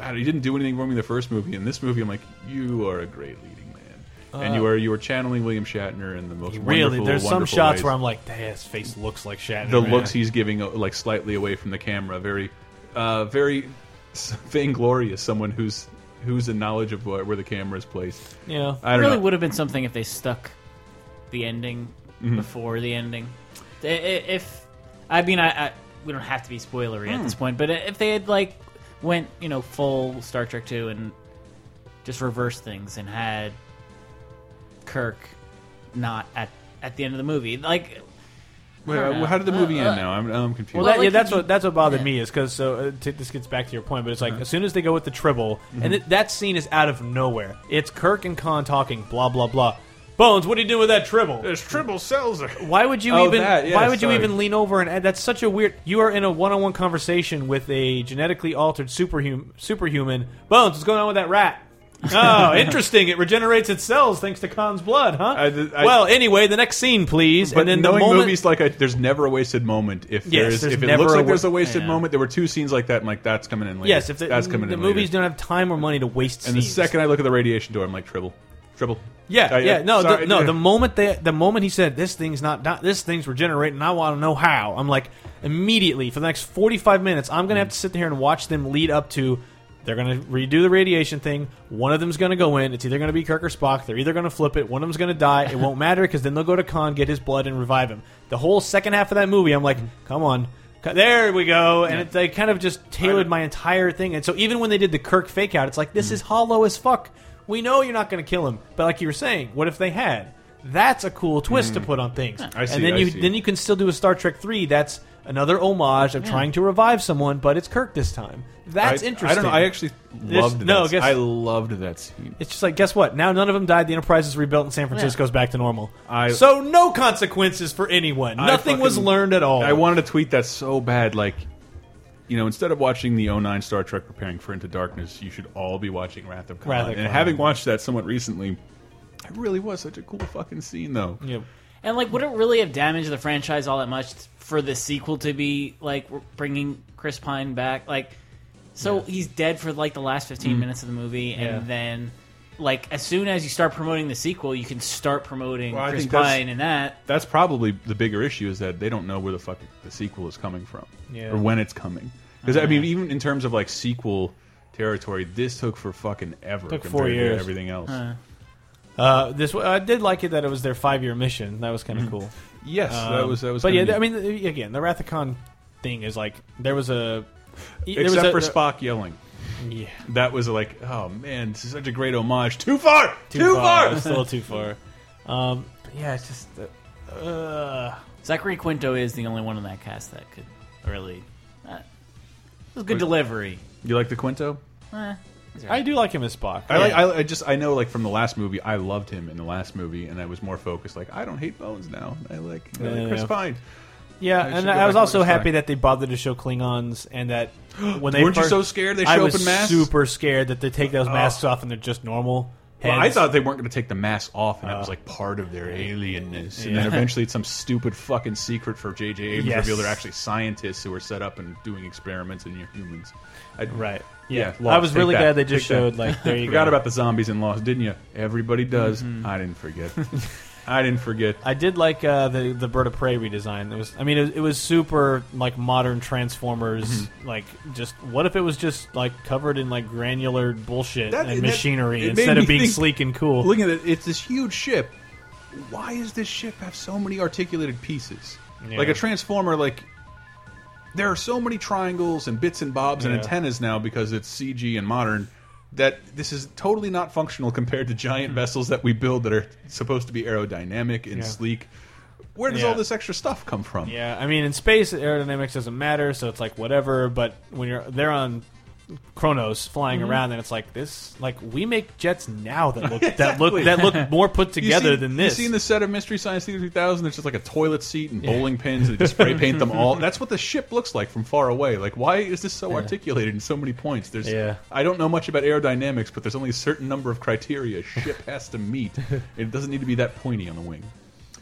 Speaker 3: I don't know, He didn't do anything for me in the first movie. In this movie, I'm like, you are a great leading man, and
Speaker 4: Uh.
Speaker 3: you are you are channeling William Shatner in the most
Speaker 4: really.
Speaker 3: wonderful,
Speaker 4: There's some
Speaker 3: wonderful
Speaker 4: shots
Speaker 3: ways.
Speaker 4: where I'm like, damn, his face looks like Shatner.
Speaker 3: the
Speaker 4: man."
Speaker 3: looks he's giving uh, like slightly away from the camera very uh very s- vainglorious someone who's who's in knowledge of where, where the camera is placed
Speaker 5: Yeah.
Speaker 3: i don't
Speaker 5: really
Speaker 3: know
Speaker 5: would have been something if they stuck the ending
Speaker 3: Mhm.
Speaker 5: before the ending. I- i- If I mean, I, I we don't have to be spoilery at
Speaker 8: Hmm.
Speaker 5: this point, but if they had like went you know full Star Trek two and just reversed things and had Kirk not at at the end of the movie, like. I
Speaker 3: Wait,
Speaker 5: don't
Speaker 3: uh,
Speaker 5: know.
Speaker 3: how did the movie
Speaker 5: Uh,
Speaker 3: end now i'm, I'm confused
Speaker 4: Well, that, yeah, that's what that's what bothered me is because so uh, t- this gets back to your point, but it's like
Speaker 2: Uh-huh.
Speaker 4: as soon as they go with the tribble,
Speaker 2: Mm-hmm.
Speaker 4: and th- that scene is out of nowhere. It's Kirk and Khan talking, blah blah blah. Bones, what are you doing with that tribble?
Speaker 2: There's triple cells. there.
Speaker 4: Why would you
Speaker 2: Oh,
Speaker 4: even?
Speaker 2: that, yeah,
Speaker 4: why would
Speaker 2: sorry.
Speaker 4: you even lean over and? That's such a weird. You are in a one-on-one conversation with a genetically altered superhuman. Superhuman bones. What's going on with that rat? oh, interesting. It regenerates its cells thanks to Khan's blood, huh?
Speaker 3: I-
Speaker 4: well, anyway, the next scene, please.
Speaker 3: but
Speaker 4: and then
Speaker 3: knowing
Speaker 4: the moment,
Speaker 3: movies like I, there's never a wasted moment if there's,
Speaker 4: Yes, there's
Speaker 3: if it
Speaker 4: never
Speaker 3: looks
Speaker 4: a
Speaker 3: like there's
Speaker 4: wa-
Speaker 3: a wasted
Speaker 4: yeah.
Speaker 3: moment there were two scenes like that I'm like that's coming in later
Speaker 4: Yes, if the,
Speaker 3: that's coming
Speaker 4: the
Speaker 3: in
Speaker 4: movies
Speaker 3: later.
Speaker 4: don't have time or money to waste
Speaker 3: and the
Speaker 4: scenes.
Speaker 3: second I look at the radiation door I'm like tribble tribble
Speaker 4: Yeah,
Speaker 3: I-
Speaker 4: yeah, no,
Speaker 3: sorry.
Speaker 4: the, no. The moment they, the moment he said this thing's not, di- this thing's regenerating, I want to know how. I'm like immediately for the next 45 minutes, I'm gonna have to sit there and watch them lead up to. They're gonna redo the radiation thing. One of them's gonna go in. It's either gonna be Kirk or Spock. They're either gonna flip it. One of them's gonna die. It won't matter because then they'll go to Khan, get his blood, and revive him. The whole second half of that movie, I'm like, come on. Come- There we go, and it, they kind of just tailored my entire thing. And so even when they did the Kirk fake out, it's like this is hollow as fuck. We know you're not going to kill him, but like you were saying, what if they had? That's a cool twist to
Speaker 2: Mm.
Speaker 4: put on things.
Speaker 2: I see,
Speaker 4: And then
Speaker 2: I
Speaker 4: you
Speaker 2: see.
Speaker 4: then you can still do a Star Trek three. That's another homage of
Speaker 2: Yeah.
Speaker 4: trying to revive someone, but it's Kirk this time. That's
Speaker 2: I- I don't
Speaker 4: interesting.
Speaker 2: know, I actually
Speaker 4: This-
Speaker 2: loved
Speaker 4: No,
Speaker 2: that-
Speaker 4: guess,
Speaker 2: I loved that scene.
Speaker 4: It's just like guess what? Now none of them died. The Enterprise is rebuilt, and San Francisco's back to normal.
Speaker 2: I-
Speaker 4: so no consequences for anyone.
Speaker 3: I
Speaker 4: Nothing was
Speaker 3: fucking-
Speaker 4: learned at all.
Speaker 3: I wanted to tweet that so bad. Like, you know, instead of watching the 09 Star Trek preparing for Into Darkness, you should all be watching Wrath of Khan.
Speaker 5: Wrath of
Speaker 3: and
Speaker 5: Khan.
Speaker 3: having watched that somewhat recently, it really was such a cool fucking scene, though.
Speaker 4: Yep.
Speaker 5: And like, would it really have damaged the franchise all that much for the sequel to be like bringing Chris Pine back? Like, so he's dead for like the last fifteen
Speaker 3: Mm-hmm.
Speaker 4: Mm.
Speaker 5: minutes of the movie,
Speaker 4: Yeah.
Speaker 5: and then like as soon as you start promoting the sequel, you can start promoting
Speaker 3: Well, I
Speaker 5: Chris
Speaker 3: think that's-
Speaker 5: Pine and that.
Speaker 3: That's probably the bigger issue is that they don't know where the fuck the sequel is coming from
Speaker 5: Yeah.
Speaker 3: or when it's coming. Because I
Speaker 5: Uh-huh.
Speaker 3: mean, even in terms of like sequel territory, this took for fucking ever
Speaker 4: Took
Speaker 3: compared
Speaker 4: four years.
Speaker 3: to everything else.
Speaker 4: Huh. Uh, this I did like it that it was their five year mission. That was kind
Speaker 2: Mm-hmm.
Speaker 4: of
Speaker 3: Mhm.
Speaker 4: cool. Um,
Speaker 3: Yes, that was- that was
Speaker 4: But yeah,
Speaker 3: kinda
Speaker 4: I mean, again, the Wrath of Khan thing is like there was a there was
Speaker 3: Except
Speaker 4: a-
Speaker 3: for
Speaker 4: there-
Speaker 3: Spock yelling.
Speaker 4: Yeah.
Speaker 3: That was like, oh man, this is such a great homage. Too far! Too, far!
Speaker 4: It's a little too far. Um, yeah, it's just uh,
Speaker 5: Zachary Quinto is the only one in that cast that could really. Uh, it was good delivery.
Speaker 3: You like the Quinto?
Speaker 5: Eh.
Speaker 4: I do like him as Spock.
Speaker 3: I, like, I, I just I know like from the last movie I loved him in the last movie and I was more focused like I don't hate Bones now I like, I like
Speaker 4: Yeah.
Speaker 3: Chris Pine
Speaker 4: Yeah,
Speaker 3: I should
Speaker 4: and
Speaker 3: go
Speaker 4: I was
Speaker 3: back and
Speaker 4: also
Speaker 3: watch
Speaker 4: happy
Speaker 3: Pine.
Speaker 4: that they bothered to show Klingons and that when they
Speaker 3: Weren't you
Speaker 4: first-
Speaker 3: so scared they
Speaker 4: I
Speaker 3: show up
Speaker 4: was
Speaker 3: in masks?
Speaker 4: Super scared that they take those
Speaker 3: Oh.
Speaker 4: masks off and they're just normal.
Speaker 3: well, I
Speaker 4: heads.
Speaker 3: thought they weren't going to take the mask off and that was like part of their alienness and then
Speaker 4: Uh, Yeah.
Speaker 3: eventually it's some stupid fucking secret for J.J. Abrams
Speaker 4: Yes.
Speaker 3: reveal they're actually scientists who are set up and doing experiments and you're humans I,
Speaker 4: right Yeah.
Speaker 3: Lost.
Speaker 4: I was
Speaker 3: Take
Speaker 4: really
Speaker 3: that.
Speaker 4: glad they just
Speaker 3: Take that.
Speaker 4: showed, like, there you
Speaker 3: forgot
Speaker 4: go.
Speaker 3: about the zombies in Lost didn't you everybody does I didn't forget I didn't forget
Speaker 4: I did like uh, the the bird of prey redesign. It was, I mean, it, it was super like modern Transformers.
Speaker 3: Mhm.
Speaker 4: Like, just what if it was just like covered in like granular bullshit
Speaker 3: That-
Speaker 4: and
Speaker 3: that- it
Speaker 4: machinery
Speaker 3: made
Speaker 4: instead
Speaker 3: me
Speaker 4: of being
Speaker 3: think-
Speaker 4: sleek and cool?
Speaker 3: Look at it. It's this huge ship. Why does this ship have so many articulated pieces?
Speaker 2: Yeah.
Speaker 3: Like a transformer, like there are so many triangles and bits and bobs and
Speaker 2: Yeah.
Speaker 3: antennas now because it's CG and modern. That this is totally not functional compared to giant vessels that we build that are supposed to be aerodynamic and
Speaker 4: Yeah.
Speaker 3: sleek. Where does
Speaker 4: Yeah.
Speaker 3: all this extra stuff come from?
Speaker 4: Yeah, I mean, in space, aerodynamics doesn't matter, so it's like whatever. But when you're they're on Kronos flying
Speaker 3: Mm-hmm.
Speaker 2: Mhm.
Speaker 4: around, then it's like this. Like we make jets now that look that
Speaker 3: Exactly.
Speaker 4: look that look more put
Speaker 3: You
Speaker 4: together
Speaker 3: see-
Speaker 4: than this.
Speaker 3: You seen the set of Mystery Science Theater 3000? There's just like a toilet seat and
Speaker 4: Yeah.
Speaker 3: bowling pins, and they just spray paint them all. That's what the ship looks like from far away. Like, why is this so
Speaker 4: Yeah.
Speaker 3: articulated in so many points? There's,
Speaker 4: Yeah.
Speaker 3: I don't know much about aerodynamics, but there's only a certain number of criteria a ship has to meet. It doesn't need to be that pointy on the wing.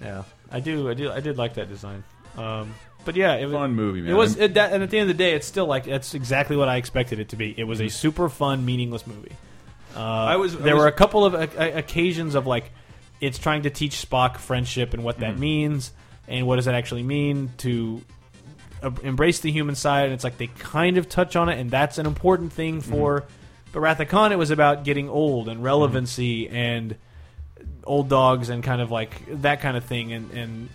Speaker 4: Yeah, I do, I do, I did like that design. Um, but yeah, it was
Speaker 3: Fun movie, man.
Speaker 4: It was, it, that, and at the end of the day, it's still like that's exactly what I expected it to be. It was a super fun, meaningless movie. Uh, I
Speaker 3: was- Mm-hmm. I
Speaker 4: there
Speaker 3: was-
Speaker 4: were a couple of uh, occasions of like it's trying to teach Spock friendship and what that
Speaker 3: Mhm.
Speaker 4: means, and what does that actually mean to uh, embrace the human side. And it's like they kind of touch on it, and that's an important thing
Speaker 3: Mm-hmm.
Speaker 4: for. But Wrath of Khan, it was about getting old and relevancy
Speaker 3: Mm-hmm.
Speaker 4: and old dogs and kind of like that kind of thing. And, and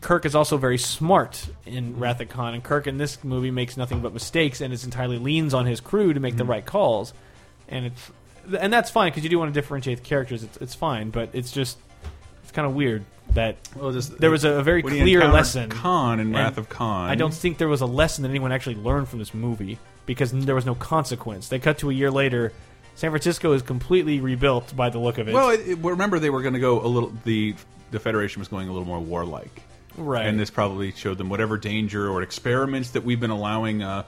Speaker 4: Kirk is also very smart in
Speaker 3: Mm-hmm.
Speaker 4: Wrath of Khan, and Kirk in this movie makes nothing but mistakes, and is entirely leans on his crew to make
Speaker 3: Mm-hmm.
Speaker 4: the right calls. And it's and that's fine because you do want to differentiate the characters. It's, it's fine, but it's just it's kind of weird that there was a, very
Speaker 3: when he
Speaker 4: clear
Speaker 3: encountered
Speaker 4: lesson.
Speaker 3: Khan in
Speaker 4: And
Speaker 3: Wrath of Khan.
Speaker 4: I don't think there was a lesson that anyone actually learned from this movie because there was no consequence. They cut to a year later. San Francisco is completely rebuilt by the look of it.
Speaker 3: Well, it, it- remember they were going to go a little. The the Federation was going a little more warlike,
Speaker 4: Right.
Speaker 3: And this probably showed them whatever danger or experiments that we've been allowing uh,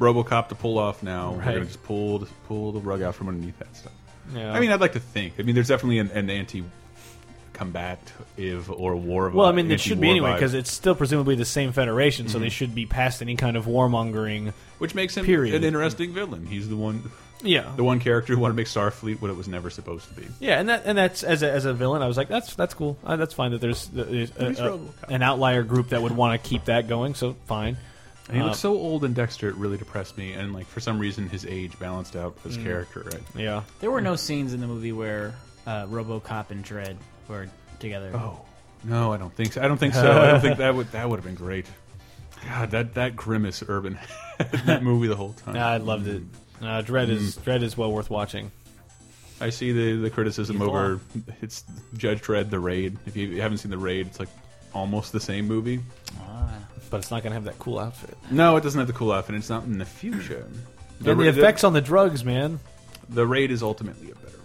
Speaker 3: RoboCop to pull off. Now we're
Speaker 4: Right.
Speaker 3: going to just pull pull the rug out from underneath that stuff.
Speaker 4: Yeah.
Speaker 3: I mean, I'd like to think. I mean, there's definitely an, an anti combative or war.
Speaker 4: Well, I mean, it should be
Speaker 3: anti-war
Speaker 4: anyway
Speaker 3: vibe.
Speaker 4: because it's still presumably the same Federation, so
Speaker 3: Mhm.
Speaker 4: they should be past any kind of warmongering.
Speaker 3: Which makes him
Speaker 4: period.
Speaker 3: an interesting villain. He's the one,
Speaker 4: Yeah.
Speaker 3: the one character who wanted to make Starfleet what it was never supposed to be.
Speaker 4: Yeah, and that and that's as a, as a villain, I was like, that's that's cool. Uh, that's fine that there's, that there's a-
Speaker 3: He's
Speaker 4: a-
Speaker 3: RoboCop.
Speaker 4: an outlier group that would want to keep that going. So fine.
Speaker 3: And he
Speaker 4: Uh,
Speaker 3: looked so old in Dexter, it really depressed me. And like for some reason, his age balanced out his
Speaker 5: Mm.
Speaker 4: Hmm.
Speaker 3: character. Right?
Speaker 4: Yeah.
Speaker 5: There were no scenes in the movie where uh, RoboCop and Dread were together.
Speaker 3: Oh. No, I don't think so. I don't think so. I don't think that would that would have been great. God, that that grimace, Urban, that movie the whole time.
Speaker 4: Nah, I loved it. Uh, Dread is Dread is well worth watching.
Speaker 3: I see the the criticism
Speaker 4: Evil.
Speaker 3: over it's Judge Dredd, The Raid. If you haven't seen The Raid, it's like almost the same movie.
Speaker 4: But it's not going to have that cool outfit.
Speaker 3: No, it doesn't have the cool outfit. It's not in the future.
Speaker 4: and the
Speaker 3: Raid-
Speaker 4: effects on the drugs, man.
Speaker 3: The Raid is ultimately a better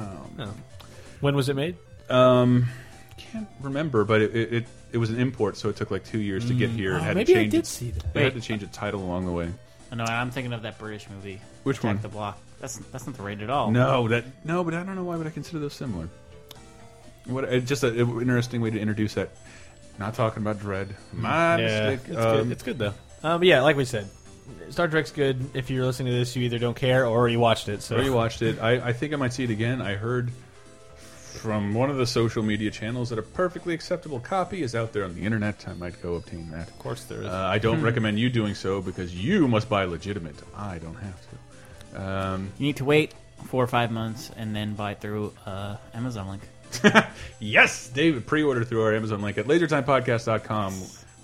Speaker 4: Oh.
Speaker 3: film. though. Um,
Speaker 4: When was it made?
Speaker 3: Um, can't remember, but it, it, it, it was an import, so it took like two years to get
Speaker 5: Mm.
Speaker 3: here.
Speaker 5: Oh,
Speaker 3: and had
Speaker 5: maybe
Speaker 3: to
Speaker 5: I
Speaker 3: change
Speaker 5: did
Speaker 3: its-
Speaker 5: see that.
Speaker 3: They had to
Speaker 5: Wait.
Speaker 3: change the title along the way.
Speaker 5: No, I'm thinking of that British movie.
Speaker 3: Which
Speaker 5: Attack
Speaker 3: one?
Speaker 5: The Block. That's that's not the raid at all.
Speaker 3: No, that no, but I don't know why would I consider those similar. What it, just an interesting way to introduce that. Not talking about dread. My
Speaker 4: yeah,
Speaker 3: mistake.
Speaker 4: It's,
Speaker 3: Um,
Speaker 4: good. it's good though. Um, yeah, like we said, Star Trek's good. If you're listening to this, you either don't care or you watched it. So
Speaker 3: Or you watched it. I, I think I might see it again. I heard from one of the social media channels that a perfectly acceptable copy is out there on the internet. I might go obtain that. Of
Speaker 4: course there is.
Speaker 3: Uh, I don't
Speaker 4: Hmm.
Speaker 3: recommend you doing so because you must buy legitimate. I don't have to. Um,
Speaker 5: You need to wait four or five months and then buy through uh, Amazon link.
Speaker 3: yes, David, pre-order through our Amazon link at lasertimepodcast.com.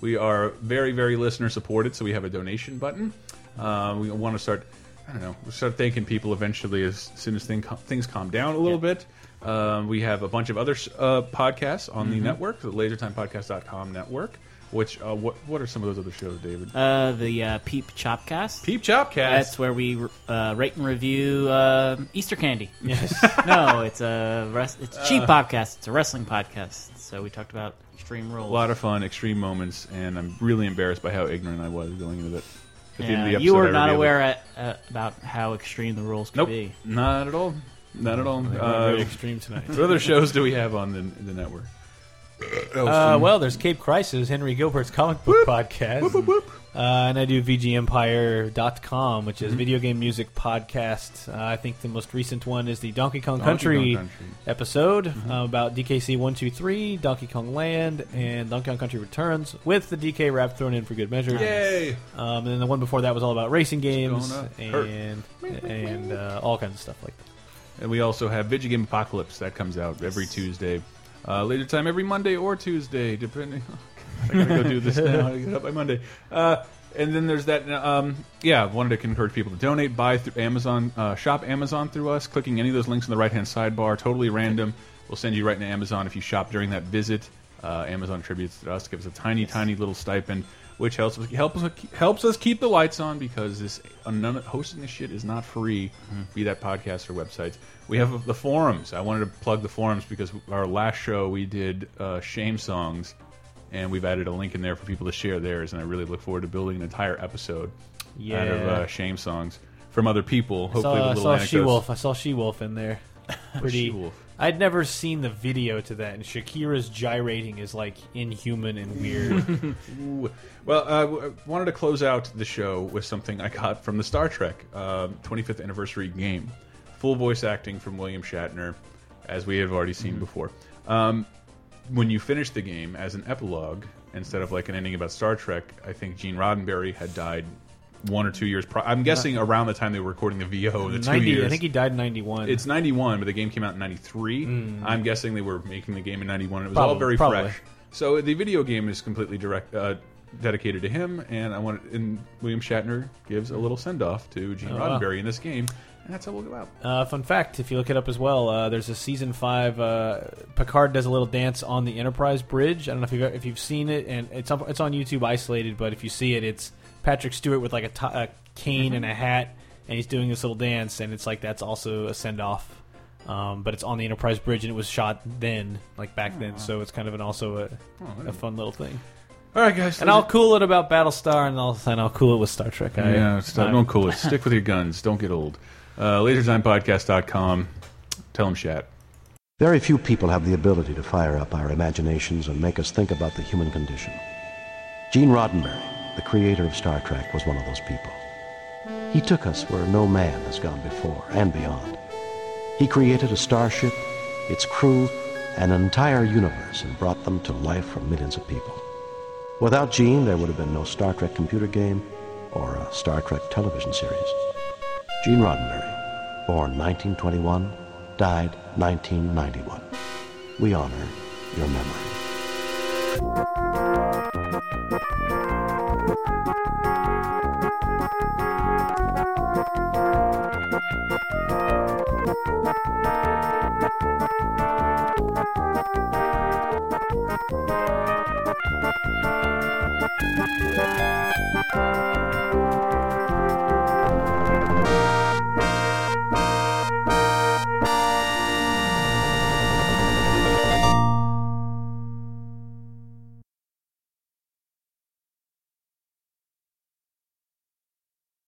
Speaker 3: We are very, very listener supported, so we have a donation button. Uh, we want to start, I don't know, we'll start thanking people eventually as soon as thing, things calm down a little bit. Um, we have a bunch of other uh, podcasts on the
Speaker 5: Mhm.
Speaker 3: network, the lasertimepodcast.com network. Which uh, what what are some of those other shows, David?
Speaker 5: Uh, the uh, Peep Chopcast.
Speaker 3: Peep Chopcast.
Speaker 5: That's where we uh, rate and review uh, Easter candy. Yes. no, it's a res- it's a cheap
Speaker 3: Uh.
Speaker 5: podcast. It's a wrestling podcast. So we talked about extreme
Speaker 3: A
Speaker 5: rules.
Speaker 3: lot of fun, extreme moments, and I'm really embarrassed by how ignorant I was going into it. At the end of
Speaker 5: Yeah,
Speaker 3: the
Speaker 5: you
Speaker 3: episode,
Speaker 5: were
Speaker 3: I
Speaker 5: not
Speaker 3: revealed it.
Speaker 5: aware at, uh, about how extreme the rules could
Speaker 3: Nope.
Speaker 5: be.
Speaker 3: Not at all. Not at all.
Speaker 4: They were
Speaker 3: Uh,
Speaker 4: very extreme tonight.
Speaker 3: What other shows do we have on the, the network?
Speaker 4: Uh, well, there's Cape Crisis, Henry Gilbert's comic book podcast. Uh, and I do VGEmpire.com, which is
Speaker 3: Mhm.
Speaker 4: video game music podcast. Uh, I think the most recent one is the Donkey Kong
Speaker 3: Donkey
Speaker 4: Country,
Speaker 3: Kong Country. Mm-hmm.
Speaker 4: episode uh, about DKC 123, Donkey Kong Land, and Donkey Kong Country Returns with the DK rap thrown in for good measure.
Speaker 3: Yay!
Speaker 4: Um, and then the one before that was all about racing games
Speaker 3: going on? Hurt.
Speaker 4: and, and uh, all kinds of stuff like that.
Speaker 3: and we also have Video Game Apocalypse that comes out every Tuesday. Uh, later time every Monday or Tuesday, depending. I gotta go do this now. I gotta get up by Monday. Uh, and then there's that. Um, yeah, wanted to encourage people to donate, buy through Amazon, uh, shop Amazon through us. Clicking any of those links in the right hand sidebar, totally random, will send you right to Amazon. If you shop during that visit, uh, Amazon attributes to us, gives us a tiny, tiny little stipend, which helps us, helps us helps us keep the lights on because this uh, none, of- hosting this shit is not free.
Speaker 4: Mm-hmm.
Speaker 3: Be that podcast or websites. We have the forums. I wanted to plug the forums because our last show we did uh, shame songs and we've added a link in there for people to share theirs. And I really look forward to building an entire episode out of
Speaker 4: Yeah.
Speaker 3: uh, shame songs from other people.
Speaker 4: I
Speaker 3: Hopefully,
Speaker 4: saw, I
Speaker 3: with little
Speaker 4: saw
Speaker 3: anecdotes.
Speaker 4: She Wolf. I saw She Wolf in there. Pretty.
Speaker 3: She-Wolf?
Speaker 4: I'd never seen the video to that, and Shakira's gyrating is like inhuman and weird.
Speaker 3: Ooh. Well, uh, w- I wanted to close out the show with something I got from the Star Trek um 25th anniversary game. Full voice acting from William Shatner, as we have already
Speaker 4: Mm-hmm.
Speaker 3: seen before. Um, when you finish the game as an epilogue, instead of like an ending about Star Trek, I think Gene Roddenberry had died one or two years. Pro I'm guessing around the time they were recording the VO, the two
Speaker 4: 90 I
Speaker 3: years.
Speaker 4: think he died in 91.
Speaker 3: It's 91, but the game came out in 93. I'm guessing they were making the game in 91. It was all
Speaker 4: Mm. Probably,
Speaker 3: very
Speaker 4: probably.
Speaker 3: fresh. So the video game is completely direct uh, dedicated to him, and I want and William Shatner gives a little send off to Gene
Speaker 4: Oh, wow.
Speaker 3: Roddenberry in this game, and that's how we'll go out.
Speaker 4: Uh, fun fact, if you look it up as well, uh, there's a season five. Uh, Picard does a little dance on the Enterprise Bridge. I don't know if you've if you've seen it, and it's on, it's on YouTube isolated. But if you see it, it's Patrick Stewart with like a, t- a cane and a hat, and he's doing this little dance, and it's like that's also a send off. Um, but it's on the Enterprise Bridge, and it was shot then, like back then. So it's kind of an also a,
Speaker 3: Oh,
Speaker 4: a fun little thing.
Speaker 3: All right, guys.
Speaker 4: And I'll cool it about Battlestar, and I'll and I'll cool it with Star Trek. I-
Speaker 3: yeah, stop,
Speaker 4: I'm-
Speaker 3: don't cool it. Stick with your guns. Don't get old. Uh, LaserTimePodcast.com. Tell him Shat.
Speaker 11: Very few people have the ability to fire up our imaginations and make us think about the human condition. Gene Roddenberry, the creator of Star Trek, was one of those people. He took us where no man has gone before and beyond. He created a starship, its crew, an entire universe, and brought them to life for millions of people. Without Gene, there would have been no Star Trek computer game or a Star Trek television series. Gene Roddenberry, born 1921, died 1991. We honor your memory.
Speaker 20: Thank you.